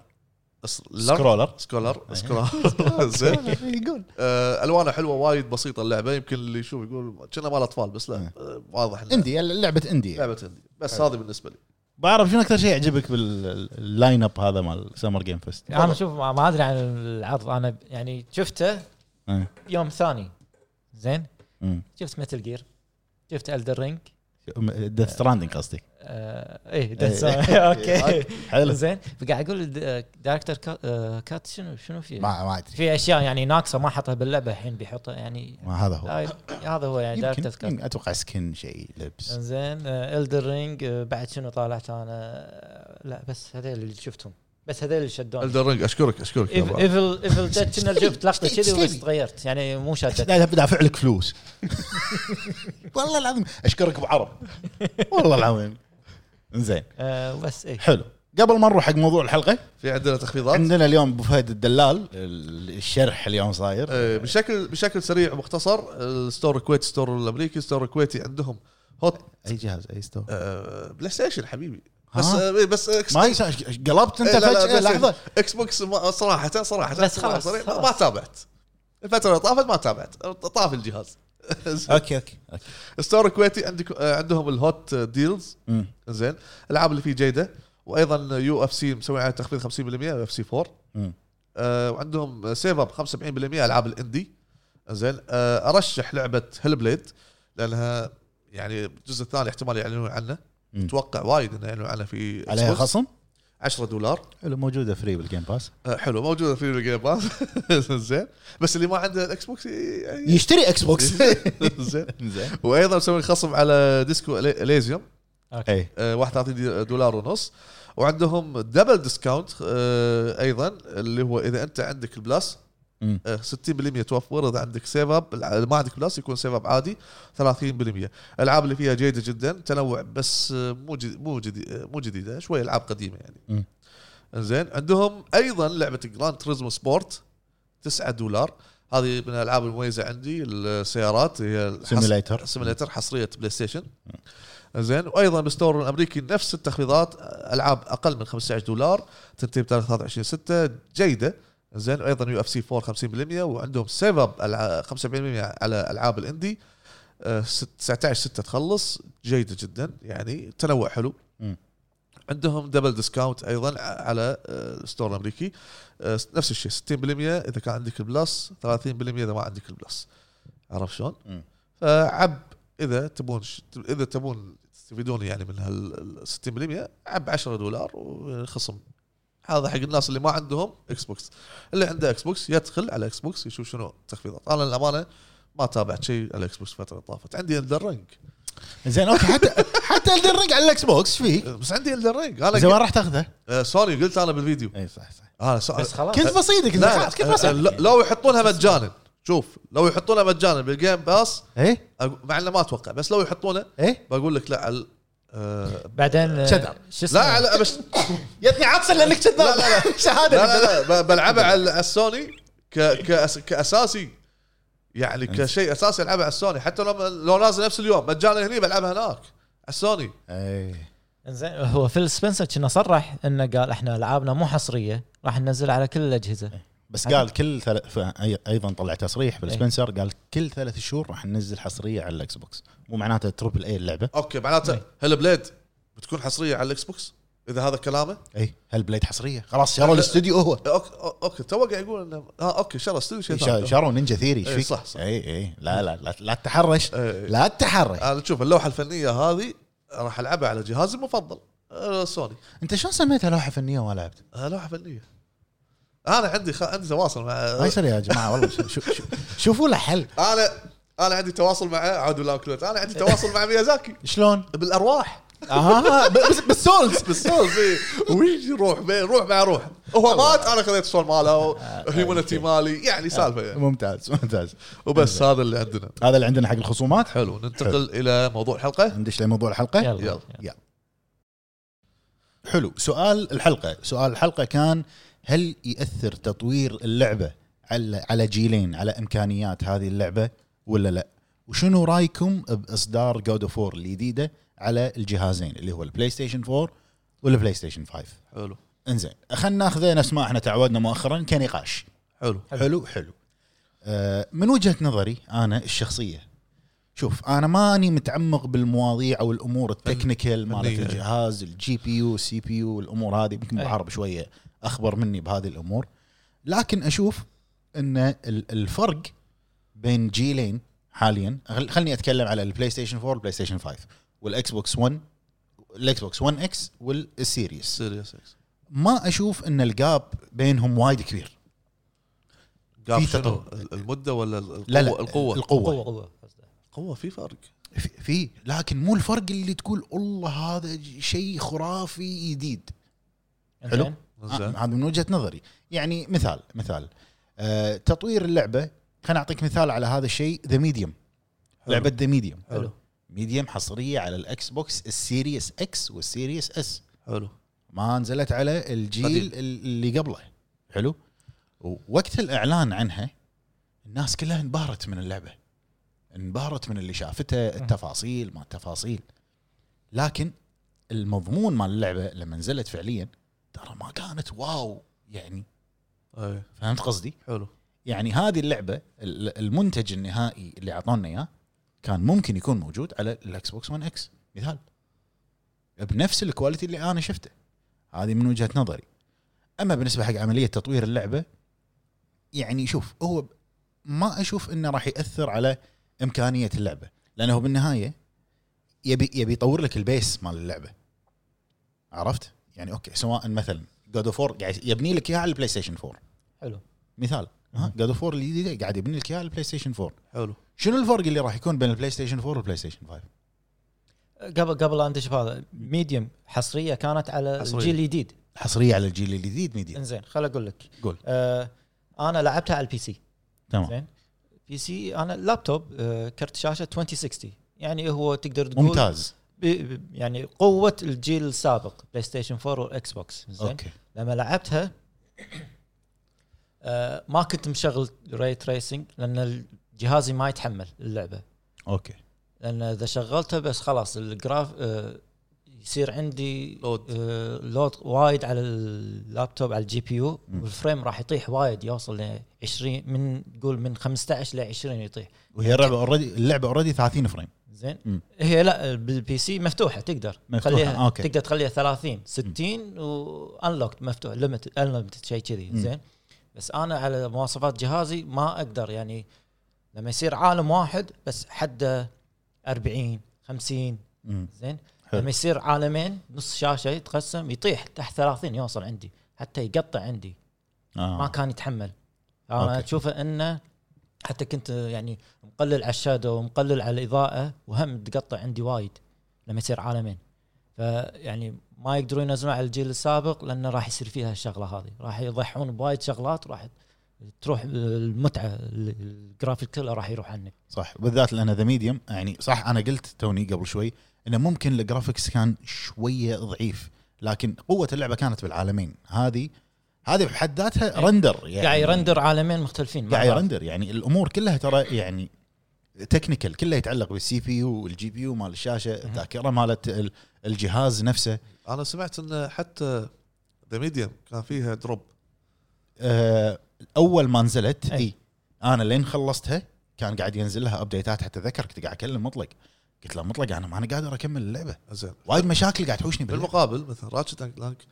سكرول سكرولر إيه. سكولر سكولر زين يقول آه، الوانها حلوه وايد بسيطه اللعبه يمكن اللي يشوف يقول كنا مال اطفال بس إيه. لا آه، واضح إنها اندي لعبه اندي لعبه اندي بس هذه بالنسبه لي بعرف شنو اكثر شيء يعجبك باللاين اب هذا مال سمر جيم فيست انا شوف ما ما ادري عن العرض انا يعني شفته إيه. يوم ثاني زين شفت متل جير شفت الدر رينج ديث ستراندنج قصدي آه ايه إيه. Death Stranding. اوكي حلو زين فقاعد آه، اقول دايركتر كات آه، شنو شنو فيه؟ ما ما ادري في اشياء يعني ناقصه ما حطها باللعبه الحين بيحطها يعني ما هذا هو هاي- هذا هو يعني دايركتر كات يمكن اتوقع سكن شيء لبس زين الدر رينج آه، بعد شنو طالعت انا آه، لا بس هذول اللي شفتهم بس هذول اللي شدوني الدر رينج اشكرك اشكرك يا أبو عبد. ايفل ايفل ديد كنا شفت لقطه إيش كذي تبي؟ وبس تغيرت يعني مو شادت لا بدافع لك فلوس والله العظيم اشكرك ابو عرب والله العظيم زين آه، وبس ايه حلو قبل ما نروح حق موضوع الحلقه في عندنا تخفيضات عندنا اليوم ابو فهد الدلال ال- الشرح اليوم صاير آه، بشكل بشكل سريع ومختصر الستور الكويتي ستور الامريكي ستور الكويتي عندهم هوت اي جهاز اي ستور آه، بلاي ستيشن حبيبي ها؟ بس آه، بس إكس- ما يسا- قلبت انت إيه، لا، لا، فجاه بلاي ستيشن. لحظه اكس بوكس ما- صراحه صراحه بس خلاص، صريح، خلاص. ما تابعت الفتره اللي طافت ما تابعت طاف الجهاز يعني. اوكي اوكي اوكي ستور الكويتي عندك آه، عندهم الهوت ديلز مم. زين الالعاب اللي فيه جيده وايضا يو اف سي مسوي عليها تخفيض 50% يو اف سي 4 مم. آه وعندهم سيف اب 75% العاب الاندي زين آه ارشح لعبه هيل بليد لانها يعني الجزء الثاني احتمال يعلنون عنه مم. اتوقع وايد انه يعلنون عنه في Xbox. عليها خصم 10 دولار حلو موجوده فري بالجيم باس آه حلو موجوده في الجيم باس زين بس اللي ما عنده الاكس بوكس ي- يعني يشتري اكس بوكس زين زين وايضا مسوي خصم على ديسكو اليزيوم اي آه، 31 دي- دولار ونص وعندهم دبل ديسكاونت آه، ايضا اللي هو اذا انت عندك البلس مم. آه، 60% توفر اذا عندك سيف اب الع- ما عندك بلس يكون سيف اب عادي 30% الالعاب اللي فيها جيده جدا تنوع بس آه، مو جدي مو جدي آه، مو جديده شوي العاب قديمه مم. يعني زين عندهم ايضا لعبه جراند تريزمو سبورت 9 دولار هذه من الالعاب المميزه عندي السيارات هي الحص- سيميليتر سيميليتر حصريه بلاي ستيشن زين وايضا بالستور الامريكي نفس التخفيضات العاب اقل من 15 دولار تنتهي بتاريخ 23 6 جيده زين وايضا يو اف سي 4 50% وعندهم سيف اب 75% على العاب الاندي آه، ست- 19 6 تخلص جيده جدا يعني تنوع حلو مم. عندهم دبل ديسكاونت ايضا ع- على آه، الستور الامريكي آه، نفس الشيء 60% اذا كان عندك البلس 30% اذا ما عندك البلس عرفت شلون؟ مم. فعب اذا تبون ش- اذا تبون تستفيدون يعني من هال 60% عب 10 دولار وخصم هذا حق الناس اللي ما عندهم اكس بوكس اللي عنده اكس بوكس يدخل على اكس بوكس يشوف شنو التخفيضات انا للامانه ما تابعت شيء على اكس بوكس الفتره اللي طافت عندي الدر رينج زين اوكي حتى حتى الدرج على الاكس بوكس فيك بس عندي الدر رينج انا زين قلت- وين راح تاخذه؟ آه، سوني قلت انا بالفيديو اي إيه، صح صح انا سو- بس خلاص كنت بصيدك أنت لا خلاص كنت لا، آه، بصيدك ل- لو يحطونها مجانا شوف لو يحطونها مجانا بالجيم باس ايه أقو- مع انه ما اتوقع بس لو يحطونه ايه بقول لك لا على آه، بعدين آه، شذر. شو اسمه لا على بس يتني عطسه لانك كذاب لا، شهاده لا لا لا ب- بلعبها على على السوني ك كأس كاساسي يعني كشيء اساسي العبها على السوني حتى لو لو نازل نفس اليوم مجانا هني بلعبها هناك على السوني ايه انزين هو فيل سبنسر كنا صرح انه قال احنا العابنا مو حصريه راح ننزلها على كل الاجهزه بس قال كل ثلاث ف- أي- ايضا طلع تصريح بل إيه. سبنسر قال كل ثلاث إيه شهور راح ننزل حصريه على الاكس بوكس مو معناته تربل اي اللعبه اوكي معناته هلا بليد بتكون حصريه على الاكس بوكس اذا هذا كلامه اي هل بليد حصريه خلاص شاروا الاستوديو هو اوكي اوكي تو قاعد يقول آه، انه ها اوكي شرى استوديو شيء شا- ثاني. شاروا نينجا ثيري ايش إيه، فيك؟ صح، صح. اي اي لا لا لا, لا تتحرش إيه، إيه. لا تتحرش انا شوف اللوحه الفنيه هذه راح العبها على جهازي المفضل آه، سوني انت شلون سميتها لوحه فنيه وما لعبت؟ آه، لوحه فنيه انا عندي خ... عندي تواصل مع ما يصير يا جماعه والله شو شو شو شوفوا له حل انا انا عندي تواصل مع عاد بالله كلوت انا عندي تواصل مع ميازاكي شلون؟ بالارواح آه. اها ب- بس- بالسولز بالسولز إي. ويجي روح إيه. بين روح مع روح هو مات انا خذيت السول ماله هيومنتي مالي يعني سالفه يعني ممتاز ممتاز وبس هذا اللي عندنا هذا اللي عندنا حق الخصومات حلو ننتقل الى موضوع الحلقه ندش لموضوع الحلقه يلا يلا. حلو سؤال الحلقه سؤال الحلقه كان هل ياثر تطوير اللعبه على على جيلين على امكانيات هذه اللعبه ولا لا وشنو رايكم باصدار جود اوف 4 الجديده على الجهازين اللي هو البلاي ستيشن 4 والبلاي ستيشن 5 حلو انزين خلينا ناخذه نفس ما احنا تعودنا مؤخرا كنقاش حلو حلو حلو آه، من وجهه نظري انا الشخصيه شوف انا ماني متعمق بالمواضيع او الامور التكنيكال فنية. مالت الجهاز الجي بي يو سي بي يو الامور هذه يمكن أي. بعرب شويه اخبر مني بهذه الامور لكن اشوف ان ال- الفرق بين جيلين حاليا خل- خلني اتكلم على البلاي ستيشن 4 والبلاي ستيشن 5 والاكس بوكس 1 الاكس بوكس 1 اكس والسيريس سيريس اكس ما اشوف ان الجاب بينهم وايد كبير قام في شنو تطور. المده ولا القوه لا لا القوه القوه قوه قوه قصده. القوه في فرق في- في لكن مو الفرق اللي تقول الله هذا ج- شيء خرافي جديد حلو. إنزين. آه، زين هذا من وجهه نظري يعني مثال مثال آه تطوير اللعبه خليني اعطيك مثال على هذا الشيء ذا ميديوم حلو. لعبه ذا ميديوم حلو ميديوم حصريه على الاكس بوكس السيريس اكس والسيريس اس حلو ما نزلت على الجيل قديم. اللي قبله حلو ووقت الاعلان عنها الناس كلها انبهرت من اللعبه انبهرت من اللي شافته التفاصيل ما التفاصيل لكن المضمون مال اللعبه لما نزلت فعليا ترى ما كانت واو يعني اي فهمت قصدي؟ حلو يعني هذه اللعبه ال- المنتج النهائي اللي اعطونا اياه كان ممكن يكون موجود على الاكس بوكس 1 اكس مثال بنفس الكواليتي اللي انا شفته هذه من وجهه نظري اما بالنسبه حق عمليه تطوير اللعبه يعني شوف هو ب- ما اشوف انه راح ياثر على امكانيه اللعبه لانه بالنهايه يبي يبي يطور لك البيس مال اللعبه عرفت يعني اوكي سواء مثلا جود اوف قاعد يبني لك اياها على البلاي ستيشن 4 حلو مثال ها جاد اوف 4 الجديده قاعد يبني لك اياها على البلاي ستيشن 4 حلو شنو الفرق اللي راح يكون بين البلاي ستيشن 4 والبلاي ستيشن 5 قبل قبل انت شوف هذا ميديوم حصريه كانت على E حصرية. الجيل الجديد حصريه على الجيل الجديد ميديا انزين خل اقول لك قول. آه انا لعبتها على البي سي تمام زين بي سي انا لابتوب آه كرت شاشه 2060 يعني هو تقدر تقول ممتاز ب- ب- يعني قوه الجيل السابق بلاي ستيشن 4 والاكس بوكس زين اوكي لما لعبتها آه ما كنت مشغل ري تريسنج لان جهازي ما يتحمل اللعبه اوكي لان اذا شغلتها بس خلاص الجراف آه يصير عندي لود. آه لود وايد على اللابتوب على الجي بي يو مم. والفريم راح يطيح وايد يوصل ل 20 من قول من 15 ل 20 يطيح وهي اللعبه اوريدي اللعبه اوريدي 30 فريم زين مم. هي لا بالبي سي مفتوحه تقدر مفتوحة، آه، تخليها أوكي. تقدر تخليها 30 60 وانلوكت مفتوح ليمت انليمتد شيء كذي مم. زين بس انا على مواصفات جهازي ما اقدر يعني لما يصير عالم واحد بس حده 40 50 مم. زين حلو. لما يصير عالمين نص شاشه يتقسم يطيح تحت 30 يوصل عندي حتى يقطع عندي ما آه. كان يتحمل انا أوكي. اشوفه انه حتى كنت يعني مقلل على الشادو ومقلل على الاضاءه وهم تقطع عندي وايد لما يصير عالمين فيعني ما يقدرون ينزلون على الجيل السابق لانه راح يصير فيها الشغله هذه راح يضحون بوايد شغلات راح تروح المتعه ال- الجرافيك كله راح يروح عنك صح بالذات لان ذا ميديوم يعني صح انا قلت توني قبل شوي انه ممكن الجرافكس كان شويه ضعيف لكن قوه اللعبه كانت بالعالمين هذه هذه بحد ذاتها إيه. رندر يعني قاعد يرندر عالمين مختلفين مع قاعد بعض. يرندر يعني الامور كلها ترى يعني تكنيكال كله يتعلق بالسي بي يو والجي بي يو مال الشاشه الذاكره مالت ال- الجهاز نفسه انا سمعت ان حتى ذا ميديوم كان فيها دروب آه، اول ما نزلت أي. اي انا لين خلصتها كان قاعد ينزل لها ابديتات حتى ذكر كنت قاعد اكلم مطلق قلت له مطلق انا ما انا قادر اكمل اللعبه زين وايد مشاكل قاعد تحوشني باللعبه بالمقابل مثلا راتشت اند كلانك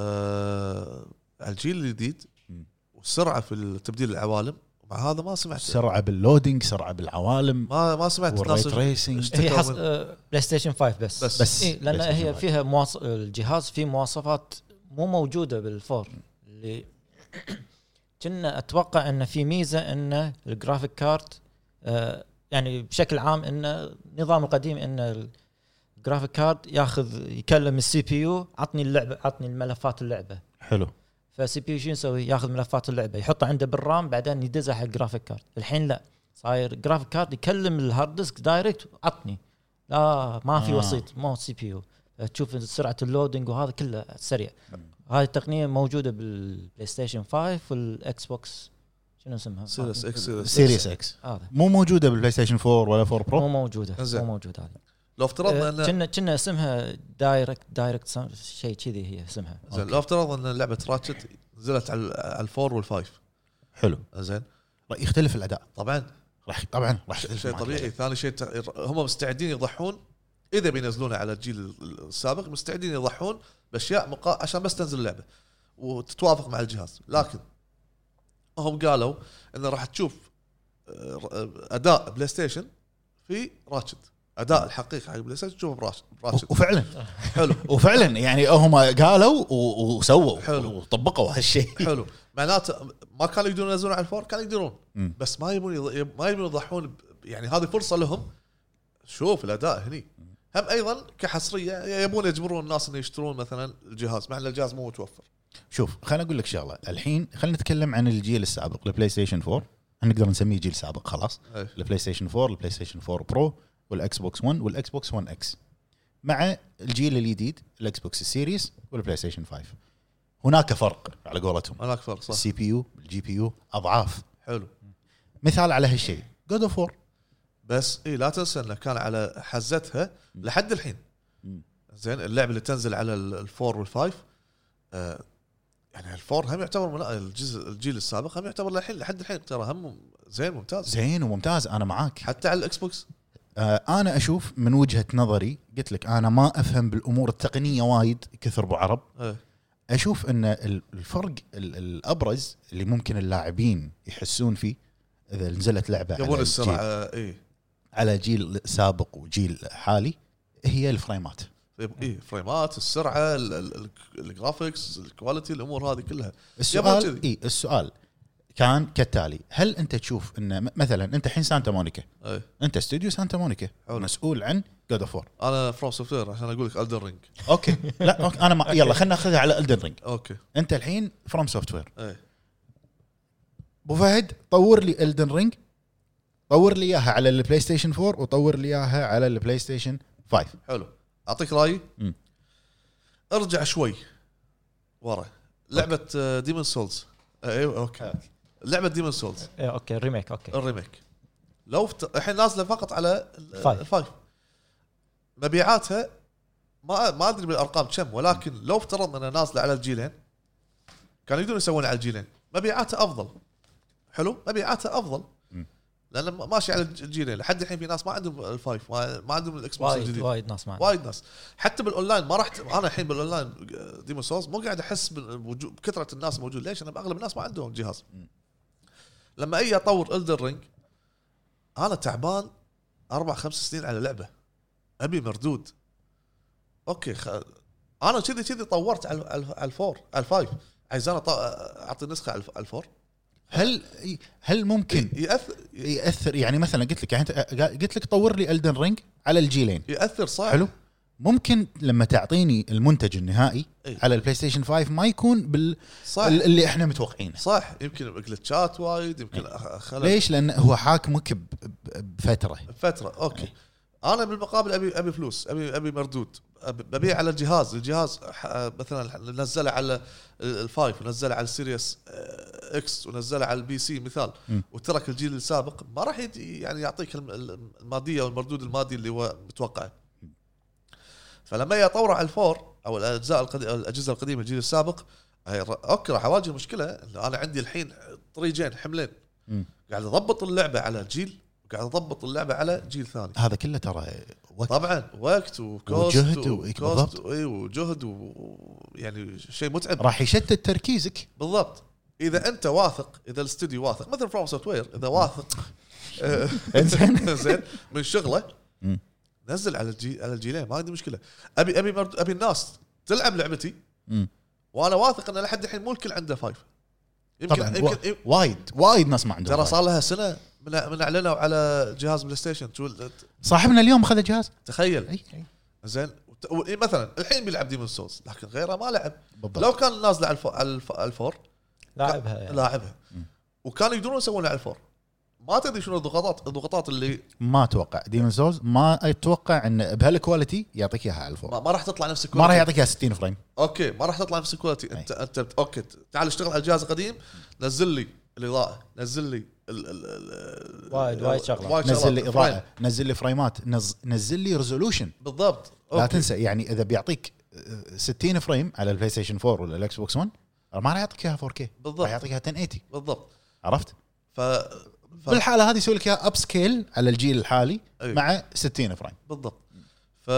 آه الجيل الجديد مم. والسرعه في تبديل العوالم مع هذا ما سمعت سرعه باللودينج سرعه بالعوالم ما ما سمعت والريت ناس ريسنج هي تكرار حص... من- آه، بلاي ستيشن 5 بس بس, بس إيه لان هي فيها مواص... الجهاز فيه مواصفات مو موجوده بالفور اللي كنا اتوقع انه في ميزه انه الجرافيك كارد آه يعني بشكل عام انه النظام القديم انه الجرافيك كارد ياخذ يكلم السي بي يو عطني اللعبه عطني الملفات اللعبه حلو فالسي بي يو شو يسوي؟ ياخذ ملفات اللعبه يحطها عنده بالرام بعدين يدزها حق الجرافيك كارد، الحين لا صاير الجرافيك كارد يكلم الهارد ديسك دايركت عطني لا ما في آه. وسيط مو سي بي يو تشوف سرعه اللودنج وهذا كله سريع نعم. هاي التقنيه موجوده بالبلاي ستيشن 5 والاكس بوكس شنو اسمها؟ سيريس اكس سيريس سيريس اكس هذا مو موجوده بالبلاي ستيشن 4 ولا 4 مو برو موجوده زين. مو موجوده هذه آه، لو افترضنا ان كنا كنا اسمها دايركت دايركت شيء كذي هي اسمها زين لو افترض ان لعبه راتشت نزلت على على الفور والفايف حلو زين راح يختلف الاداء طبعا راح طبعا راح يختلف شيء معك طبيعي الأداء. ثاني شيء تع- هم مستعدين يضحون اذا بينزلونه على الجيل السابق مستعدين يضحون باشياء مقا... عشان بس تنزل اللعبه وتتوافق مع الجهاز لكن هم قالوا انه راح تشوف آه، آه، اداء بلاي ستيشن في راتشت اداء الحقيقي حق بلاي ستيشن تشوفه براتشت براتشت. و- وفعلا حلو وفعلا يعني هم قالوا و- وسووا حلو. وطبقوا هالشيء حلو معناته ما كانوا يقدرون ينزلون على الفور كانوا يقدرون مم. بس ما يبون يض- ما يبون يضحون ب- يعني هذه فرصه لهم شوف الاداء هني هم ايضا كحصريه يبون يجبرون الناس انه يشترون مثلا الجهاز مع ان الجهاز مو متوفر شوف خليني اقول لك شغله الحين خلينا نتكلم عن الجيل السابق البلاي ستيشن 4 احنا نقدر نسميه جيل سابق خلاص أي. البلاي ستيشن 4 البلاي ستيشن 4 برو والاكس بوكس 1 والاكس بوكس 1 اكس مع الجيل الجديد الاكس بوكس السيريز والبلاي ستيشن 5 هناك فرق على قولتهم انا اكثر صح السي بي يو الجي بي يو اضعاف حلو مثال على هالشيء جود اوف 4 بس اي لا تنسى انه كان على حزتها لحد الحين مم. زين اللعبه اللي تنزل على ال- الفور والفايف آه يعني الفور هم يعتبر من الجزء الجيل السابق هم يعتبر للحين لحد الحين ترى هم زين ممتاز زين وممتاز انا معاك حتى على الاكس بوكس آه، انا اشوف من وجهه نظري قلت لك انا ما افهم بالامور التقنيه وايد كثر ابو عرب إيه. اشوف ان ال- الفرق ال- الابرز اللي ممكن اللاعبين يحسون فيه اذا نزلت لعبه يبون إيه. على السرعه جيل, اي على جيل سابق وجيل حالي هي الفريمات اي طيب، إيه، فريمات السرعه ال- ال- ال- الجرافيكس الكواليتي الامور هذه كلها السؤال كذي. اي السؤال كان كالتالي هل انت تشوف ان م- مثلا انت الحين سانتا مونيكا اي انت استوديو سانتا مونيكا حلو. مسؤول عن جود اوف انا فروم سوفت وير عشان اقول لك الدر رينج اوكي لا أوكي. انا ما يلا خلينا ناخذها على الدن رينج اوكي انت الحين فروم سوفت وير اي ابو فهد طور لي الدن رينج طور لي اياها على البلاي ستيشن 4 وطور لي اياها على البلاي ستيشن 5 حلو اعطيك رايي مم. ارجع شوي ورا آه، لعبه ديمون سولز ايوه اوكي لعبه ديمون سولز إيه، اوكي الريميك اوكي الريميك لو فت... الحين نازله فقط على ال- فايف. الفايف مبيعاتها ما ما ادري بالارقام كم ولكن لو افترضنا انها نازله على الجيلين كانوا يقدرون يسوون على الجيلين مبيعاتها افضل حلو مبيعاتها افضل مم. لان ما- ماشي على الج- الجيلين لحد الحين في ناس ما عندهم الفايف ما, ما عندهم الاكس بوكس وايد الجديد وايد ناس معنا وايد ناس حتى بالاونلاين ما رحت انا الحين بالاونلاين ديمون سولز مو قاعد احس بوجو- بكثره الناس الموجود ليش؟ انا اغلب الناس ما عندهم جهاز لما اجي اطور الدر رينج انا تعبان اربع خمس سنين على لعبه ابي مردود اوكي خ... انا كذي كذي طورت على على على الفور على الفايف عايز انا ط... اعطي نسخه على الف- على الفور هل هل ممكن ياثر ياثر يعني مثلا قلت لك يعني أنت- قلت لك طور لي الدن رينج على الجيلين ياثر صح حلو ممكن لما تعطيني المنتج النهائي إي. على البلاي ستيشن 5 ما يكون بال إيه. صح ال- اللي احنا متوقعينه صح يمكن جلتشات وايد يمكن أخ- خلل ليش؟ لان هو حاكمك ب- ب- بفتره فتره اوكي انا بالمقابل ابي ابي فلوس ابي ابي مردود أبي- ببيع على الجهاز الجهاز ح- مثلا نزله على الفايف ونزله على السيريس آه، اكس ونزله على البي سي مثال مم. وترك الجيل السابق ما راح يد- يعني يعطيك الم- الم- الماديه والمردود المادي اللي هو متوقعه فلما يطور على الفور او الاجزاء القديمه الاجهزه القديمه الجيل السابق هي- اوكي راح اواجه مشكله إنه انا عندي الحين طريقين حملين مم. قاعد اضبط اللعبه على الجيل وقاعد اضبط اللعبه على جيل ثاني هذا كله ترى وقت طبعا وقت وكوست وجهد و- وكوست بالضبط. و- اي وجهد ويعني شيء متعب راح يشتت تركيزك بالضبط اذا انت واثق اذا الاستوديو واثق مثل فروم سوفت وير اذا واثق آه، إنزين. زين من شغله مم. نزل على الجي على الجيلين ما عندي مشكله ابي ابي مرد ابي الناس تلعب لعبتي مم. وانا واثق ان لحد الحين مو الكل عنده فايف يمكن طبعا يمكن و- وايد وايد ناس ما عندهم ترى ترى صار لها سنه من من اعلنوا على جهاز بلاي ستيشن شو صاحبنا اليوم اخذ جهاز تخيل اي اي زين وت- و- إيه مثلا الحين بيلعب ديمون سولز لكن غيره ما لعب بالضبط لو كان نازله على الف- على الف- على الفور لاعبها يعني. لاعبها مم. وكانوا يقدرون يسوون على الفور ما تدري شنو الضغوطات الضغوطات اللي ما اتوقع ديمون سولز ما اتوقع ان بهالكواليتي يعطيك اياها على الفور ما, ما راح تطلع نفس ما الكواليتي راح يعطيك اياها 60 فريم اوكي ما راح تطلع نفس الكواليتي انت انت بت- اوكي تعال اشتغل على الجهاز القديم نزل لي الاضاءه نزل لي ال ال ال وايد- وايد شغلات. نزل لي فريم. اضاءه نزل لي فريمات نز... نزل لي ريزولوشن بالضبط لا أوكي. تنسى يعني اذا بيعطيك آه، 60 فريم على البلاي ستيشن 4 ولا الاكس بوكس 1 ما راح يعطيك اياها 4K راح بالضبط يعطيك اياها 1080 بالضبط عرفت؟ ف, ف... بالحاله هذه يسوي لك اياها اب سكيل على الجيل الحالي أيوة. مع 60 فريم بالضبط ف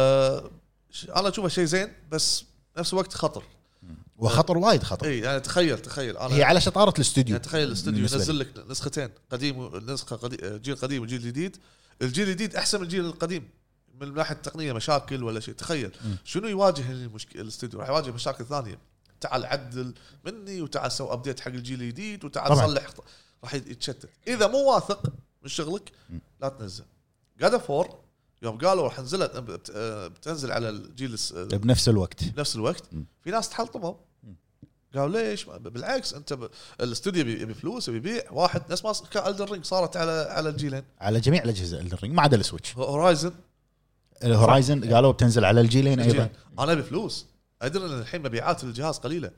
ش- انا اشوفه شيء زين بس نفس الوقت خطر وخطر وايد خطر اي يعني تخيل تخيل انا هي على شطاره الاستوديو يعني تخيل الاستوديو بالنسبة لي. ينزل لك نسختين قديم و- نسخه قديم جيل قديم وجيل جديد الجيل الجديد احسن من الجيل القديم من ناحيه التقنيه مشاكل ولا شيء تخيل شنو يواجه المشكله الاستوديو راح يواجه مشاكل ثانيه تعال عدل مني وتعال سوي ابديت حق الجيل الجديد وتعال طبعاً. صلح خط- راح يتشتت اذا مو واثق من شغلك مم. لا تنزل جاد فور يوم قالوا راح نزلها بت- آه، بتنزل على الجيل الس- بنفس الوقت بنفس الوقت مم. في ناس تحلطموا مم. قالوا ليش ما- بالعكس انت ب... الاستوديو يبي يبي فلوس يبي يبيع واحد نفس ما ص- كان الدن رينج صارت على على الجيلين على جميع الاجهزه الرينج ما عدا السويتش هورايزن الهورايزن قالوا بتنزل على الجيلين ايضا الجيلين. انا ابي فلوس ادري ان الحين مبيعات الجهاز قليله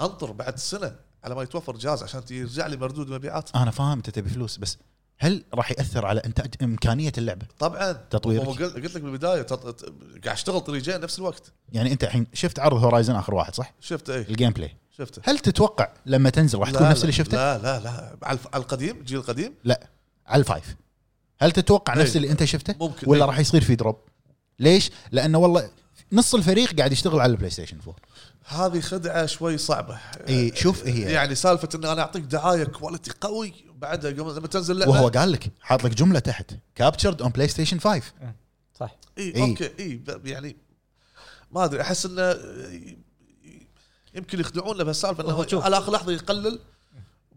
انطر بعد سنه على ما يتوفر جهاز عشان يرجع لي مردود مبيعات انا فاهم انت تبي فلوس بس هل راح ياثر على انتاج امكانيه اللعبه طبعا هو تطويرك قل- قلت لك بالبدايه تط... ت- قاعد اشتغل طريقين نفس الوقت يعني انت الحين شفت عرض هورايزن اخر واحد صح شفت اي الجيم بلاي شفته هل تتوقع لما تنزل راح تكون لا، إيه. نفس اللي لا، شفته لا لا لا على الف- على القديم الجيل القديم لا على الفايف هل تتوقع إيه. نفس اللي انت شفته ممكن ولا إيه. راح يصير في دروب ليش لانه والله نص الفريق قاعد يشتغل على البلاي ستيشن 4 هذه خدعه شوي صعبه اي إيه، شوف هي يعني سالفه ان انا اعطيك دعايه كواليتي قوي بعدها قبل لما تنزل لعبه وهو قال لك حاط لك جمله تحت كابتشرد اون بلاي ستيشن 5 صح اي إي. اوكي اي ب- يعني ما ادري احس انه يمكن يخدعونا بهالسالفه هو انه شوف. على اخر لحظه يقلل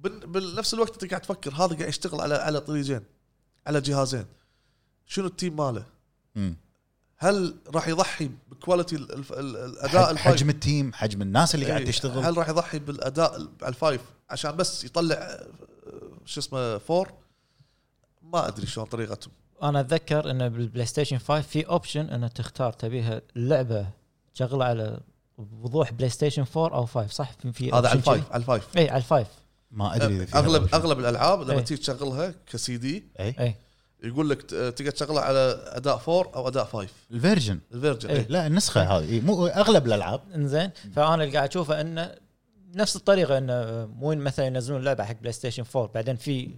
بن- بنفس الوقت انت قاعد تفكر هذا قاعد يشتغل على على طريقين على جهازين شنو التيم ماله؟ مم. هل راح يضحي بكواليتي ال- ال- ال- الاداء حج- الفايف؟ إيه. حجم التيم حجم الناس اللي قاعد إي. تشتغل هل راح يضحي بالاداء ال- على الفايف عشان بس يطلع آه، شو اسمه فور؟ ما ادري شلون طريقتهم انا اتذكر انه بالبلاي ستيشن 5 في اوبشن انه تختار تبيها لعبه شغله على بوضوح بلاي ستيشن 4 او 5 صح في, في هذا على option الفايف كذي؟ على الفايف أه، اي على الفايف ما ادري إذا في اغلب هذا إيه؟ اغلب الالعاب لما إيه. تيجي تشغلها كسي دي اي اي يقول لك ت- تقدر تشغلها على اداء فور او اداء فايف الفيرجن الفيرجن إيه. إيه. لا النسخه هذه إي، مو اغلب الالعاب انزين فانا اللي قاعد اشوفه انه نفس الطريقه انه مو إن مثلا ينزلون لعبه حق بلاي ستيشن 4 بعدين في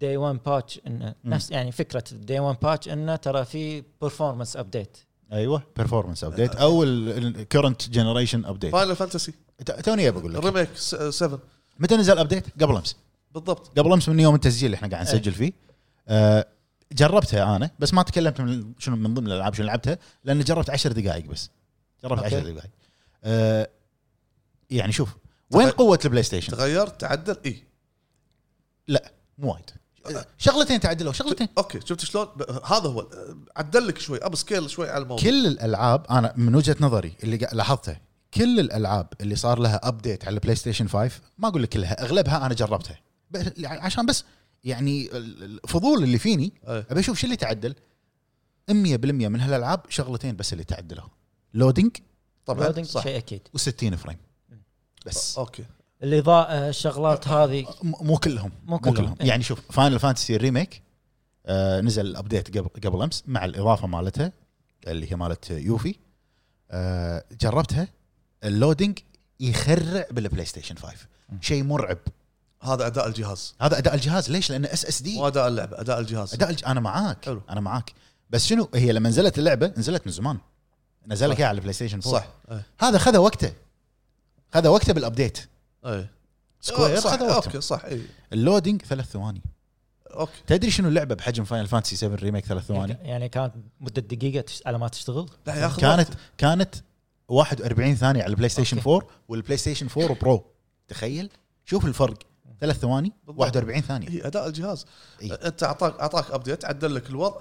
دي 1 باتش انه مم. نفس يعني فكره الدي 1 باتش انه ترى في بيرفورمانس ابديت ايوه بيرفورمانس ابديت او الكرنت جنريشن ابديت فاينل فانتسي توني أبي اقول لك الريميك 7 متى نزل ابديت قبل امس آه، بالضبط قبل امس من يوم التسجيل اللي احنا قاعد نسجل فيه آه جربتها انا بس ما تكلمت من شنو من ضمن الالعاب شنو لعبتها لان جربت عشر دقائق بس جربت أوكي. عشر دقائق آه يعني شوف وين تغير- قوه البلاي ستيشن؟ تغير تعدل إيه. اي مو وايد شغلتين تعدلوا شغلتين اوكي شفت شلون ب- هذا هو آه، عدل لك شوي اب سكيل شوي على الموضوع كل الالعاب انا من وجهه نظري اللي قا- لاحظتها كل الالعاب اللي صار لها ابديت على البلاي ستيشن 5 ما اقول لك كلها اغلبها انا جربتها ب- عشان بس يعني ال- ال- الفضول اللي فيني إيه. ابي اشوف شو اللي تعدل 100% من هالالعاب شغلتين بس اللي تعدلوا لودينج طبعا لودينج صح شيء اكيد و60 فريم بس اوكي الاضاءه الشغلات هذه م- مو كلهم مو كلهم. إيه. يعني شوف فاينل فانتسي الريميك آه نزل الابديت قبل قبل امس مع الاضافه مالتها اللي هي مالت يوفي آه جربتها اللودينج يخرع بالبلاي ستيشن 5 شيء مرعب هذا اداء الجهاز هذا اداء الجهاز ليش؟ لانه اس اس دي مو اداء اللعبه اداء الجهاز اداء الج... انا معاك حلو. حلو. انا معاك بس شنو هي لما نزلت اللعبه نزلت من زمان نزلك اياها على البلاي ستيشن 4 صح إيه. هذا خذ وقته خذ وقته بالابديت اي سكوير إيه. صح خذ وقته اوكي صح إيه. اي اللودينج ثلاث ثواني اوكي تدري شنو اللعبه بحجم فاينل فانتسي 7 ريميك ثلاث ثواني يعني, يعني كانت مدة دقيقة تش- على ما تشتغل إيه، لا ياخذ كانت وقت. كانت 41 ثانيه على البلاي ستيشن أوكي. 4 والبلاي ستيشن 4 برو تخيل شوف الفرق ثلاث ثواني بالضبط. إيه، 41 ثانيه هي اداء الجهاز إي. انت اعطاك اعطاك ابديت عدل لك الوضع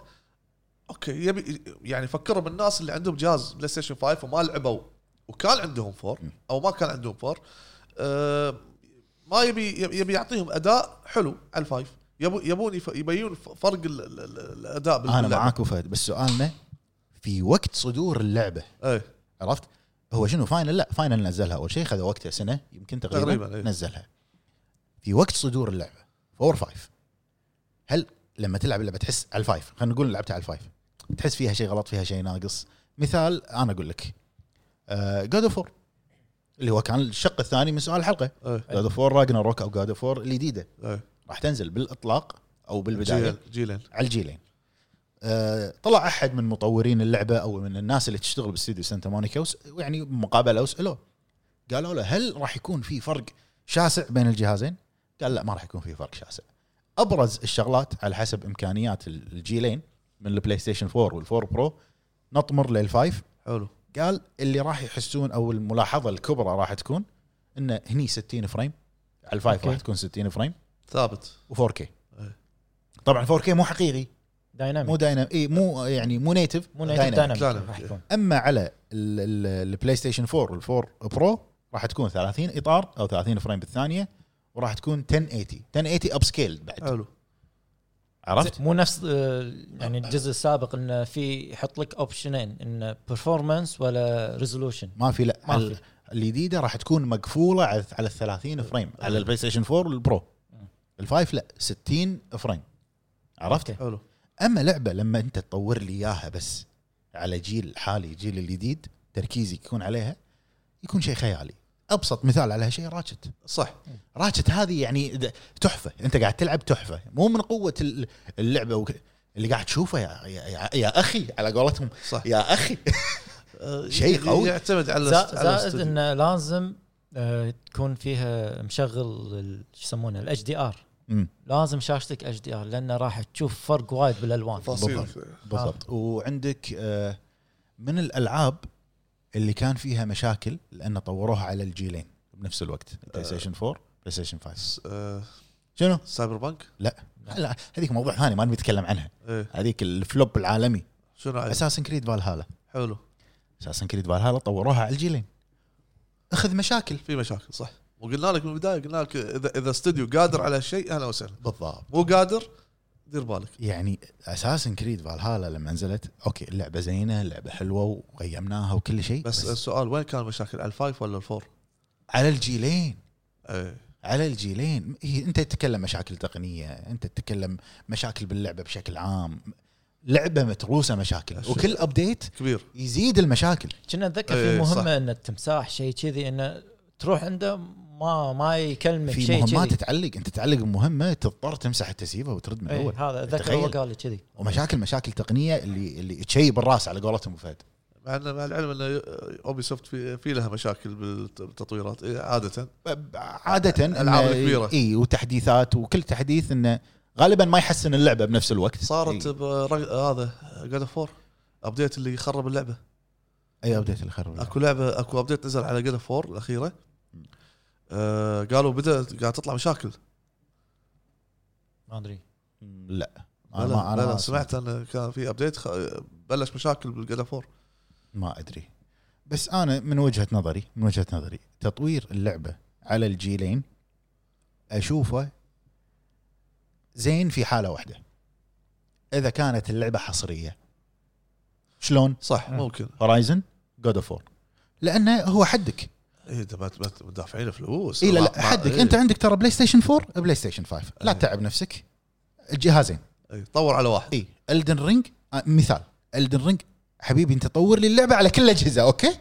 اوكي يبي يعني فكروا بالناس اللي عندهم جهاز بلاي ستيشن 5 وما لعبوا وكان عندهم فور م. او ما كان عندهم فور أه ما يبي يبي يعطيهم اداء حلو على الفايف يبو يبون يف- يبينون ف- فرق ال- ال- ال- الاداء انا معاك وفهد بس سؤالنا في وقت صدور اللعبه اي عرفت هو شنو فاينل لا فاينل نزلها اول شيء خذ وقته سنه يمكن تقريبا, تقريباً، تقريبا إيه. نزلها في وقت صدور اللعبه 4 5 هل لما تلعب اللعبه تحس على الفايف خلينا نقول لعبتها على الفايف تحس فيها شيء غلط فيها شيء ناقص مثال انا اقول لك آه، جود اوف اللي هو كان الشق الثاني من سؤال الحلقه اي جود اوف راجنا روك او جود اوف الجديده اي راح تنزل بالاطلاق او بالبدايه إيه. جيلين جيلين على الجيلين آه، طلع احد من مطورين اللعبه او من الناس اللي تشتغل باستديو سانتا مونيكا وس- يعني مقابله وسالوه قالوا له هل راح يكون في فرق شاسع بين الجهازين؟ قال لا ما راح يكون في فرق شاسع. ابرز الشغلات على حسب امكانيات ال- الجيلين من البلاي ستيشن 4 والفور برو نطمر للفايف حلو قال اللي راح يحسون او الملاحظه الكبرى راح تكون انه هني 60 فريم على الفايف أوكي. راح تكون 60 فريم ثابت و4K. إيه. طبعا 4K مو حقيقي مو دايناميك دايناميك اي مو يعني مو نيتف مو نيتف دايناميك دايناميك. راح يكون اما على ال- ال- البلاي ستيشن 4 والفور برو راح تكون 30 اطار او 30 فريم بالثانيه وراح تكون 1080 1080 اب سكيل بعد حلو عرفت؟ مو نفس آه، يعني الجزء السابق انه في يحط لك اوبشنين انه برفورمانس ولا ريزولوشن ما في لا ما ال- في. الجديده راح تكون مقفوله على على ال 30 فريم أمم. على البلاي ستيشن 4 والبرو الفايف لا 60 فريم عرفت؟ أوكي. حلو اما لعبه لما انت تطور لي اياها بس على جيل حالي جيل الجديد تركيزك يكون عليها يكون شيء خيالي ابسط مثال على هالشيء راتشت صح راتشت هذه يعني د- تحفه انت قاعد تلعب تحفه مو من قوه ال- اللعبه وك... اللي قاعد تشوفه يا, يا, يا, يا اخي على قولتهم صح يا اخي آه، شيء قوي. يعتمد على زا- على زائد الاستوديو. انه لازم آه، تكون فيها مشغل ال- شو يسمونه الاتش دي ار مم، لازم شاشتك اتش دي ار لانه راح تشوف فرق وايد بالالوان تفاصيل بالضبط. بالضبط وعندك آه، من الالعاب اللي كان فيها مشاكل لان طوروها على الجيلين بنفس الوقت بلاي ستيشن 4 بلاي ستيشن 5 آه، شنو؟ سايبر بانك لا هذيك موضوع ثاني ما نبي نتكلم عنها ايه هذيك الفلوب العالمي شنو عايز؟ اساسن كريد فالهالا حلو اساسن كريد فالهالا طوروها على الجيلين اخذ مشاكل في مشاكل صح وقلنا لك من البدايه قلنا لك اذا اذا استوديو قادر على شيء اهلا وسهلا بالضبط مو قادر دير بالك يعني اساسن كريد فالهالا لما نزلت اوكي اللعبه زينه اللعبه حلوه وقيمناها وكل شيء بس بس, بس السؤال وين كان المشاكل على الفايف ولا الفور؟ على الجيلين ايه على الجيلين هي انت تتكلم مشاكل تقنيه انت تتكلم مشاكل باللعبه بشكل عام لعبه متروسه مشاكل أشوف. وكل ابديت كبير يزيد المشاكل كنا اتذكر إيه، في صح. مهمه ان التمساح شيء كذي انه تروح عنده ما ما يكلمك في شيء مهمات كذي تتعلق انت تعلق بمهمه تضطر تمسح التسييفه وترد من إيه، اول هذا اتذكر تخيل. هو قال لي كذي ومشاكل مشاكل تقنيه اللي اللي تشيب الراس على قولتهم فهد مع ان مع العلم ان اوبي سوفت في, في لها مشاكل بالتطويرات إيه عاده عاده الألعاب الكبيرة. اي وتحديثات وكل تحديث انه غالبا ما يحسن اللعبه بنفس الوقت صارت اي, برج... هذا جاد اوف 4 ابديت اللي خرب اللعبه أي ابديت اللي خرب اللعبة. اكو لعبه اكو ابديت نزل على جاد اوف 4 الاخيره آه قالوا بدات قاعد تطلع مشاكل ما ادري لا لا انا ما انا لا, لا ما سمعت ان كان في ابديت خ... بلش مشاكل بالجاد اوف 4 ما ادري بس انا من وجهه نظري من وجهه نظري تطوير اللعبه على الجيلين اشوفه زين في حاله واحده اذا كانت اللعبه حصريه شلون صح ممكن هورايزن جود اوف لانه هو حدك اي ده إيه، بات بات دافعين فلوس اي لا مع- لا مع- حدك إيه، انت عندك ترى بلاي ستيشن 4 بلاي ستيشن 5 لا تتعب نفسك الجهازين إيه، طور على واحد اي الدن رينج آه، مثال الدن رينج حبيبي انت طور لي اللعبه على كل الاجهزه اوكي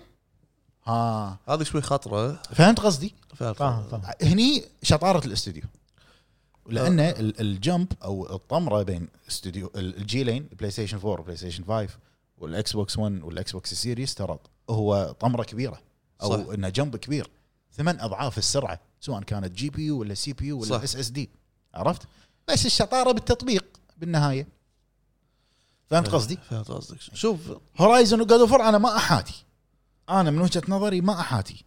ها هذه شوي خطره فهمت قصدي فاهم فاهم فاهم هني شطاره الاستوديو لان آه. ال- الجمب او الطمره بين استوديو ال- الجيلين بلاي ستيشن 4 وبلاي ستيشن 5 والاكس بوكس 1 والاكس بوكس سيريس ترى هو طمره كبيره او صح. انه جمب كبير ثمان اضعاف السرعه سواء كانت جي بي يو ولا سي بي يو صح. ولا اس اس دي عرفت بس الشطاره بالتطبيق بالنهايه فهمت آه. قصدي؟ فهمت قصدك شوف هورايزن وجاد اوف انا ما احاتي انا من وجهه نظري ما احاتي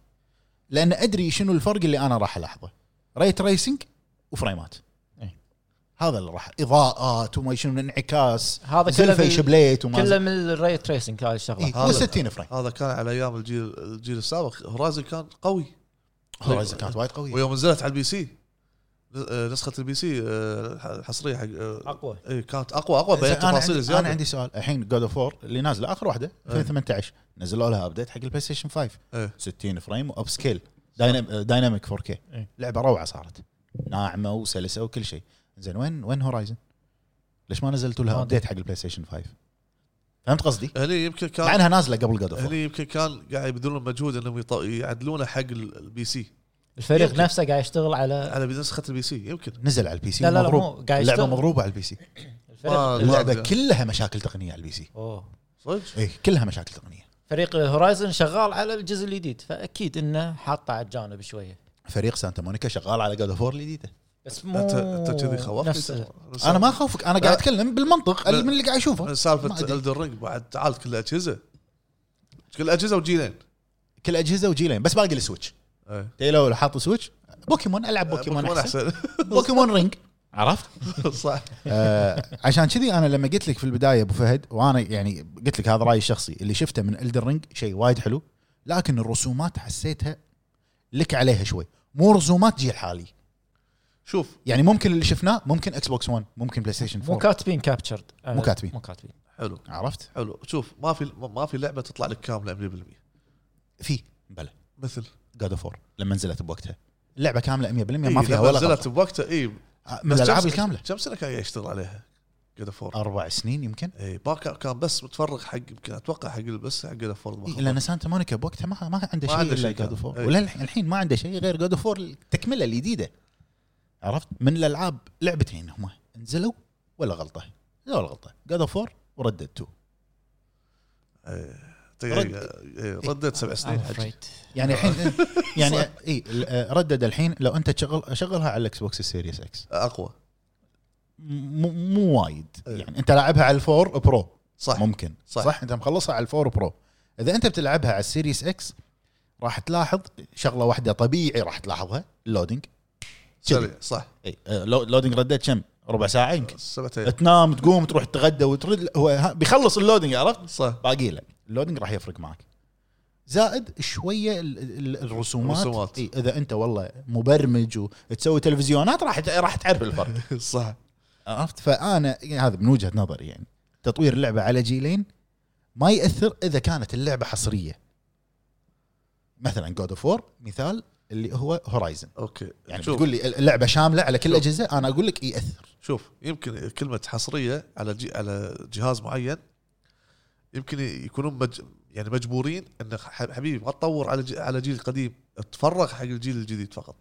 لان ادري شنو الفرق اللي انا راح الاحظه ريت ريسنج وفريمات إيه. هذا اللي راح اضاءات وما شنو انعكاس هذا كله زلفه من- شبليت وما كله من الري تريسنج هاي الشغله إيه، و60 فريم هذا كان على ايام الجيل الجيل السابق هورايزن كان قوي هورايزن كانت وايد قويه ويوم نزلت على البي سي آه، نسخه البي سي آه، الحصريه حق آه، اقوى اي كانت اقوى اقوى إيه، بيان أنا تفاصيل عندي, انا زياده عندي سؤال الحين جود اوف 4 اللي نازله اخر واحده إيه. 2018 نزلوا لها ابديت حق البلاي ستيشن 5 إيه. 60 فريم واب سكيل دايناميك 4 كي إيه. لعبه روعه صارت ناعمه وسلسه وكل شيء زين وين وين هورايزن؟ ليش ما نزلتوا لها ما أدري. ابديت حق البلاي ستيشن 5؟ فهمت قصدي؟ هني يمكن كان مع انها نازله قبل جود اوف هني يمكن كان قاعد يبذلون مجهود انهم يط- يعدلونه حق ال- البي سي الفريق يمكن. نفسه قاعد يشتغل على على نسخه البي سي يمكن نزل على البي سي لا لا لا مضروب. مو قاعد اللعبه يشتغل مضروبه على البي سي الفريق, ما- اللعبه ما- كلها مشاكل تقنيه على البي سي أوه. صدق اي كلها مشاكل تقنيه فريق هورايزن شغال على الجزء الجديد فاكيد انه حاطه على الجانب شويه فريق سانتا مونيكا شغال على جود اوف 4 الجديده بس مو انت انت كذي خوفتني نفس انا ما اخوفك انا قاعد اتكلم بالمنطق لا. اللي من اللي قاعد اشوفه ما سالفه أدري. الدر رينج بعد تعال كل اجهزه كل اجهزه وجيلين كل اجهزه وجيلين بس باقي السويتش إيه. تيلو اللي حاط سويتش بوكيمون العب آه، بوكيمون بوكيمون احسن احسن بوكيمون رينج عرفت؟ صح آه عشان كذي انا لما قلت لك في البدايه ابو فهد وانا يعني قلت لك هذا رايي الشخصي اللي شفته من الدر رينج شيء وايد حلو لكن الرسومات حسيتها لك عليها شوي مو رسومات جيل حالي شوف يعني ممكن اللي شفناه ممكن اكس بوكس 1 ممكن بلاي ستيشن مو 4 كاتبين كابتشرد مو كاتبين. مو كاتبين حلو عرفت؟ حلو شوف ما في ما في لعبه تطلع لك كامله 100% في بلى مثل جاد اوف 4 لما نزلت بوقتها اللعبه كامله 100% ما إيه، فيها لما ولا نزلت غلطه بوقتها إيه. اي من آه، من الالعاب الكامله كم سنه كان يشتغل عليها؟ جود فور اربع سنين يمكن اي إيه، ما كان كان بس متفرغ حق يمكن اتوقع حق بس حق جود فور إيه، لان سانتا مونيكا بوقتها ما ما عنده ما شيء عنده الا شيء إيه. جاد كان. اوف أي. الحين ما عنده شيء غير جاد اوف التكمله الجديده عرفت من الالعاب لعبتين هم نزلوا ولا غلطه ولا غلطه جاد اوف وردد 2 إيه، رد- ردت إيه، سبع سنين I'm حجي afraid. يعني الحين يعني اي ردد الحين لو انت تشغل شغلها على الاكس بوكس السيريس اكس اقوى مو مو وايد أي. يعني انت لاعبها على الفور برو صح ممكن صح. صح. صح انت مخلصها على الفور برو اذا انت بتلعبها على السيريس اكس راح تلاحظ شغله واحده طبيعي راح تلاحظها اللودينج سريع صح اي آه، لو- لودينج رديت كم؟ ربع ساعه يمكن سبع ايام تنام تقوم تروح تتغدى وترد هو ها- بيخلص اللودينج عرفت؟ صح باقي له اللودينج راح يفرق معك زائد شويه ال- ال- الرسومات الرسومات. إي اذا انت والله مبرمج وتسوي تلفزيونات راح ت- راح تعرف الفرق صح عرفت فانا يعني هذا من وجهه نظري يعني تطوير اللعبه على جيلين ما ياثر اذا كانت اللعبه حصريه مثلا جود اوف وور مثال اللي هو هورايزن اوكي يعني شوف تقول لي اللعبه شامله على كل شوف. الاجهزه انا اقول لك ياثر شوف يمكن كلمه حصريه على جي على جهاز معين يمكن يكونون مج... يعني مجبورين ان ح- حبيبي ما تطور على جي... على جيل قديم تفرغ حق الجيل الجديد فقط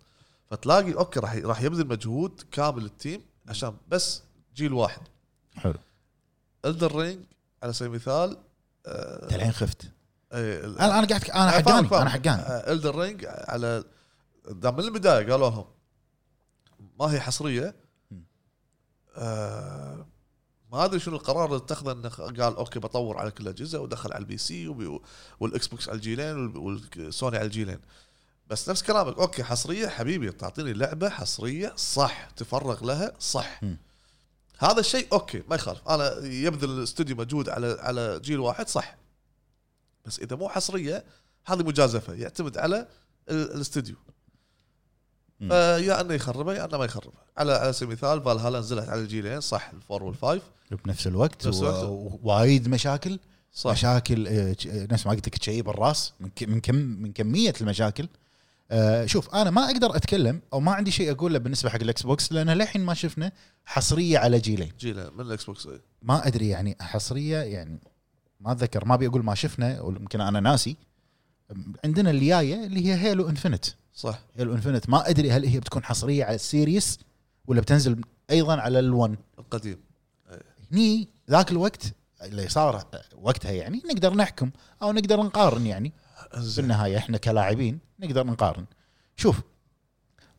فتلاقي اوكي راح ي- راح يبذل مجهود كامل التيم عشان بس جيل واحد حلو الدر رينج على سبيل المثال آه، انت الحين خفت إيه، ال- انا انا قاعد انا حقاني انا حقاني الدر رينج آه، على دا من البدايه قالوا لهم ما هي حصريه مم. آه ما ادري شنو القرار اللي اتخذه انه خ- قال اوكي بطور على كل الاجهزه ودخل على البي سي وبي- والاكس بوكس على الجيلين وال- والسوني على الجيلين بس نفس كلامك اوكي حصريه حبيبي تعطيني لعبه حصريه صح تفرغ لها صح مم. هذا الشيء اوكي ما يخالف انا يبذل الاستوديو مجهود على على جيل واحد صح بس اذا مو حصريه هذه مجازفه يعتمد على ال- الاستوديو مم. فيا انه يخربه يا انه ما يخربه على على سبيل المثال فالهالا نزلت على الجيلين صح الفور والفايف بنفس الوقت نفس الوقت. و- ووايد مشاكل صح مشاكل آه، ج- آه، نفس ما قلت لك تشيب الراس من ك- من كم من كميه المشاكل آه، شوف انا ما اقدر اتكلم او ما عندي شيء اقوله بالنسبه حق الاكس بوكس لان للحين ما شفنا حصريه على جيلين جيلين من الاكس بوكس إيه. ما ادري يعني حصريه يعني ما اتذكر ما ابي اقول ما شفنا يمكن انا ناسي عندنا اللي جايه اللي هي هيلو انفنت صح هيلو انفنت ما ادري هل هي بتكون حصريه على السيريس ولا بتنزل ايضا على ال1 القديم هني ذاك الوقت اللي صار وقتها يعني نقدر نحكم او نقدر نقارن يعني في زين النهايه احنا كلاعبين نقدر نقارن شوف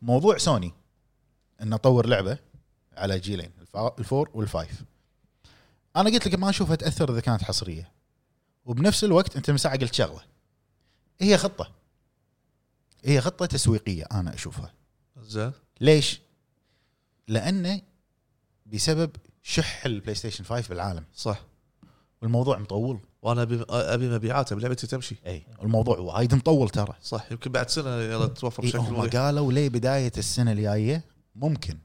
موضوع سوني انه طور لعبه على جيلين الفا- الفور والفايف انا قلت لك ما اشوفها تاثر اذا كانت حصريه وبنفس الوقت انت من ساعه قلت شغله هي خطه هي خطه تسويقيه انا اشوفها زين ليش؟ لانه بسبب شح البلاي ستيشن 5 بالعالم صح والموضوع مطول وانا ابي ابي مبيعات ابي لعبتي تمشي اي الموضوع وايد مطول ترى صح يمكن بعد سنه يلا تتوفر إيه، بشكل هم مريح قالوا ليه بدايه السنه الجايه ممكن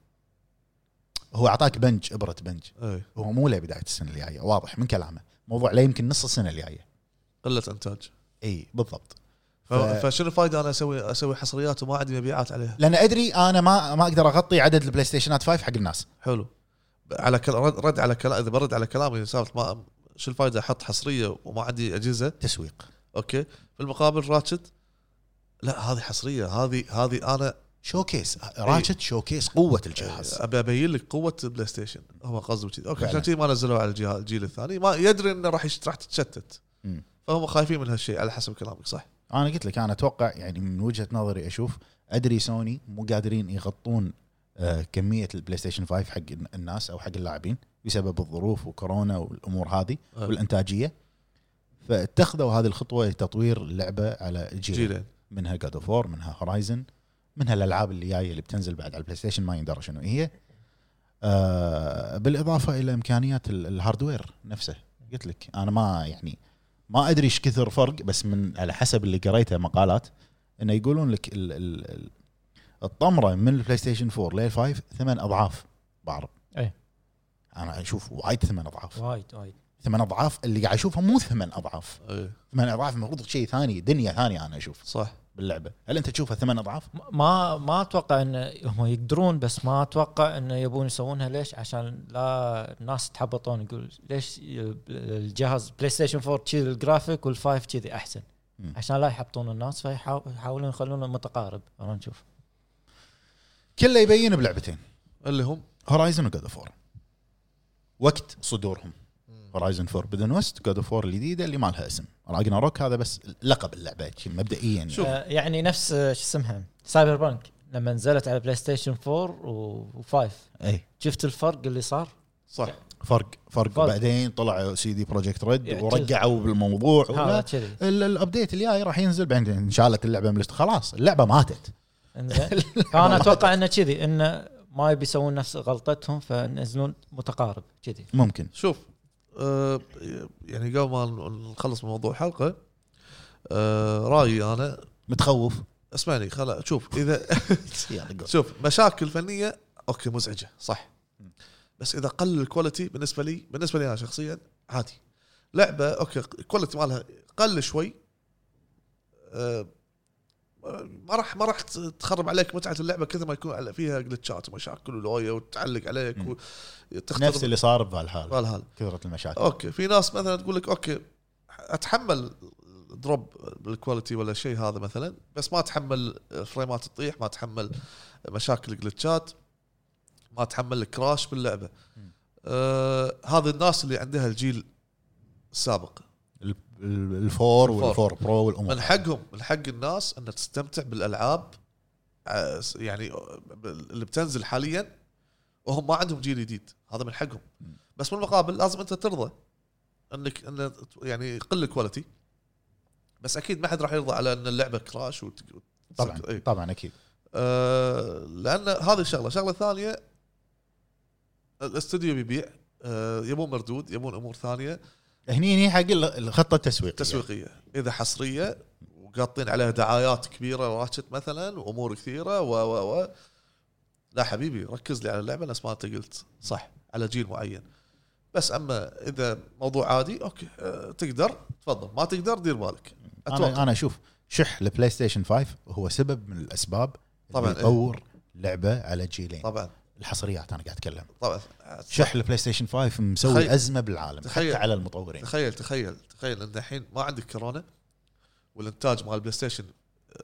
هو اعطاك بنج ابره بنج إيه، هو مو ليه بدايه السنه الجايه واضح من كلامه موضوع لا يمكن نص السنه الجايه قله انتاج اي بالضبط ف... فشنو الفائده انا اسوي اسوي حصريات وما عندي مبيعات عليها لان ادري انا ما ما اقدر اغطي عدد البلاي ستيشنات 5 حق الناس حلو على كل... رد رد على كلام اذا برد على كلامي سالفه ما شو الفائده احط حصريه وما عندي اجهزه تسويق اوكي في المقابل راتشت لا هذه حصريه هذه هذه انا شوكيس راشد شوكيس قوه الجهاز ابي ابين لك قوه بلاي ستيشن هم قصدهم كذي اوكي عشان فعلا. كذي ما نزلوها على الجهاز الجيل الثاني ما يدري انه راح يشت- راح تتشتت مم. فهم خايفين من هالشيء على حسب كلامك صح انا قلت لك انا اتوقع يعني من وجهه نظري اشوف ادري سوني مو قادرين يغطون آه، كميه البلاي ستيشن 5 حق الناس او حق اللاعبين بسبب الظروف وكورونا والامور هذه طيب. والانتاجيه فاتخذوا هذه الخطوه لتطوير اللعبه على جيل جيلين منها جاد اوف وور منها هورايزن منها الالعاب اللي جايه اللي بتنزل بعد على البلاي ستيشن ما يندرى شنو هي آه بالاضافه الى امكانيات ال- الهاردوير نفسه قلت لك انا ما يعني ما ادري ايش كثر فرق بس من على حسب اللي قريته مقالات انه يقولون لك ال ال ال الطمره من البلاي ستيشن 4 لل 5 ثمان اضعاف بعرض أي. انا اشوف وايد ثمان اضعاف وايد وايد ثمان اضعاف اللي قاعد اشوفها مو ثمان اضعاف إيه، ثمان اضعاف المفروض شيء ثاني دنيا ثانيه انا اشوف صح باللعبه هل انت تشوفها ثمان اضعاف ما ما اتوقع ان هم يقدرون بس ما اتوقع انه يبون يسوونها ليش؟ عشان لا الناس يتحبطون يقول ليش الجهاز بلاي ستيشن 4 كذي الجرافيك والفايف كذي احسن مم. عشان لا يحبطون الناس فيحاو- يحاولون يخلونه متقارب خلونا نشوف كله يبين بلعبتين اللي هم هورايزن وجود اوف وقت صدورهم هورايزن 4 بدون وست جود اوف الجديده اللي ما لها اسم راجنا روك هذا بس لقب اللعبه شي مبدئيا يعني. شوف. آه، يعني نفس آه، شو اسمها سايبر بانك لما نزلت على بلاي ستيشن 4 و5 اي شفت الفرق اللي صار؟ صح فرق فرق فرق. بعدين طلعوا سي دي بروجكت ريد يعني ورجعوا بالموضوع هذا ولا- كذي ال- الابديت الجاي راح ينزل بعدين انشالت اللعبه من الست خلاص اللعبه ماتت انزين فانا اتوقع انه كذي انه ما يبي يسوون نفس غلطتهم فنزلون متقارب كذي ممكن شوف آه، يعني قبل ما نخلص من موضوع الحلقه آه، رايي انا متخوف اسمعني خلا شوف اذا يلا قول. شوف مشاكل فنيه اوكي مزعجه صح بس اذا قل الكواليتي بالنسبه لي بالنسبه لي انا شخصيا عادي لعبه اوكي الكواليتي مالها قل شوي أه، ما راح ما راح تخرب عليك متعه اللعبه كثر ما يكون على- فيها جلتشات ومشاكل ولوية وتعلق عليك مم. نفس وتختلف اللي صار بفالهالا الهال كثرت المشاكل اوكي في ناس مثلا تقول لك اوكي اتحمل دروب بالكواليتي ولا شيء هذا مثلا بس ما اتحمل فريمات تطيح ما اتحمل مشاكل جلتشات ما اتحمل كراش باللعبه آه هذا الناس اللي عندها الجيل السابق ال- ال- الفور والفور برو من والامور حقهم من حق الناس ان تستمتع بالالعاب آه، يعني اللي بتنزل حاليا وهم ما عندهم جيل جديد هذا من حقهم بس بالمقابل لازم انت ترضى انك ان يعني يقل الكواليتي بس اكيد ما حد راح يرضى على ان اللعبه كراش وت... طبعا إيه. طبعا اكيد آه، لان هذه الشغله الشغله الثانيه الاستوديو بيبيع آه، يبون مردود يبون امور ثانيه هني هني حق ال- الخطه التسويقيه تسويقيه اذا حصريه وقاطين عليها دعايات كبيره راتشت مثلا وامور كثيره و و و لا حبيبي ركز لي على اللعبه نفس ما انت قلت صح على جيل معين بس اما اذا موضوع عادي اوكي أه تقدر تفضل ما تقدر دير بالك انا اتوقع انا اشوف شح البلاي ستيشن 5 هو سبب من الاسباب طبعاً، طبعا إيه. يطور لعبه على جيلين طبعا الحصريات انا قاعد اتكلم طبعا شح البلاي ستيشن 5 مسوي تخيل- ازمه بالعالم تخيل. حتى على المطورين تخيل تخيل تخيل ان الحين ما عندك كورونا والانتاج مال البلاي ستيشن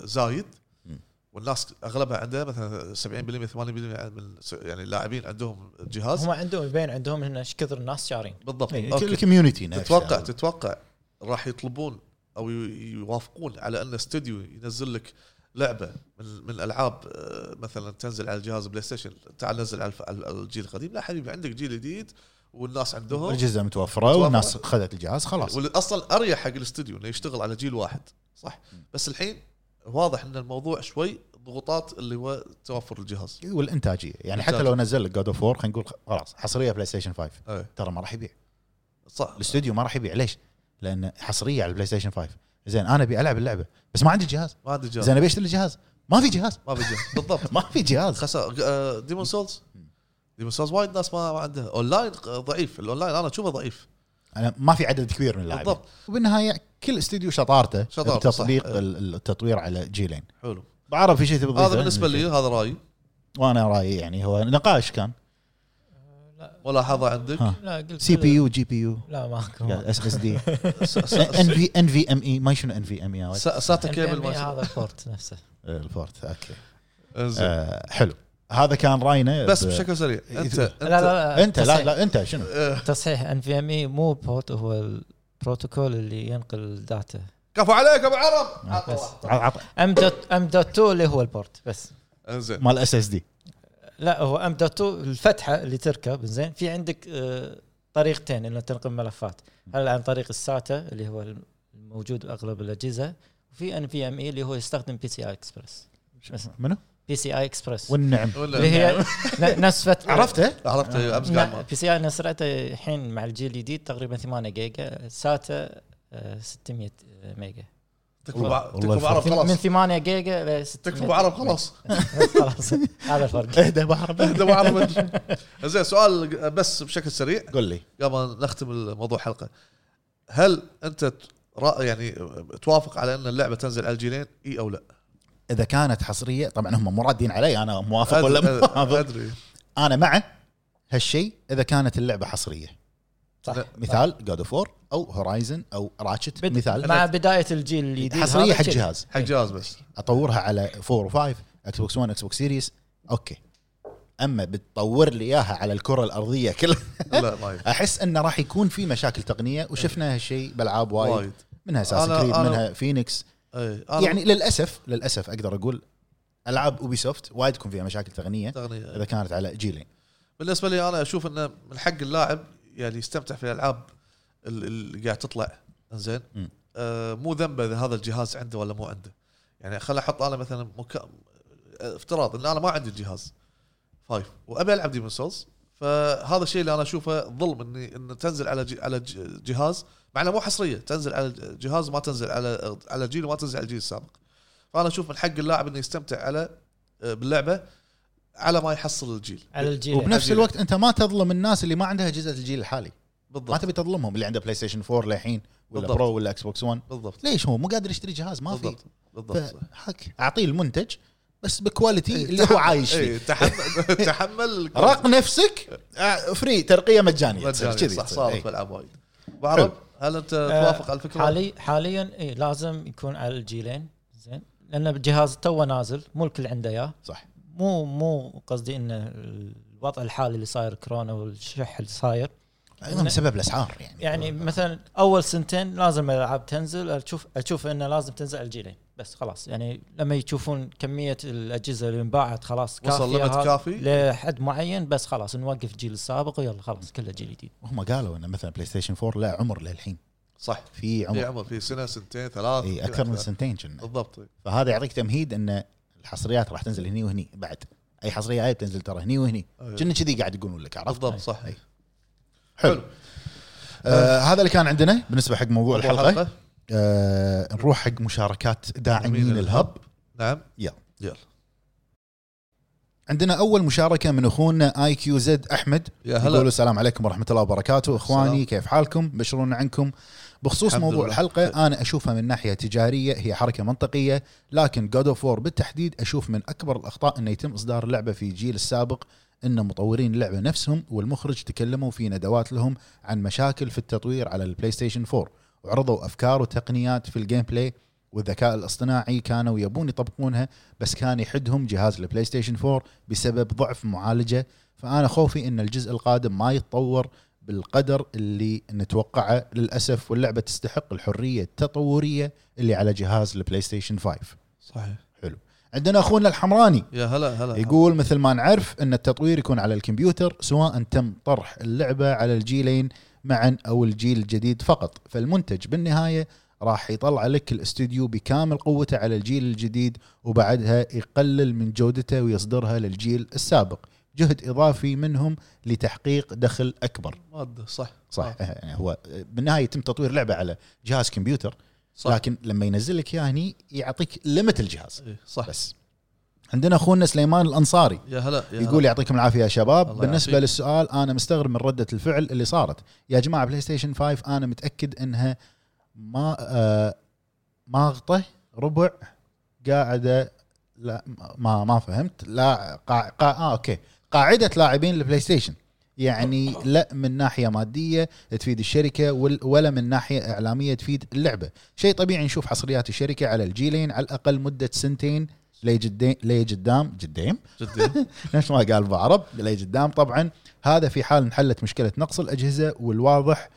زايد مم. والناس اغلبها عندها مثلا 70% 80% من س- يعني اللاعبين عندهم جهاز هم عندهم يبين عندهم هنا ايش كثر الناس شارين بالضبط إيه، أوكي. الكوميونتي نفسه تتوقع تتوقع راح يطلبون او ي- يوافقون على ان استوديو ينزل لك لعبه من من الالعاب آه، مثلا تنزل على الجهاز بلاي ستيشن تعال نزل على الف- على الجيل القديم لا حبيبي عندك جيل جديد والناس عندهم اجهزه متوفره متوفرة. والناس خذت الجهاز خلاص وال- اصلا اريح حق الاستوديو انه يشتغل على جيل واحد صح بس الحين واضح ان الموضوع شوي ضغوطات اللي هو توفر الجهاز والانتاجيه يعني حتى إنتاج. لو نزل لك جود اوف وور خلينا نقول خلاص حصريه بلاي ستيشن 5 إيه. ترى ما راح يبيع صح الاستوديو ما راح يبيع ليش؟ لان حصريه على البلاي ستيشن 5 زين انا ابي العب اللعبه بس ما عندي جهاز ما عندي جهاز زين ابي اشتري الجهاز ما في جهاز ما في جهاز بالضبط ما في جهاز خساره ديمون سولز ديمون سولز وايد ناس ما ما عندها اونلاين ضعيف الاونلاين انا اشوفه ضعيف انا ما في عدد كبير من اللاعبين بالضبط. وبالنهايه كل استوديو شطارته شطارته، بتطبيق صح. ال- التطوير على جيلين حلو بعرف في شيء تبي تضيفه؟ هذا بالنسبه يعني. لي هذا رايي وانا رايي يعني هو نقاش كان ملاحظه عندك ها. لا قلت سي بي يو جي بي يو لا ماكو اس اس دي س- س- ان في ان في ام اي E، ما شنو ان في ام اي س- ساتا كيبل ما شاء E هذا البورت نفسه آه، الفورت اوكي الله. إنزين. آه، حلو هذا كان راينا بس ب- بشكل سريع انت لا، إيه، لا أنت- لا لا انت لا لا انت شنو آه، تصحيح ان في ام اي E مو بورت هو البروتوكول اللي ينقل الداتا كفو عليك ابو عرب عطوا آه. بس. واحد. عط- عط- ام دوت ام دوت 2 اللي هو البورت بس انزين مال اس اس دي لا هو ام دوت 2 الفتحه اللي تركب زين في عندك آه، طريقتين انه تنقل ملفات هل عن طريق الساتا اللي هو الموجود باغلب الاجهزه وفي ان في ام اي اللي هو يستخدم بي سي اي اكسبرس منو؟ بي سي اي اكسبرس والنعم ولا- اللي هي ن- نفس فتحه عرفته؟ عرفت إيه، امس قاعد معك. بي سي اي انا سرعته الحين مع الجيل الجديد تقريبا 8 جيجا ساتا آه، 600 ميجا تكفى أبو عرب- تكفى والله ابو عرب الفرق. من خلاص 8 جيجا ل 600 تكفى ابو عرب خلاص خلاص هذا الفرق اهدى بعرف اهدى ابو عرب زين سؤال بس بشكل سريع قول لي قبل أن نختم الموضوع حلقه هل انت ت- رأ- يعني توافق على ان اللعبه تنزل على الجيلين اي او لا؟ اذا كانت حصريه طبعا هم مو رادين علي انا موافق ولا أدري- مو موافق ادري انا مع هالشيء اذا كانت اللعبه حصريه صح مثال جود اوف وور او هورايزن او راتشت بد- مثال مع بدايه الجيل الجديد حصريه هذا حق كذا. جهاز حق جهاز بس اطورها على 4 و5 اكس بوكس 1 اكس بوكس سيريس اوكي اما بتطور لي اياها على الكره الارضيه كلها لا ما ينفع. احس انه راح يكون في مشاكل تقنيه وشفنا هالشيء بالعاب وايد وايد منها اساس أنا- كريد أنا- منها فينيكس إيه، أنا يعني للاسف للاسف اقدر اقول العاب اوبي سوفت وايد تكون فيها مشاكل تقنيه تغني- اذا كانت على جيلين بالنسبه لي انا اشوف انه من حق اللاعب يعني يستمتع في الالعاب ال- اللي قاعد تطلع زين مم. آه مو ذنبه اذا هذا الجهاز عنده ولا مو عنده يعني خل احط انا مثلا مكا... افتراض ان انا ما عندي الجهاز فايف وابي العب ديمون سولز فهذا الشيء اللي انا اشوفه ظلم اني ان تنزل على جي... على ج- جهاز مع انها مو حصريه تنزل على ج- جهاز وما تنزل على على جيل وما تنزل على الجيل السابق فانا اشوف من حق اللاعب انه يستمتع على آه، باللعبه على ما يحصل الجيل على الجيل وبنفس جيلين. الوقت انت ما تظلم الناس اللي ما عندها اجهزه الجيل الحالي ما بالضبط تبي تظلمهم اللي عنده بلاي ستيشن 4 للحين ولا بالضبط. برو ولا اكس بوكس 1 بالضبط ليش هو مو قادر يشتري جهاز ما في بالضبط بالضبط صح. فحك اعطيه المنتج بس بكواليتي إيه، اللي هو عايش اي فيه تحمل تحمل رق نفسك آه، فري ترقيه مجانيه تصير مجاني كذي صح تصير. صارت إيه. آه، بالعاب وايد أبو عرب هل انت توافق على الفكره؟ حالي حاليا اي لازم يكون على الجيلين زين لان الجهاز توه نازل مو الكل عنده اياه صح مو مو قصدي ان الوضع الحالي اللي صاير كورونا والشح اللي صاير ايضا بسبب الاسعار يعني يعني مثلا اول سنتين لازم الالعاب تنزل اشوف اشوف انه لازم تنزل على الجيلين بس خلاص يعني لما يشوفون كميه الاجهزه اللي انباعت خلاص كافيه وصل limit هذا كافي؟ لحد معين بس خلاص نوقف الجيل السابق ويلا خلاص كله جيل جديد هم قالوا ان مثلا بلاي ستيشن 4 لا عمر للحين صح في في عمر عمر في سنه سنتين ثلاث اي اكثر من سنتين كنا بالضبط إيه. إي. فهذا يعطيك تمهيد ان الحصريات راح تنزل هني وهني بعد اي حصريه هاي بتنزل ترى هني وهني أي. كنا كذي قاعد يقولون لك عرفت إيه. إيه. بالضبط صح أي. حلو آه هذا اللي كان عندنا بالنسبه حق موضوع الحلقه الحلقة. آه نروح حق مشاركات داعمين داعمين الهب نعم يلا. يلا عندنا اول مشاركه من اخونا اي كيو زد احمد يا يقولوا هلا السلام عليكم ورحمه الله وبركاته اخواني السلام. كيف حالكم بشرونا عنكم بخصوص الحمد موضوع لله. الحلقه انا اشوفها من ناحيه تجاريه هي حركه منطقيه لكن جود اوف وور بالتحديد اشوف من اكبر الاخطاء انه يتم اصدار اللعبه في جيل السابق ان مطورين اللعبه نفسهم والمخرج تكلموا في ندوات لهم عن مشاكل في التطوير على البلاي ستيشن 4 وعرضوا افكار وتقنيات في الجيم بلاي والذكاء الاصطناعي كانوا يبون يطبقونها بس كان يحدهم جهاز البلاي ستيشن 4 بسبب ضعف معالجه فانا خوفي ان الجزء القادم ما يتطور بالقدر اللي نتوقعه للاسف واللعبه تستحق الحريه التطوريه اللي على جهاز البلاي ستيشن 5 صحيح عندنا اخونا الحمراني يا هلا هلا يقول مثل ما نعرف ان التطوير يكون على الكمبيوتر سواء تم طرح اللعبه على الجيلين معا او الجيل الجديد فقط فالمنتج بالنهايه راح يطلع لك الاستوديو بكامل قوته على الجيل الجديد وبعدها يقلل من جودته ويصدرها للجيل السابق جهد اضافي منهم لتحقيق دخل اكبر ماده صح صح آه. يعني هو بالنهايه يتم تطوير لعبه على جهاز كمبيوتر صح لكن لما ينزل لك اياها هني يعطيك ليمت الجهاز إيه، صح بس عندنا اخونا سليمان الانصاري يا هلا يا يقول يعطيكم العافيه يا شباب الله بالنسبه يعافيك. للسؤال انا مستغرب من رده الفعل اللي صارت يا جماعه بلاي ستيشن 5 انا متاكد انها ما آه ماغطه ربع قاعده لا ما ما فهمت لا قاع قاع اه اوكي قاعده لاعبين البلاي ستيشن يعني لا من ناحيه ماديه تفيد الشركه وال- ولا من ناحيه اعلاميه تفيد اللعبه شيء طبيعي نشوف حصريات الشركه على الجيلين على الاقل مده سنتين ليجدين ليجدام جديم جدي نفس ما قال بعرب اللي قدام طبعا هذا في حال انحلت مشكله نقص الاجهزه والواضح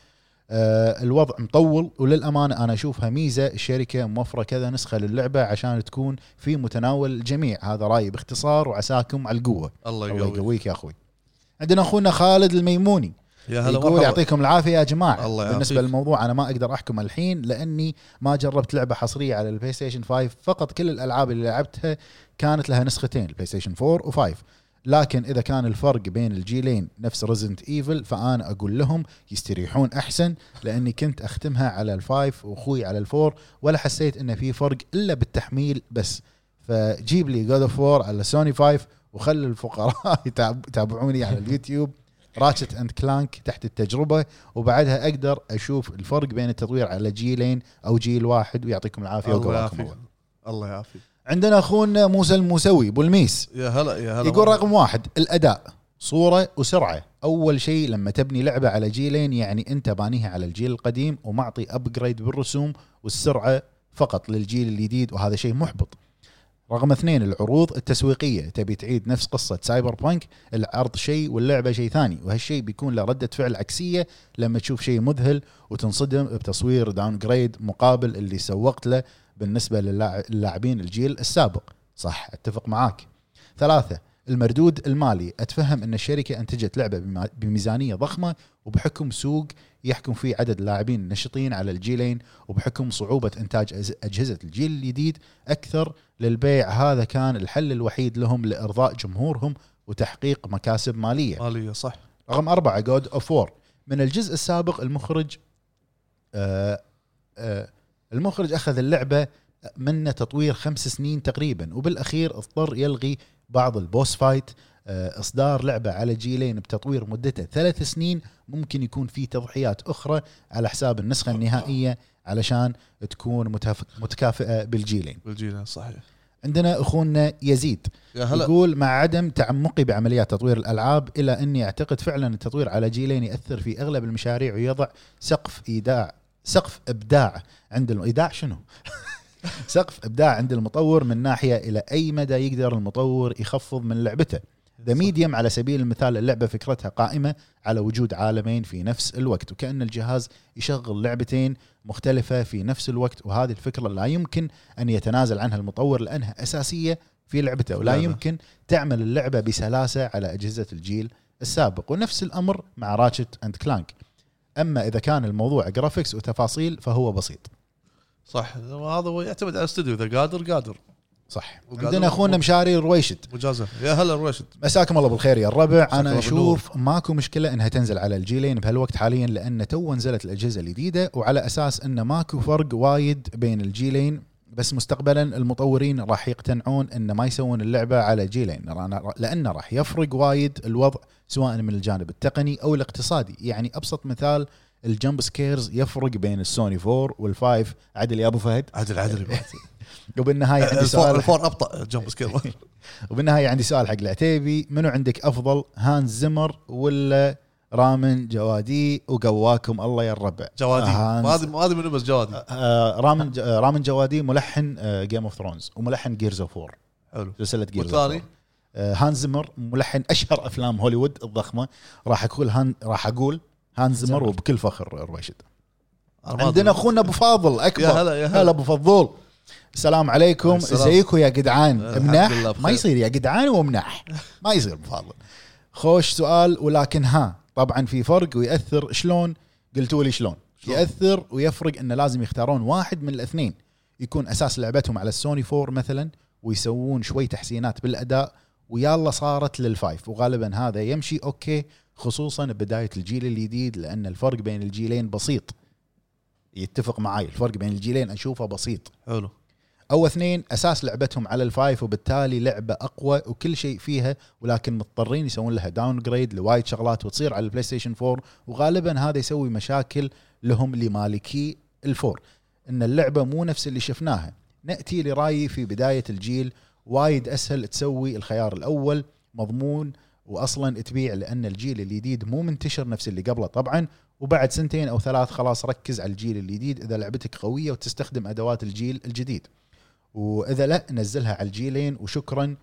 آه، الوضع مطول وللامانه انا اشوفها ميزه الشركه موفره كذا نسخه للعبه عشان تكون في متناول الجميع هذا رايي باختصار وعساكم على القوه الله الله يقويك يقويك يا اخوي عندنا اخونا خالد الميموني يا هلا يقول مرحبا يعطيكم العافيه يا جماعه الله يعافيك. بالنسبه للموضوع انا ما اقدر احكم الحين لاني ما جربت لعبه حصريه على البلاي ستيشن 5 فقط كل الالعاب اللي لعبتها كانت لها نسختين البلاي ستيشن 4 و5 لكن اذا كان الفرق بين الجيلين نفس ريزنت ايفل فانا اقول لهم يستريحون احسن لاني كنت اختمها على الفايف واخوي على الفور ولا حسيت ان في فرق الا بالتحميل بس فجيب لي جود اوف وور على سوني 5 وخلي الفقراء يتعب- يتابعوني على اليوتيوب راتشت اند كلانك تحت التجربه وبعدها اقدر اشوف الفرق بين التطوير على جيلين او جيل واحد ويعطيكم العافيه الله وقواكم الله يعافيك الله يعافيك عندنا اخونا موسى الموسوي ابو الميس يا هلا يا هلا يقول مرحبا. رقم واحد الاداء صوره وسرعه اول شيء لما تبني لعبه على جيلين يعني انت بانيها على الجيل القديم ومعطي ابجريد بالرسوم والسرعه فقط للجيل الجديد وهذا شيء محبط رقم اثنين العروض التسويقيه تبي تعيد نفس قصه سايبر بانك العرض شيء واللعبه شيء ثاني وهالشيء بيكون له رده فعل عكسيه لما تشوف شيء مذهل وتنصدم بتصوير داون جريد مقابل اللي سوقت له بالنسبه للاع- للاعبين الجيل السابق صح اتفق معاك ثلاثه المردود المالي اتفهم ان الشركه انتجت لعبه بما- بميزانيه ضخمه وبحكم سوق يحكم فيه عدد لاعبين نشطين على الجيلين وبحكم صعوبه انتاج أز- اجهزه الجيل الجديد اكثر للبيع هذا كان الحل الوحيد لهم لارضاء جمهورهم وتحقيق مكاسب ماليه ماليه صح رقم أربعة جود أوف وور من الجزء السابق المخرج آه آه المخرج أخذ اللعبة منه تطوير خمس سنين تقريبا وبالأخير اضطر يلغي بعض البوس فايت آه إصدار لعبة على جيلين بتطوير مدته ثلاث سنين ممكن يكون في تضحيات أخرى على حساب النسخة النهائية علشان تكون متف- متكافئة بالجيلين بالجيل صحيح عندنا أخونا يزيد يا هلا. هلا يقول مع عدم تعمقي بعمليات تطوير الالعاب الا اني اعتقد فعلا التطوير على جيلين ياثر في اغلب المشاريع ويضع سقف ايداع سقف ابداع عند الم... ايداع شنو؟ سقف ابداع عند المطور من ناحيه الى اي مدى يقدر المطور يخفض من لعبته ذا ميديم على سبيل المثال اللعبه فكرتها قائمه على وجود عالمين في نفس الوقت وكان الجهاز يشغل لعبتين مختلفه في نفس الوقت وهذه الفكره لا يمكن ان يتنازل عنها المطور لانها اساسيه في لعبته ولا لعبة. يمكن تعمل اللعبه بسلاسه على اجهزه الجيل السابق ونفس الامر مع راتشت اند كلانك اما اذا كان الموضوع جرافيكس وتفاصيل فهو بسيط صح هذا هو يعتمد على الاستوديو اذا قادر قادر صح وقالوا- عندنا اخونا مشاري الرويشد مجازف يا هلا رويشد مساكم الله بالخير يا الربع مساك انا الله بالنور. اشوف ماكو مشكله انها تنزل على الجيلين بهالوقت حاليا لان تو نزلت الاجهزه الجديده وعلى اساس انه ماكو فرق وايد بين الجيلين بس مستقبلا المطورين راح يقتنعون ان ما يسوون اللعبه على جيلين رانا- لانه راح يفرق وايد الوضع سواء من الجانب التقني او الاقتصادي يعني ابسط مثال الجمب سكيرز يفرق بين السوني 4 والفايف عدل يا ابو فهد عدل عدل بعد. وبالنهايه عندي الفور سؤال الفور ابطا جمب سكير وبالنهايه عندي سؤال حق العتيبي منو عندك افضل هانز زمر ولا رامن جوادي وقواكم الله يا الربع جوادي آه، ما ادري ما ادري منو بس جوادي آه، رامن ج- آه، رامن جوادي ملحن آه، جيم اوف ثرونز وملحن جيرز اوف وور حلو سلسله جيرز والثاني هان زمر آه، ملحن اشهر افلام هوليوود الضخمه راح اقول هان راح اقول هان زمر وبكل فخر رويشد أنا ما عندنا أدري. اخونا ابو فاضل اكبر يا هلا يا هلا. هلا ابو فضول السلام عليكم السلام. ازيكم يا جدعان الحمد لله مناح بخير. ما يصير يا جدعان ومناح ما يصير ابو فاضل خوش سؤال ولكن ها طبعا في فرق ويأثر شلون قلتوا لي شلون شلون؟ يأثر ويفرق انه لازم يختارون واحد من الاثنين يكون اساس لعبتهم على السوني 4 مثلا ويسوون شوي تحسينات بالاداء ويلا صارت للفايف وغالبا هذا يمشي اوكي خصوصا بدايه الجيل الجديد لان الفرق بين الجيلين بسيط يتفق معاي الفرق بين الجيلين اشوفه بسيط حلو او اثنين اساس لعبتهم على الفايف وبالتالي لعبه اقوى وكل شيء فيها ولكن مضطرين يسوون لها داون جريد لوايد شغلات وتصير على البلاي ستيشن 4 وغالبا هذا يسوي مشاكل لهم لمالكي الفور ان اللعبه مو نفس اللي شفناها ناتي لرايي في بدايه الجيل وايد اسهل تسوي الخيار الاول مضمون واصلا تبيع لان الجيل الجديد مو منتشر نفس اللي قبله طبعا وبعد سنتين او ثلاث خلاص ركز على الجيل الجديد اذا لعبتك قويه وتستخدم ادوات الجيل الجديد واذا لا نزلها على الجيلين وشكرا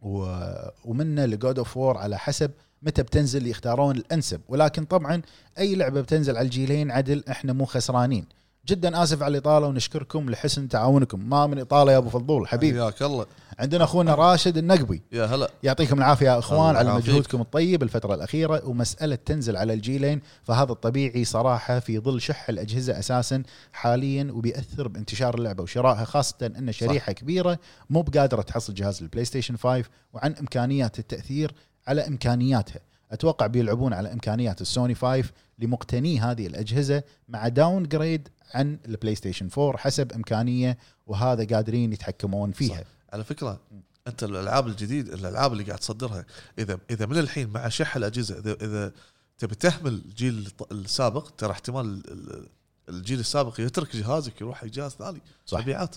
و... ومنا لجود اوف وور على حسب متى بتنزل يختارون الانسب ولكن طبعا اي لعبه بتنزل على الجيلين عدل احنا مو خسرانين جدا اسف على الاطاله ونشكركم لحسن تعاونكم ما من اطاله يا ابو فضول حبيبي حياك الله عندنا اخونا راشد النقبي يا هلا يعطيكم العافيه يا اخوان الله على يعافيك. مجهودكم الطيب الفتره الاخيره ومساله تنزل على الجيلين فهذا الطبيعي صراحه في ظل شح الاجهزه اساسا حاليا وبياثر بانتشار اللعبه وشرائها خاصه ان شريحه صح. كبيره مو بقادره تحصل جهاز البلاي ستيشن 5 وعن امكانيات التاثير على امكانياتها اتوقع بيلعبون على امكانيات السوني 5 لمقتني هذه الاجهزه مع داون جريد عن البلاي ستيشن 4 حسب امكانيه وهذا قادرين يتحكمون فيها صح. على فكره انت الالعاب الجديد الالعاب اللي قاعد تصدرها اذا اذا من الحين مع شح الاجهزه اذا اذا تبي تحمل الجيل الط- السابق ترى احتمال ال- ال- الجيل السابق يترك جهازك يروح حق جهاز ثاني صح. مبيعات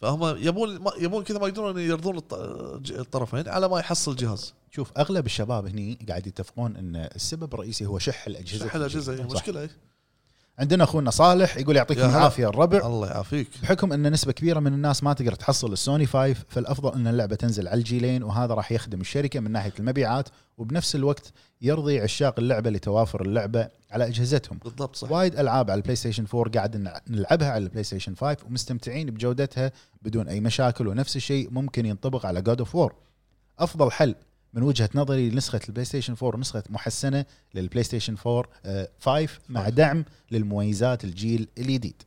فهم يبون ما- يبون كذا ما يقدرون يرضون الط- الج- الطرفين على ما يحصل جهاز شوف اغلب الشباب هني قاعد يتفقون ان السبب الرئيسي هو شح الاجهزه شح الاجهزه هي صح. مشكله إيه. عندنا اخونا صالح يقول يعطيكم يا هلا. العافيه الربع الله يعافيك بحكم ان نسبه كبيره من الناس ما تقدر تحصل السوني 5 فالافضل ان اللعبه تنزل على الجيلين وهذا راح يخدم الشركه من ناحيه المبيعات وبنفس الوقت يرضي عشاق اللعبه لتوافر اللعبه على اجهزتهم بالضبط صح وايد العاب على البلاي ستيشن 4 قاعد نلع- نلعبها على البلاي ستيشن 5 ومستمتعين بجودتها بدون اي مشاكل ونفس الشيء ممكن ينطبق على جود اوف وور افضل حل من وجهه نظري لنسخه البلاي ستيشن 4 نسخه محسنه للبلاي ستيشن 4 آه، 5 مع دعم للمميزات الجيل الجديد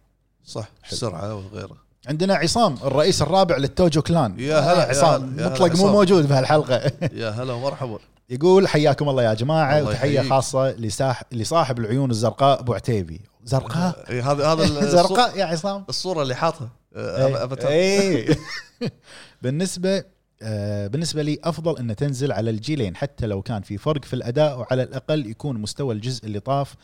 صح حلو. السرعه وغيره عندنا عصام الرئيس الرابع للتوجو كلان يا هلا، آه، يا عصام هلا، يا هلا، مطلق مو عصام. موجود بهالحلقه يا هلا ومرحبا يقول حياكم الله يا جماعه الله وتحيه يحييك. خاصه لساح... لصاحب العيون الزرقاء ابو عتيبي زرقاء إيه، هذا هذا ال- الصو- زرقاء يا عصام الصوره اللي حاطها آه، أي- أفاتار. أي. بالنسبه إيه. آه، بالنسبه لي افضل ان تنزل على الجيلين حتى لو كان في فرق في الاداء وعلى الاقل يكون مستوى الجزء اللي طاف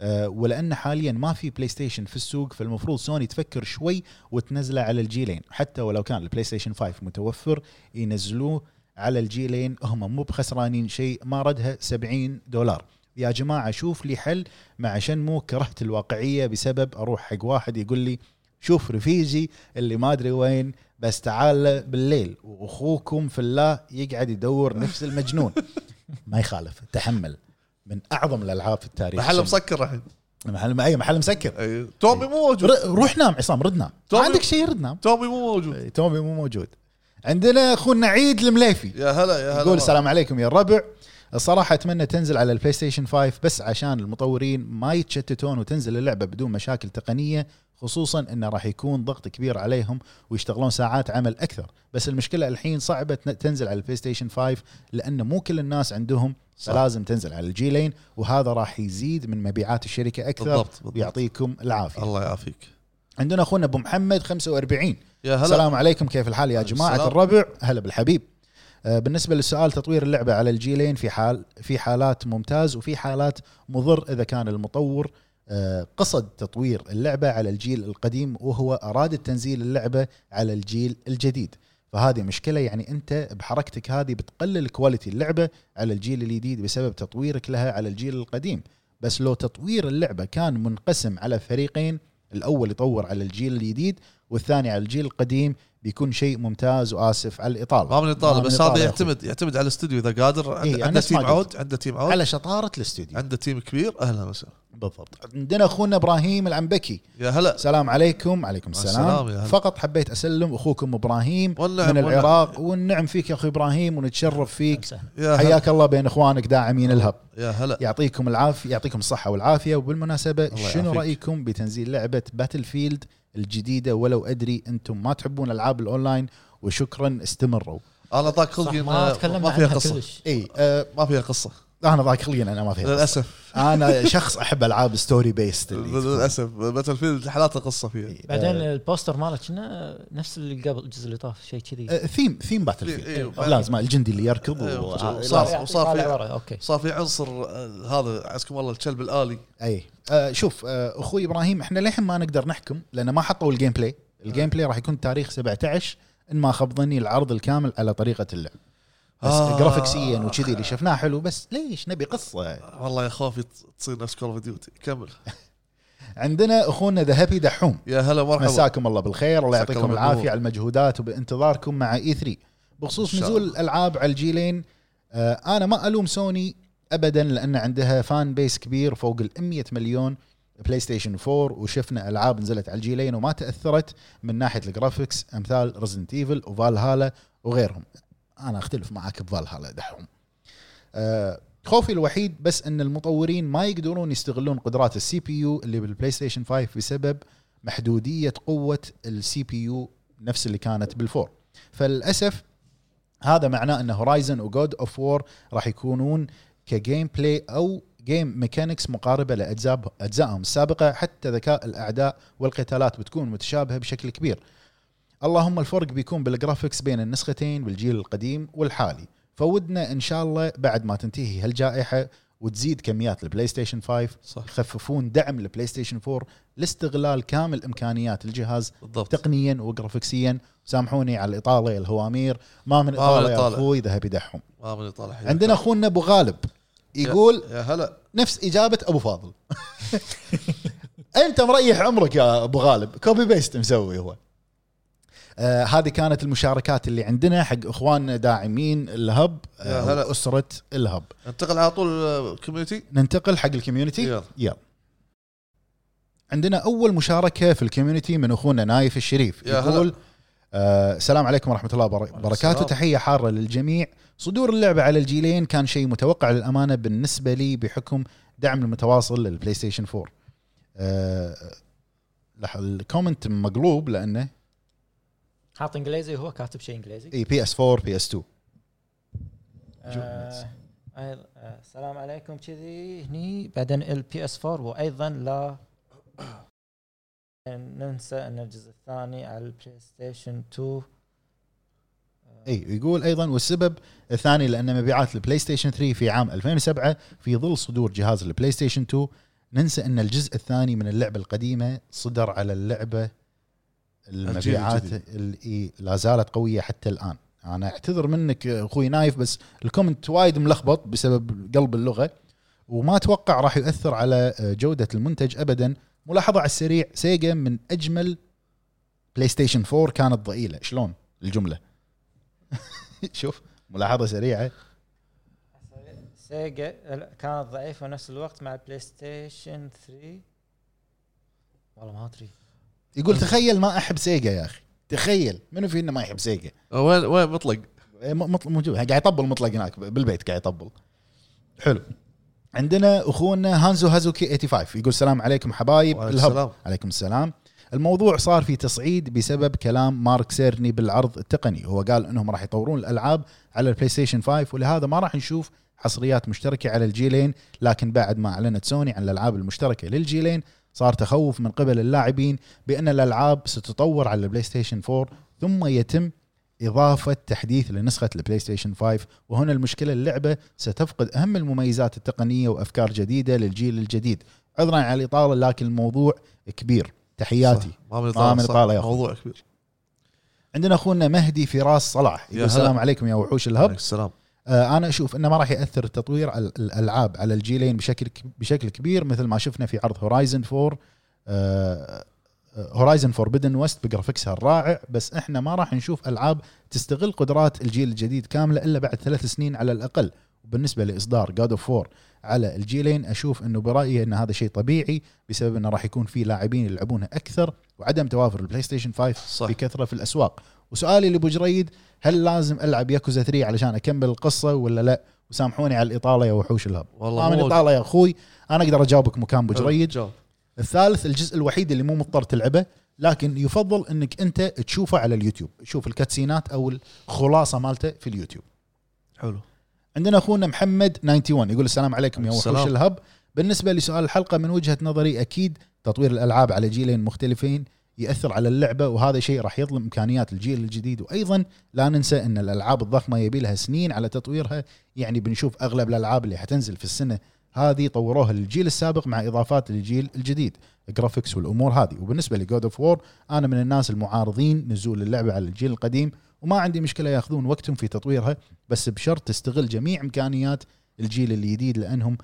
آه، ولان حاليا ما في بلاي ستيشن في السوق فالمفروض سوني تفكر شوي وتنزله على الجيلين حتى ولو كان البلاي ستيشن 5 متوفر ينزلوه على الجيلين هم مو بخسرانين شيء ما ردها 70 دولار يا جماعه شوف لي حل مع شنمو كرهت الواقعيه بسبب اروح حق واحد يقول لي شوف رفيجي اللي ما ادري وين بس تعال له بالليل واخوكم في الله يقعد يدور نفس المجنون ما يخالف تحمل من اعظم الالعاب في التاريخ محل مسكر الحين محل اي محل مسكر أي، تومي مو موجود ر- روح نام عصام رد نام ما تومي- عندك شيء رد نام تومي مو موجود إي، تومي مو موجود عندنا اخونا عيد المليفي يا هلا يا هلا يقول السلام عليكم يا الربع الصراحة أتمنى تنزل على البلاي ستيشن 5 بس عشان المطورين ما يتشتتون وتنزل اللعبة بدون مشاكل تقنية خصوصا انه راح يكون ضغط كبير عليهم ويشتغلون ساعات عمل اكثر بس المشكله الحين صعبه تن- تنزل على البلاي ستيشن 5 لان مو كل الناس عندهم صح. فلازم تنزل على الجيلين وهذا راح يزيد من مبيعات الشركه اكثر بالضبط، بالضبط. ويعطيكم العافيه الله يعافيك عندنا اخونا ابو محمد 45 يا هلا السلام عليكم كيف الحال يا جماعة السلام. الربع هلا بالحبيب آه، بالنسبة للسؤال تطوير اللعبة على الجيلين في حال في حالات ممتاز وفي حالات مضر إذا كان المطور آه، قصد تطوير اللعبة على الجيل القديم وهو أراد تنزيل اللعبة على الجيل الجديد فهذه مشكله يعني انت بحركتك هذه بتقلل كواليتي اللعبه على الجيل الجديد بسبب تطويرك لها على الجيل القديم بس لو تطوير اللعبه كان منقسم على فريقين الاول يطور على الجيل الجديد والثاني على الجيل القديم بيكون شيء ممتاز واسف على الاطاله ما من ما يطالب من بس إطالة هذا يا يعتمد يعتمد على الاستوديو اذا قادر إيه، عنده أنا عنده نفس ما تيم قلت. عود عنده تيم عود على شطاره الاستوديو عنده تيم كبير اهلا وسهلا بالضبط عندنا اخونا ابراهيم العنبكي يا هلا السلام عليكم عليكم مع السلام السلام يا هلا. فقط حبيت اسلم اخوكم ابراهيم والنعم من والنعم. العراق والنعم فيك يا اخوي ابراهيم ونتشرف فيك يا هلا حياك الله بين اخوانك داعمين الهب يا هلا يعطيكم العافيه يعطيكم الصحه والعافيه وبالمناسبه الله شنو يعافيك. رايكم بتنزيل لعبه باتل فيلد الجديده ولو ادري انتم ما تحبون العاب الاونلاين وشكرا استمروا انا ضاق صح، خلقي ما إن- تكلمنا ما فيها عنها قصه كلش اي أه ما فيها قصه انا ضايق خلقي انا ما فيها قصة. للاسف انا شخص احب العاب ستوري بيست للاسف باتل فيلد حالاتها قصه فيها بعدين آه. البوستر مالك كنا نفس اللي قبل الجزء اللي طاف شيء آه، كذي ثيم ثيم باتل إيه، فيلد إيه. لازم الجندي اللي يركض إيه، و... صار- لازم. طالع- وصار طالع في- ورا، اوكي صار في عنصر آه، هذا عزكم الله الكلب الالي اي آه شوف آه اخوي ابراهيم احنا للحين ما نقدر نحكم لان ما حطوا الجيم بلاي آه. الجيم بلاي راح يكون تاريخ 17 ان ما خاب ظني العرض الكامل على طريقه اللعب بس آه. آه جرافيكسيا وكذي اللي شفناه حلو بس ليش نبي قصه والله يا خوفي ت- تصير نفس كول اوف ديوتي كمل عندنا اخونا ذا هابي دحوم يا هلا مرحبا مساكم الله بالخير الله مساك يعطيكم الله العافيه بالنور. على المجهودات وبانتظاركم مع E اي 3 بخصوص إن شاء نزول الله. الالعاب على الجيلين آه انا ما الوم سوني ابدا لان عندها فان بيس كبير فوق ال 100 مليون بلاي ستيشن 4 وشفنا العاب نزلت على الجيلين وما تاثرت من ناحيه الجرافكس امثال ريزنت ايفل وفالهالا وغيرهم انا اختلف معك بفالهالا دحوم آه، خوفي الوحيد بس ان المطورين ما يقدرون يستغلون قدرات السي بي يو اللي بالبلاي ستيشن 5 بسبب محدوديه قوه السي بي يو نفس اللي كانت بالفور فللاسف هذا معناه ان هورايزن وجود اوف وور راح يكونون كجيم بلاي او جيم ميكانكس مقاربه لاجزاء اجزائهم السابقه حتى ذكاء الاعداء والقتالات بتكون متشابهه بشكل كبير. اللهم الفرق بيكون بالجرافكس بين النسختين بالجيل القديم والحالي. فودنا ان شاء الله بعد ما تنتهي هالجائحه وتزيد كميات البلاي ستيشن 5 صح يخففون دعم البلاي ستيشن 4 لاستغلال كامل امكانيات الجهاز بالضبط تقنيا وغرافيكسيا سامحوني على الاطاله يا الهوامير ما من من اطاله يا إطالة. اخوي ذهب يدحهم ما من يطالع حياك. عندنا اخونا ابو غالب يقول يا هلا نفس اجابه ابو فاضل انت مريح عمرك يا ابو غالب كوبي بيست مسوي هو آه هذه كانت المشاركات اللي عندنا حق اخواننا داعمين الهب يا آه هلا. واسره الهب انتقل على طول الكوميونتي ننتقل حق الكوميونتي يلا. يلا عندنا اول مشاركه في الكوميونتي من اخونا نايف الشريف يا هلا. يقول آه السلام عليكم ورحمه الله وبر- وبركاته السلام. تحيه حاره للجميع صدور اللعبه على الجيلين كان شيء متوقع للامانه بالنسبه لي بحكم دعم المتواصل للبلاي ستيشن 4 آه لح- الكومنت مقلوب لانه حاط انجليزي وهو كاتب شيء انجليزي اي بي اس 4 بي اس 2 إيه، آه، أيض- آه، السلام عليكم كذي هني بعدين البي اس 4 وايضا لا ننسى ان الجزء الثاني على آه، البلاي ستيشن 2 إيه. اي يقول ايضا والسبب الثاني لان مبيعات البلاي ستيشن 3 في عام 2007 في ظل صدور جهاز البلاي ستيشن 2 ننسى ان الجزء الثاني من اللعبه القديمه صدر على اللعبه المبيعات اللي إيه، لا زالت قويه حتى الان انا اعتذر منك اخوي نايف بس الكومنت وايد ملخبط بسبب قلب اللغه وما اتوقع راح يؤثر على جوده المنتج ابدا ملاحظه على السريع سيجا من اجمل بلاي ستيشن 4 كانت ضئيله شلون الجمله شوف ملاحظه سريعه سيجا لا، كانت ضعيفه نفس الوقت مع البلاي ستيشن 3 والله ما ادري يقول تخيل ما احب سيجا يا اخي تخيل منو فينا ما يحب سيجا آه، وين وين مطلق إيه، م- مطلق موجود قاعد يطبل مطلق هناك ب- بالبيت قاعد يطبل حلو عندنا اخونا هانزو هازوكي 85 يقول السلام عليكم حبايب وعليكم الهب السلام. عليكم السلام الموضوع صار في تصعيد بسبب كلام مارك سيرني بالعرض التقني هو قال انهم راح يطورون الالعاب على البلاي ستيشن 5 ولهذا ما راح نشوف حصريات مشتركه على الجيلين لكن بعد ما اعلنت سوني عن الالعاب المشتركه للجيلين صار تخوف من قبل اللاعبين بان الالعاب ستطور على البلاي ستيشن 4 ثم يتم اضافه تحديث لنسخه البلاي ستيشن 5 وهنا المشكله اللعبه ستفقد اهم المميزات التقنيه وافكار جديده للجيل الجديد عذرا على الاطاله لكن الموضوع كبير تحياتي صح. ما من ما من يطالع يطالع يا صح. أخوي. موضوع كبير عندنا اخونا مهدي فراس صلاح يا يقول هلا. السلام عليكم يا وحوش الهب عليك السلام آه، انا اشوف انه ما راح ياثر تطوير ال- الالعاب على الجيلين بشكل بشكل كبير مثل ما شفنا في عرض هورايزن 4 آه، آه، هورايزن فوربدن ويست بجرافيكسها الرائع بس احنا ما راح نشوف العاب تستغل قدرات الجيل الجديد كامله الا بعد ثلاث سنين على الاقل وبالنسبه لاصدار جاد اوف 4 على الجيلين اشوف انه برايي ان هذا شيء طبيعي بسبب انه راح يكون في لاعبين يلعبونها اكثر وعدم توافر البلاي ستيشن 5 صح بكثره في الاسواق وسؤالي لابو جريد هل لازم العب ياكوزا 3 علشان اكمل القصه ولا لا وسامحوني على الاطاله يا وحوش الهب والله ما من مو- اطاله يا اخوي انا اقدر اجاوبك مكان ابو جريد جاوب. الثالث الجزء الوحيد اللي مو مضطر تلعبه لكن يفضل انك انت تشوفه على اليوتيوب شوف الكاتسينات او الخلاصه مالته في اليوتيوب حلو عندنا اخونا محمد 91 يقول السلام عليكم يا وحوش السلام. الهب بالنسبه لسؤال الحلقه من وجهه نظري اكيد تطوير الالعاب على جيلين مختلفين ياثر على اللعبه وهذا شيء راح يظلم امكانيات الجيل الجديد وايضا لا ننسى ان الالعاب الضخمه يبي لها سنين على تطويرها يعني بنشوف اغلب الالعاب اللي حتنزل في السنه هذه طوروها للجيل السابق مع اضافات للجيل الجديد الجرافيكس والامور هذه وبالنسبه لجود اوف وور انا من الناس المعارضين نزول اللعبه على الجيل القديم وما عندي مشكله ياخذون وقتهم في تطويرها بس بشرط تستغل جميع امكانيات الجيل الجديد لانهم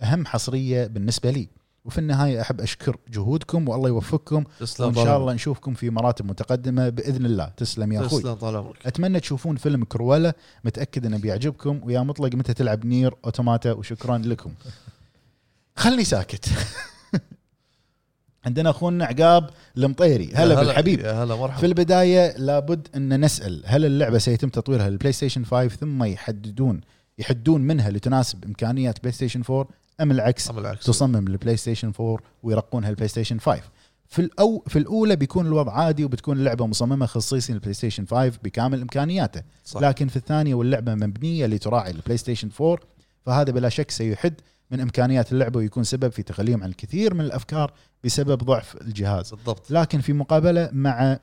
اهم حصريه بالنسبه لي وفي النهايه احب اشكر جهودكم والله يوفقكم تسلم وان طال شاء عمرك. الله نشوفكم في مراتب متقدمه باذن الله تسلم يا اخوي تسلم طال عمرك اتمنى تشوفون فيلم كرويلا متاكد انه بيعجبكم ويا مطلق متى تلعب نير اوتوماتا وشكرا لكم خلني ساكت عندنا اخونا عقاب المطيري يا هلا بالحبيب يا هلا في مرحبا البدايه لابد ان نسال هل اللعبه سيتم تطويرها للبلاي ستيشن 5 ثم يحددون يحدون منها لتناسب امكانيات بلاي ستيشن 4 ام العكس عم العكس تصمم للبلاي ستيشن 4 ويرقونها البلاي ستيشن 5 في الأو في الاولى بيكون الوضع عادي وبتكون اللعبه مصممه خصيصا للبلاي ستيشن 5 بكامل امكانياته صح. لكن في الثانيه واللعبه مبنيه لتراعي البلاي ستيشن 4 فهذا بلا شك سيحد من امكانيات اللعبه ويكون سبب في تخليهم عن الكثير من الافكار بسبب ضعف الجهاز بالضبط لكن في مقابله مع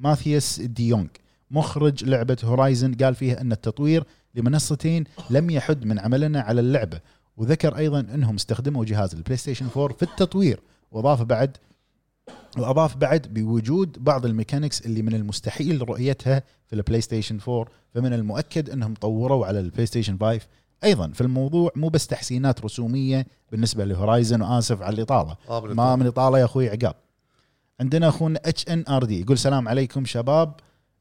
ماثيوس ديونغ مخرج لعبه هورايزن قال فيها ان التطوير لمنصتين لم يحد من عملنا على اللعبه وذكر ايضا انهم استخدموا جهاز البلاي ستيشن 4 في التطوير واضاف بعد واضاف بعد بوجود بعض الميكانكس اللي من المستحيل رؤيتها في البلاي ستيشن 4 فمن المؤكد انهم طوروا على البلاي ستيشن 5 ايضا في الموضوع مو بس تحسينات رسوميه بالنسبه لهورايزن واسف على الاطاله آه، من ما من اطاله يا اخوي عقاب عندنا اخونا اتش ان ار دي يقول السلام عليكم شباب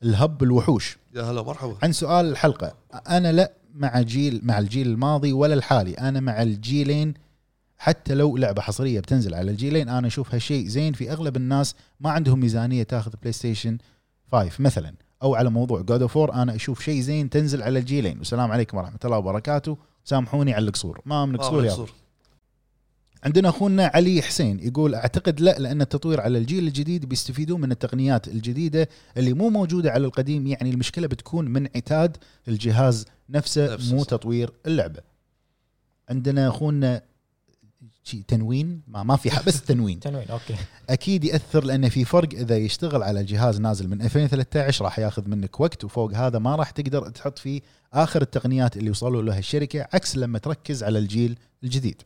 الهب الوحوش يا هلا مرحبا عن سؤال الحلقه انا لا مع جيل مع الجيل الماضي ولا الحالي انا مع الجيلين حتى لو لعبه حصريه بتنزل على الجيلين انا اشوفها شيء زين في اغلب الناس ما عندهم ميزانيه تاخذ بلاي ستيشن 5 مثلا او على موضوع جود اوف انا اشوف شيء زين تنزل على الجيلين والسلام عليكم ورحمه الله وبركاته سامحوني على القصور ما من ما قصور يا قصور. عندنا اخونا علي حسين يقول اعتقد لا لان التطوير على الجيل الجديد بيستفيدون من التقنيات الجديده اللي مو موجوده على القديم يعني المشكله بتكون من عتاد الجهاز نفسه نفسه، مو صح. تطوير اللعبه. عندنا اخونا شي تنوين ما, ما في ح- بس تنوين تنوين اوكي اكيد ياثر لان في فرق اذا يشتغل على جهاز نازل من 2013 راح ياخذ منك وقت وفوق هذا ما راح تقدر تحط فيه اخر التقنيات اللي وصلوا لها الشركه عكس لما تركز على الجيل الجديد.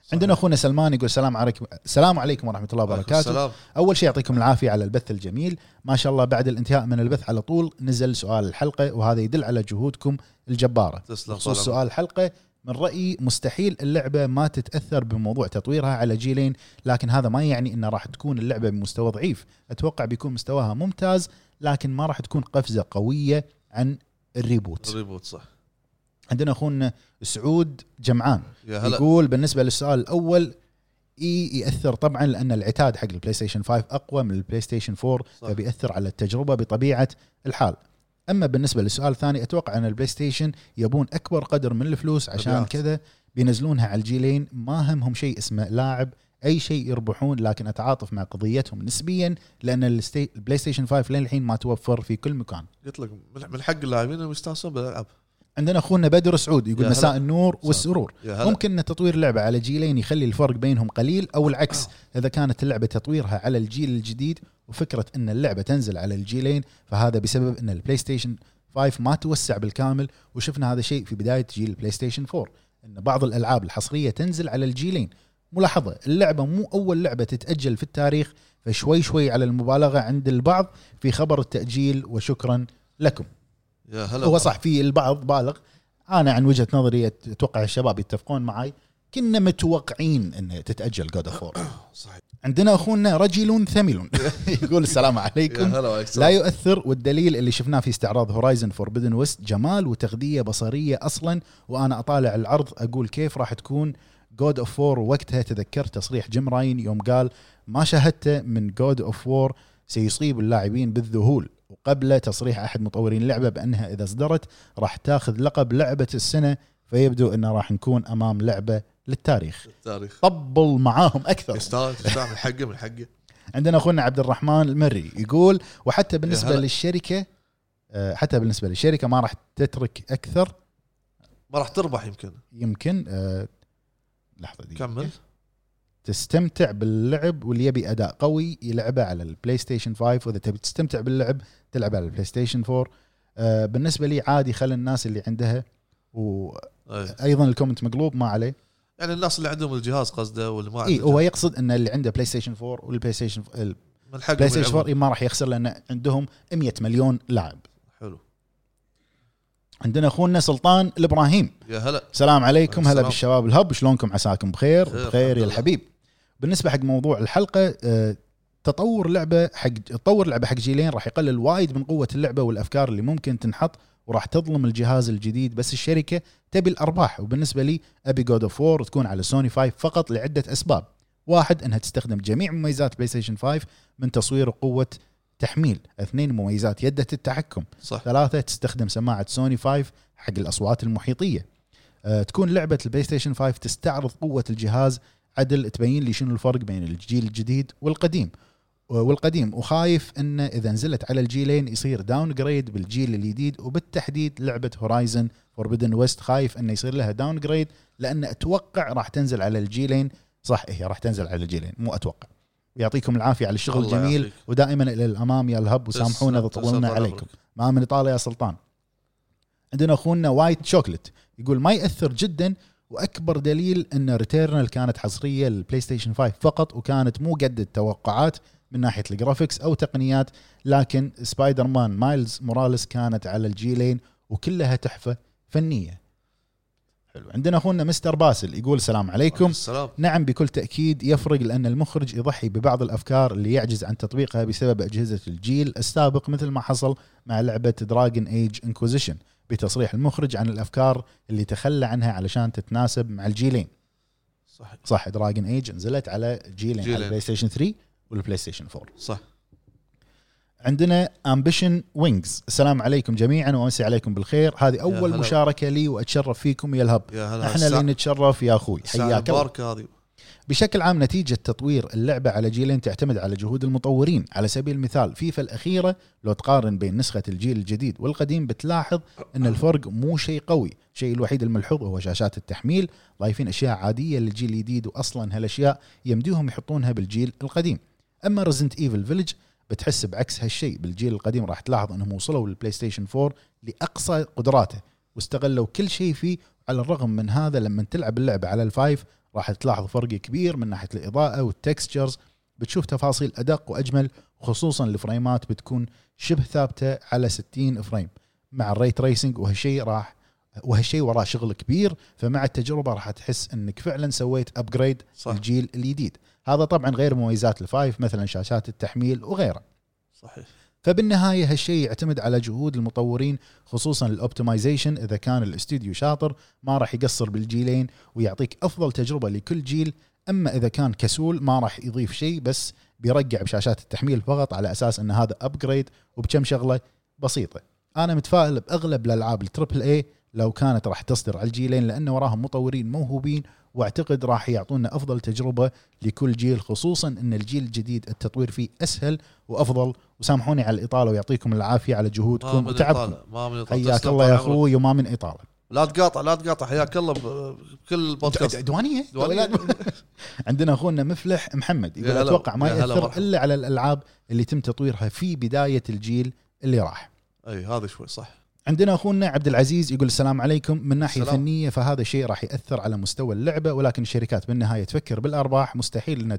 صحيح. عندنا اخونا سلمان يقول السلام عليكم السلام عليكم ورحمه الله عليكم وبركاته السلام اول شيء يعطيكم العافيه على البث الجميل ما شاء الله بعد الانتهاء من البث على طول نزل سؤال الحلقه وهذا يدل على جهودكم الجباره تسلم بخصوص طال عمرك. سؤال الحلقه من رايي مستحيل اللعبه ما تتاثر بموضوع تطويرها على جيلين لكن هذا ما يعني انه راح تكون اللعبه بمستوى ضعيف اتوقع بيكون مستواها ممتاز لكن ما راح تكون قفزه قويه عن الريبوت ريبوت صح عندنا اخونا سعود جمعان يا هلا يقول بالنسبه للسؤال الاول اي ياثر طبعا لان العتاد حق البلاي ستيشن 5 اقوى من البلاي ستيشن 4 صح. فبياثر على التجربه بطبيعه الحال اما بالنسبه للسؤال الثاني اتوقع ان البلاي ستيشن يبون اكبر قدر من الفلوس عشان مبيعات. كذا بينزلونها على الجيلين ما همهم شيء اسمه لاعب اي شيء يربحون لكن اتعاطف مع قضيتهم نسبيا لان الستي- البلاي ستيشن 5 لين الحين ما توفر في كل مكان قلت لك من من حق اللاعبين انهم يستانسون بالالعاب عندنا اخونا بدر سعود يقول يا هلا. مساء النور مساء. والسرور يا هلا ممكن ان تطوير لعبه على جيلين يخلي الفرق بينهم قليل او العكس اذا كانت اللعبه تطويرها على الجيل الجديد وفكره ان اللعبه تنزل على الجيلين فهذا بسبب ان البلاي ستيشن 5 ما توسع بالكامل وشفنا هذا الشيء في بدايه جيل البلاي ستيشن 4 ان بعض الالعاب الحصريه تنزل على الجيلين ملاحظه اللعبه مو اول لعبه تتاجل في التاريخ فشوي شوي على المبالغه عند البعض في خبر التاجيل وشكرا لكم يا هلا هو صح في البعض بالغ انا عن وجهه نظري اتوقع الشباب يتفقون معي كنا متوقعين انه تتاجل جود اوف صحيح عندنا اخونا رجل ثمل يقول السلام يا عليكم هلا لا وسهلا. يؤثر والدليل اللي شفناه في استعراض هورايزن فوربدن ويست جمال وتغذيه بصريه اصلا وانا اطالع العرض اقول كيف راح تكون جود اوف وور وقتها تذكرت تصريح جيم راين يوم قال ما شاهدته من جود اوف وور سيصيب اللاعبين بالذهول وقبل تصريح احد مطورين اللعبه بانها اذا اصدرت راح تاخذ لقب لعبه السنه فيبدو انه راح نكون امام لعبه للتاريخ التاريخ طبل معاهم اكثر يستاهل يستاهل من حقه من حقه عندنا اخونا عبد الرحمن المري يقول وحتى بالنسبه هلا. للشركه آه، حتى بالنسبه للشركه ما راح تترك اكثر ما راح تربح يمكن يمكن آه، لحظه دي كمل تستمتع باللعب واللي يبي اداء قوي يلعبه على البلاي ستيشن 5 واذا تبي تستمتع باللعب تلعب على البلاي ستيشن 4 آه، بالنسبه لي عادي خلي الناس اللي عندها وايضا أي. الكومنت مقلوب ما عليه إيه. يعني الناس اللي عندهم الجهاز قصده واللي ما اي عنده إيه، هو يقصد ان اللي عنده بلاي ستيشن 4 والبلاي ستيشن من حقهم البلاي ستيشن يلعبون. 4 ما راح يخسر لان عندهم 100 مليون لاعب حلو عندنا اخونا سلطان الابراهيم يا هلا سلام عليكم هلا السلام. بالشباب الهب شلونكم عساكم بخير بخير، بخير الحمد يا لله. الحبيب بالنسبه حق موضوع الحلقه آه، تطور لعبه حق تطور لعبه حق جيلين راح يقلل وايد من قوه اللعبه والافكار اللي ممكن تنحط وراح تظلم الجهاز الجديد بس الشركه تبي الارباح وبالنسبه لي ابي جود اوف وور تكون على سوني 5 فقط لعده اسباب واحد انها تستخدم جميع مميزات بلاي ستيشن 5 من تصوير وقوه تحميل اثنين مميزات يده التحكم صح ثلاثة تستخدم سماعة سوني 5 حق الأصوات المحيطية أه تكون لعبة البلاي ستيشن 5 تستعرض قوة الجهاز عدل تبين لي شنو الفرق بين الجيل الجديد والقديم آه، والقديم وخايف انه اذا نزلت على الجيلين يصير داون جريد بالجيل الجديد وبالتحديد لعبه هورايزن فوربدن ويست خايف انه يصير لها داون جريد لان اتوقع راح تنزل على الجيلين صح هي راح تنزل على الجيلين مو اتوقع يعطيكم العافيه على الشغل الله الجميل يعافيك. ودائما الى الامام يا الهب وسامحونا اذا تسلم، تسلم، طولنا طال عليكم عمرك. ما من ايطاليا يا سلطان عندنا اخونا وايت شوكلت يقول ما ياثر جدا واكبر دليل ان ريتيرنال كانت حصريه للبلاي ستيشن 5 فقط وكانت مو قد التوقعات من ناحيه الجرافكس او تقنيات لكن سبايدر مان مايلز موراليس كانت على الجيلين وكلها تحفه فنيه. حلو عندنا اخونا مستر باسل يقول السلام عليكم السلام نعم بكل تأكيد يفرق لأن المخرج يضحي ببعض الأفكار اللي يعجز عن تطبيقها بسبب أجهزة الجيل السابق مثل ما حصل مع لعبة دراجن ايج انكوزيشن بتصريح المخرج عن الأفكار اللي تخلى عنها علشان تتناسب مع الجيلين صح صح دراجن ايج نزلت على جيلين, جيلين. جيلين. على البلاي ستيشن 3 والبلاي ستيشن 4 صح عندنا امبيشن وينجز السلام عليكم جميعا وامسي عليكم بالخير هذه اول هلا. مشاركه لي واتشرف فيكم يا الهب يا هلا احنا اللي نتشرف يا اخوي حياك حياك الله المباركه هذه بشكل عام نتيجة تطوير اللعبة على جيلين تعتمد على جهود المطورين على سبيل المثال فيفا الأخيرة لو تقارن بين نسخة الجيل الجديد والقديم بتلاحظ أن الفرق مو شيء قوي الشيء الوحيد الملحوظ هو شاشات التحميل ضايفين أشياء عادية للجيل الجديد وأصلا هالأشياء يمديهم يحطونها بالجيل القديم أما ريزنت ايفل فيلج بتحس بعكس هالشيء بالجيل القديم راح تلاحظ أنهم وصلوا للبلاي ستيشن 4 لأقصى قدراته واستغلوا كل شيء فيه على الرغم من هذا لما تلعب اللعبة على الفايف راح تلاحظ فرق كبير من ناحيه الاضاءه والتكستشرز بتشوف تفاصيل ادق واجمل خصوصا الفريمات بتكون شبه ثابته على 60 فريم مع الري تريسنج وهالشيء راح وهالشيء وراه شغل كبير فمع التجربه راح تحس انك فعلا سويت ابجريد صح الجيل الجديد هذا طبعا غير مميزات الفايف مثلا شاشات التحميل وغيره صحيح فبالنهايه هالشيء يعتمد على جهود المطورين خصوصا الاوبتمايزيشن اذا كان الاستوديو شاطر ما راح يقصر بالجيلين ويعطيك افضل تجربه لكل جيل اما اذا كان كسول ما راح يضيف شيء بس بيرقع بشاشات التحميل فقط على اساس ان هذا ابجريد وبكم شغله بسيطه انا متفائل باغلب الالعاب التربل اي لو كانت راح تصدر على الجيلين لان وراهم مطورين موهوبين واعتقد راح يعطونا افضل تجربه لكل جيل خصوصا ان الجيل الجديد التطوير فيه اسهل وافضل وسامحوني على الاطاله ويعطيكم العافيه على ما جهودكم من وتعبكم إطالة، ما من إطالة. حياك تسلم الله يا طال عمرك. اخوي وما من اطاله لا تقاطع لا تقاطع حياك الله ب- بكل بودكاست دوانيه دوانية. عندنا اخونا مفلح محمد يقول يا هلا. اتوقع ما يا هلا ياثر مرحبا. الا على الالعاب اللي تم تطويرها في بدايه الجيل اللي راح اي هذا شوي صح عندنا اخونا عبد العزيز يقول السلام عليكم من ناحيه السلام. فنيه فهذا الشيء راح ياثر على مستوى اللعبه ولكن الشركات بالنهايه تفكر بالارباح مستحيل انها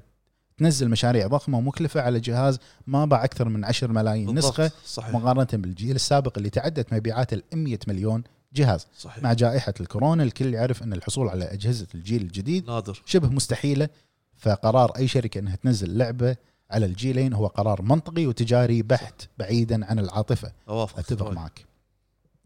تنزل مشاريع ضخمه ومكلفه على جهاز ما باع اكثر من 10 ملايين بالضبط. نسخه صحيح مقارنه بالجيل السابق اللي تعدت مبيعات ال 100 مليون جهاز صحيح مع جائحه الكورونا الكل يعرف ان الحصول على اجهزه الجيل الجديد نادر شبه مستحيله فقرار اي شركه انها تنزل لعبه على الجيلين هو قرار منطقي وتجاري بحت بعيدا عن العاطفه اوافق اتفق وايد. معك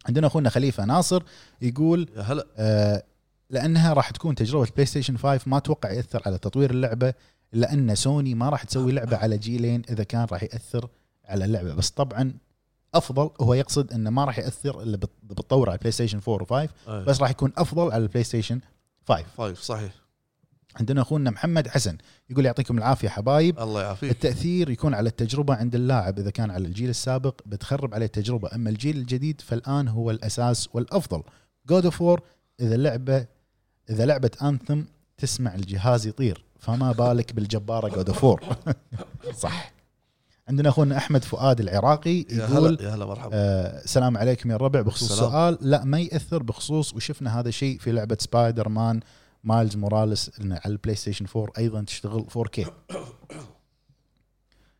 عندنا اخونا خليفه ناصر يقول يا هلا آه لانها راح تكون تجربه بلاي ستيشن 5 ما اتوقع ياثر على تطوير اللعبه لان سوني ما راح تسوي لعبه على جيلين اذا كان راح ياثر على اللعبه بس طبعا افضل هو يقصد انه ما راح ياثر الا بت- بالتطور على بلاي ستيشن 4 و5 أي. بس راح يكون افضل على البلاي ستيشن 5 فايف صحيح عندنا اخونا محمد حسن يقول يعطيكم العافيه حبايب الله يعافيك التاثير يكون على التجربه عند اللاعب اذا كان على الجيل السابق بتخرب عليه التجربه اما الجيل الجديد فالان هو الاساس والافضل جود اوف وور اذا لعبه اذا لعبه انثم تسمع الجهاز يطير فما بالك بالجباره جود اوف وور صح عندنا اخونا احمد فؤاد العراقي يا يقول هلا يا هلا مرحبا آه، سلام عليكم يا الربع بخصوص السلام. السؤال لا ما ياثر بخصوص وشفنا هذا الشيء في لعبه سبايدر مان مايلز موراليس إنه على البلاي ستيشن 4 ايضا تشتغل 4K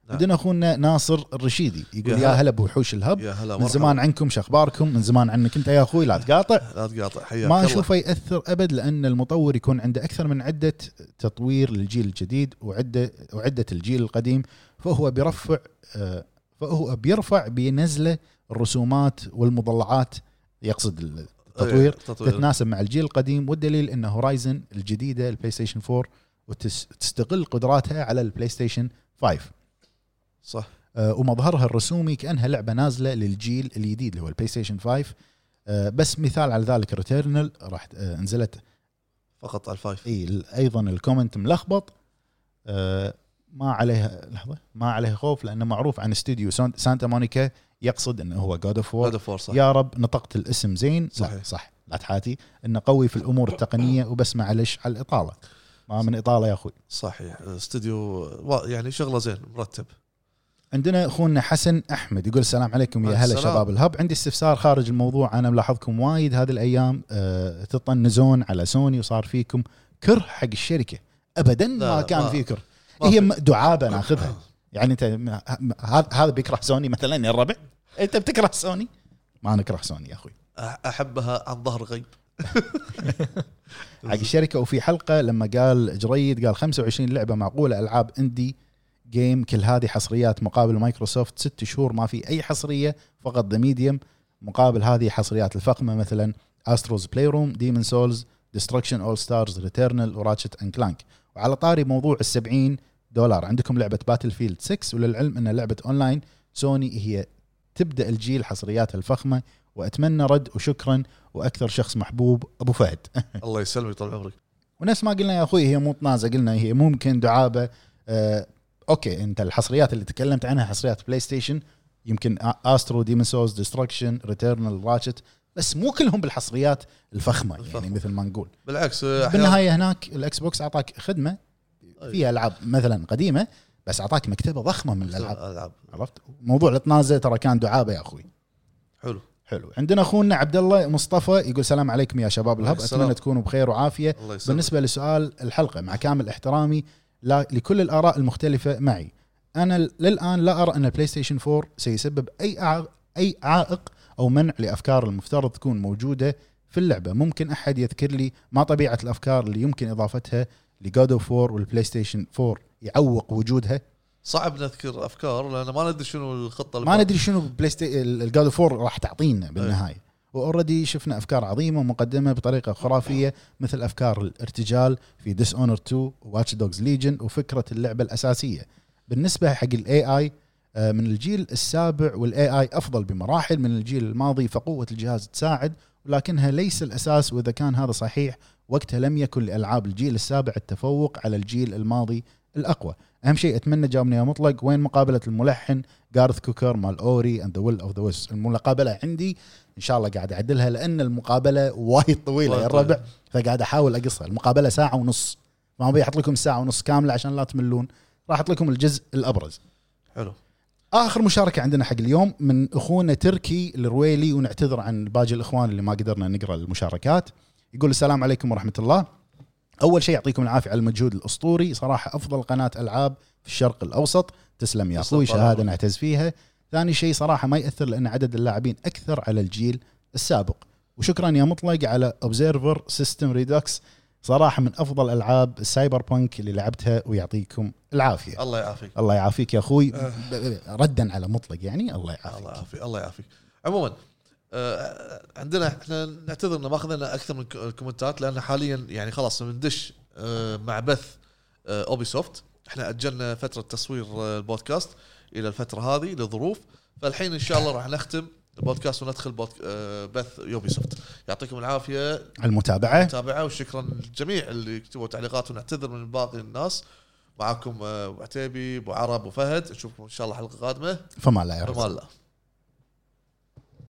عندنا اخونا ناصر الرشيدي يقول يا يا هلا. هلا بوحوش الهب يا هلا من زمان عنكم شخباركم من زمان عنك انت يا اخوي لا تقاطع لا تقاطع حياك ما الله. اشوفه ياثر ابد لان المطور يكون عنده اكثر من عده تطوير للجيل الجديد وعده وعده الجيل القديم فهو بيرفع آه، فهو بيرفع بنزله الرسومات والمضلعات يقصد التطوير إيه، تطوير تتناسب مع الجيل القديم والدليل ان هورايزن الجديده البلاي ستيشن 4 وتستغل قدراتها على البلاي ستيشن 5 صح آه، ومظهرها الرسومي كانها لعبه نازله للجيل الجديد اللي هو البلاي ستيشن 5 آه، بس مثال على ذلك ريتيرنال راح آه، نزلت فقط على الفايف اي ال- ايضا الكومنت ملخبط آه، ما عليها لحظه ما عليها خوف لانه معروف عن استوديو سان- سانتا مونيكا يقصد انه هو جود اوف وور هذا فور صح يا رب نطقت الاسم زين لا صحيح. صح لا تحاتي انه قوي في الامور التقنيه وبس معلش على الاطاله ما من اطاله يا اخوي صحيح استوديو وا- يعني شغله زين مرتب عندنا اخونا حسن احمد يقول السلام عليكم يا هلا السلام. شباب الهب عندي استفسار خارج الموضوع انا ملاحظكم وايد هذه الايام أه تطنزون على سوني وصار فيكم كره حق الشركه ابدا ما لا، كان ما- في كره ما إيه، هي في. م- دعابه ناخذها آه. يعني انت م- ه- هذا هذا بيكره سوني مثلا يا الربع انت بتكره سوني ما نكره سوني يا اخوي أح- احبها عن ظهر غيب حق الشركه وفي حلقه لما قال جريد قال 25 لعبه معقوله العاب اندي جيم كل هذه حصريات مقابل مايكروسوفت ست شهور ما في اي حصريه فقط ذا ميديوم مقابل هذه حصريات الفقمه مثلا استروز بلاي روم ديمون سولز ديستركشن اول ستارز ريتيرنال وراتشت اند كلانك وعلى طاري موضوع ال 70 دولار عندكم لعبه باتل فيلد 6 وللعلم ان لعبه اونلاين سوني هي تبدا الجيل حصرياتها الفخمه واتمنى رد وشكرا واكثر شخص محبوب ابو فهد الله يسلمك طال عمرك ونفس ما قلنا يا اخوي هي مو طنازه قلنا هي ممكن دعابه آه اوكي انت الحصريات اللي تكلمت عنها حصريات بلاي ستيشن يمكن آ- استرو ديمون سوز ديستركشن ريتيرنال راتشت بس مو كلهم بالحصريات الفخمه يعني الفخمة. مثل ما نقول بالعكس أحيانا- أيوة. بالنهايه هناك الاكس بوكس اعطاك خدمه فيها العاب مثلا قديمه بس اعطاك مكتبه ضخمه من الالعاب العاب عرفت موضوع الطنازه ترى كان دعابه يا اخوي حلو حلو عندنا اخونا عبد الله مصطفى يقول السلام عليكم يا شباب الهب السلام. اتمنى تكونوا بخير وعافيه الله يسلمك بالنسبه لسؤال الحلقه مع كامل احترامي لا لكل الاراء المختلفه معي انا ل- للان لا ارى ان البلاي ستيشن 4 سيسبب اي أع- اي عائق او منع لافكار المفترض تكون موجوده في اللعبه ممكن احد يذكر لي ما طبيعه الافكار اللي يمكن اضافتها لجود اوف 4 والبلاي ستيشن 4 يعوق وجودها صعب نذكر افكار لان ما ندري شنو الخطه اللي ما ندري شنو بلاي الجاد اوف 4 راح تعطينا بالنهايه واوريدي شفنا افكار عظيمه مقدمه بطريقه خرافيه مثل افكار الارتجال في ديس اونر 2 واتش دوجز ليجن وفكره اللعبه الاساسيه بالنسبه حق الاي اي آه، من الجيل السابع والاي اي افضل بمراحل من الجيل الماضي فقوه الجهاز تساعد ولكنها ليس الاساس واذا كان هذا صحيح وقتها لم يكن لالعاب الجيل السابع التفوق على الجيل الماضي الاقوى اهم شيء اتمنى جاوبني يا مطلق وين مقابله الملحن جارث كوكر مال اوري اند ذا ويل اوف ذا ويست المقابله عندي ان شاء الله قاعد اعدلها لان المقابله وايد طويله يا وايد الربع فقاعد احاول اقصها المقابله ساعه ونص ما بيحط لكم ساعه ونص كامله عشان لا تملون راح احط لكم الجزء الابرز حلو اخر مشاركه عندنا حق اليوم من اخونا تركي الرويلي ونعتذر عن باقي الاخوان اللي ما قدرنا نقرا المشاركات يقول السلام عليكم ورحمه الله اول شيء يعطيكم العافيه على المجهود الاسطوري صراحه افضل قناه العاب في الشرق الاوسط تسلم يا تسلم اخوي طبعاً. شهاده نعتز فيها ثاني شيء صراحه ما ياثر لان عدد اللاعبين اكثر على الجيل السابق وشكرا يا مطلق على اوبزيرفر سيستم ريدوكس صراحه من افضل العاب السايبر بانك اللي لعبتها ويعطيكم العافيه الله يعافيك الله يعافيك يا اخوي ردا على مطلق يعني الله آه، الله يعافيك يعافيك الله يعافيك عموما آه، عندنا احنا نعتذر ان ما اخذنا اكثر من ك- الكومنتات لان حاليا يعني خلاص بندش آه، مع بث آه، اوبي سوفت احنا اجلنا فتره تصوير آه، البودكاست الى الفتره هذه لظروف فالحين ان شاء الله راح نختم البودكاست وندخل بودك... آه، بث يوبي سوفت يعطيكم العافيه على المتابعه متابعه وشكرا للجميع اللي كتبوا تعليقات ونعتذر من باقي الناس معاكم آه، ابو عتيبي ابو عرب وفهد نشوفكم ان شاء الله الحلقه القادمه فما لا يرضى رمال الله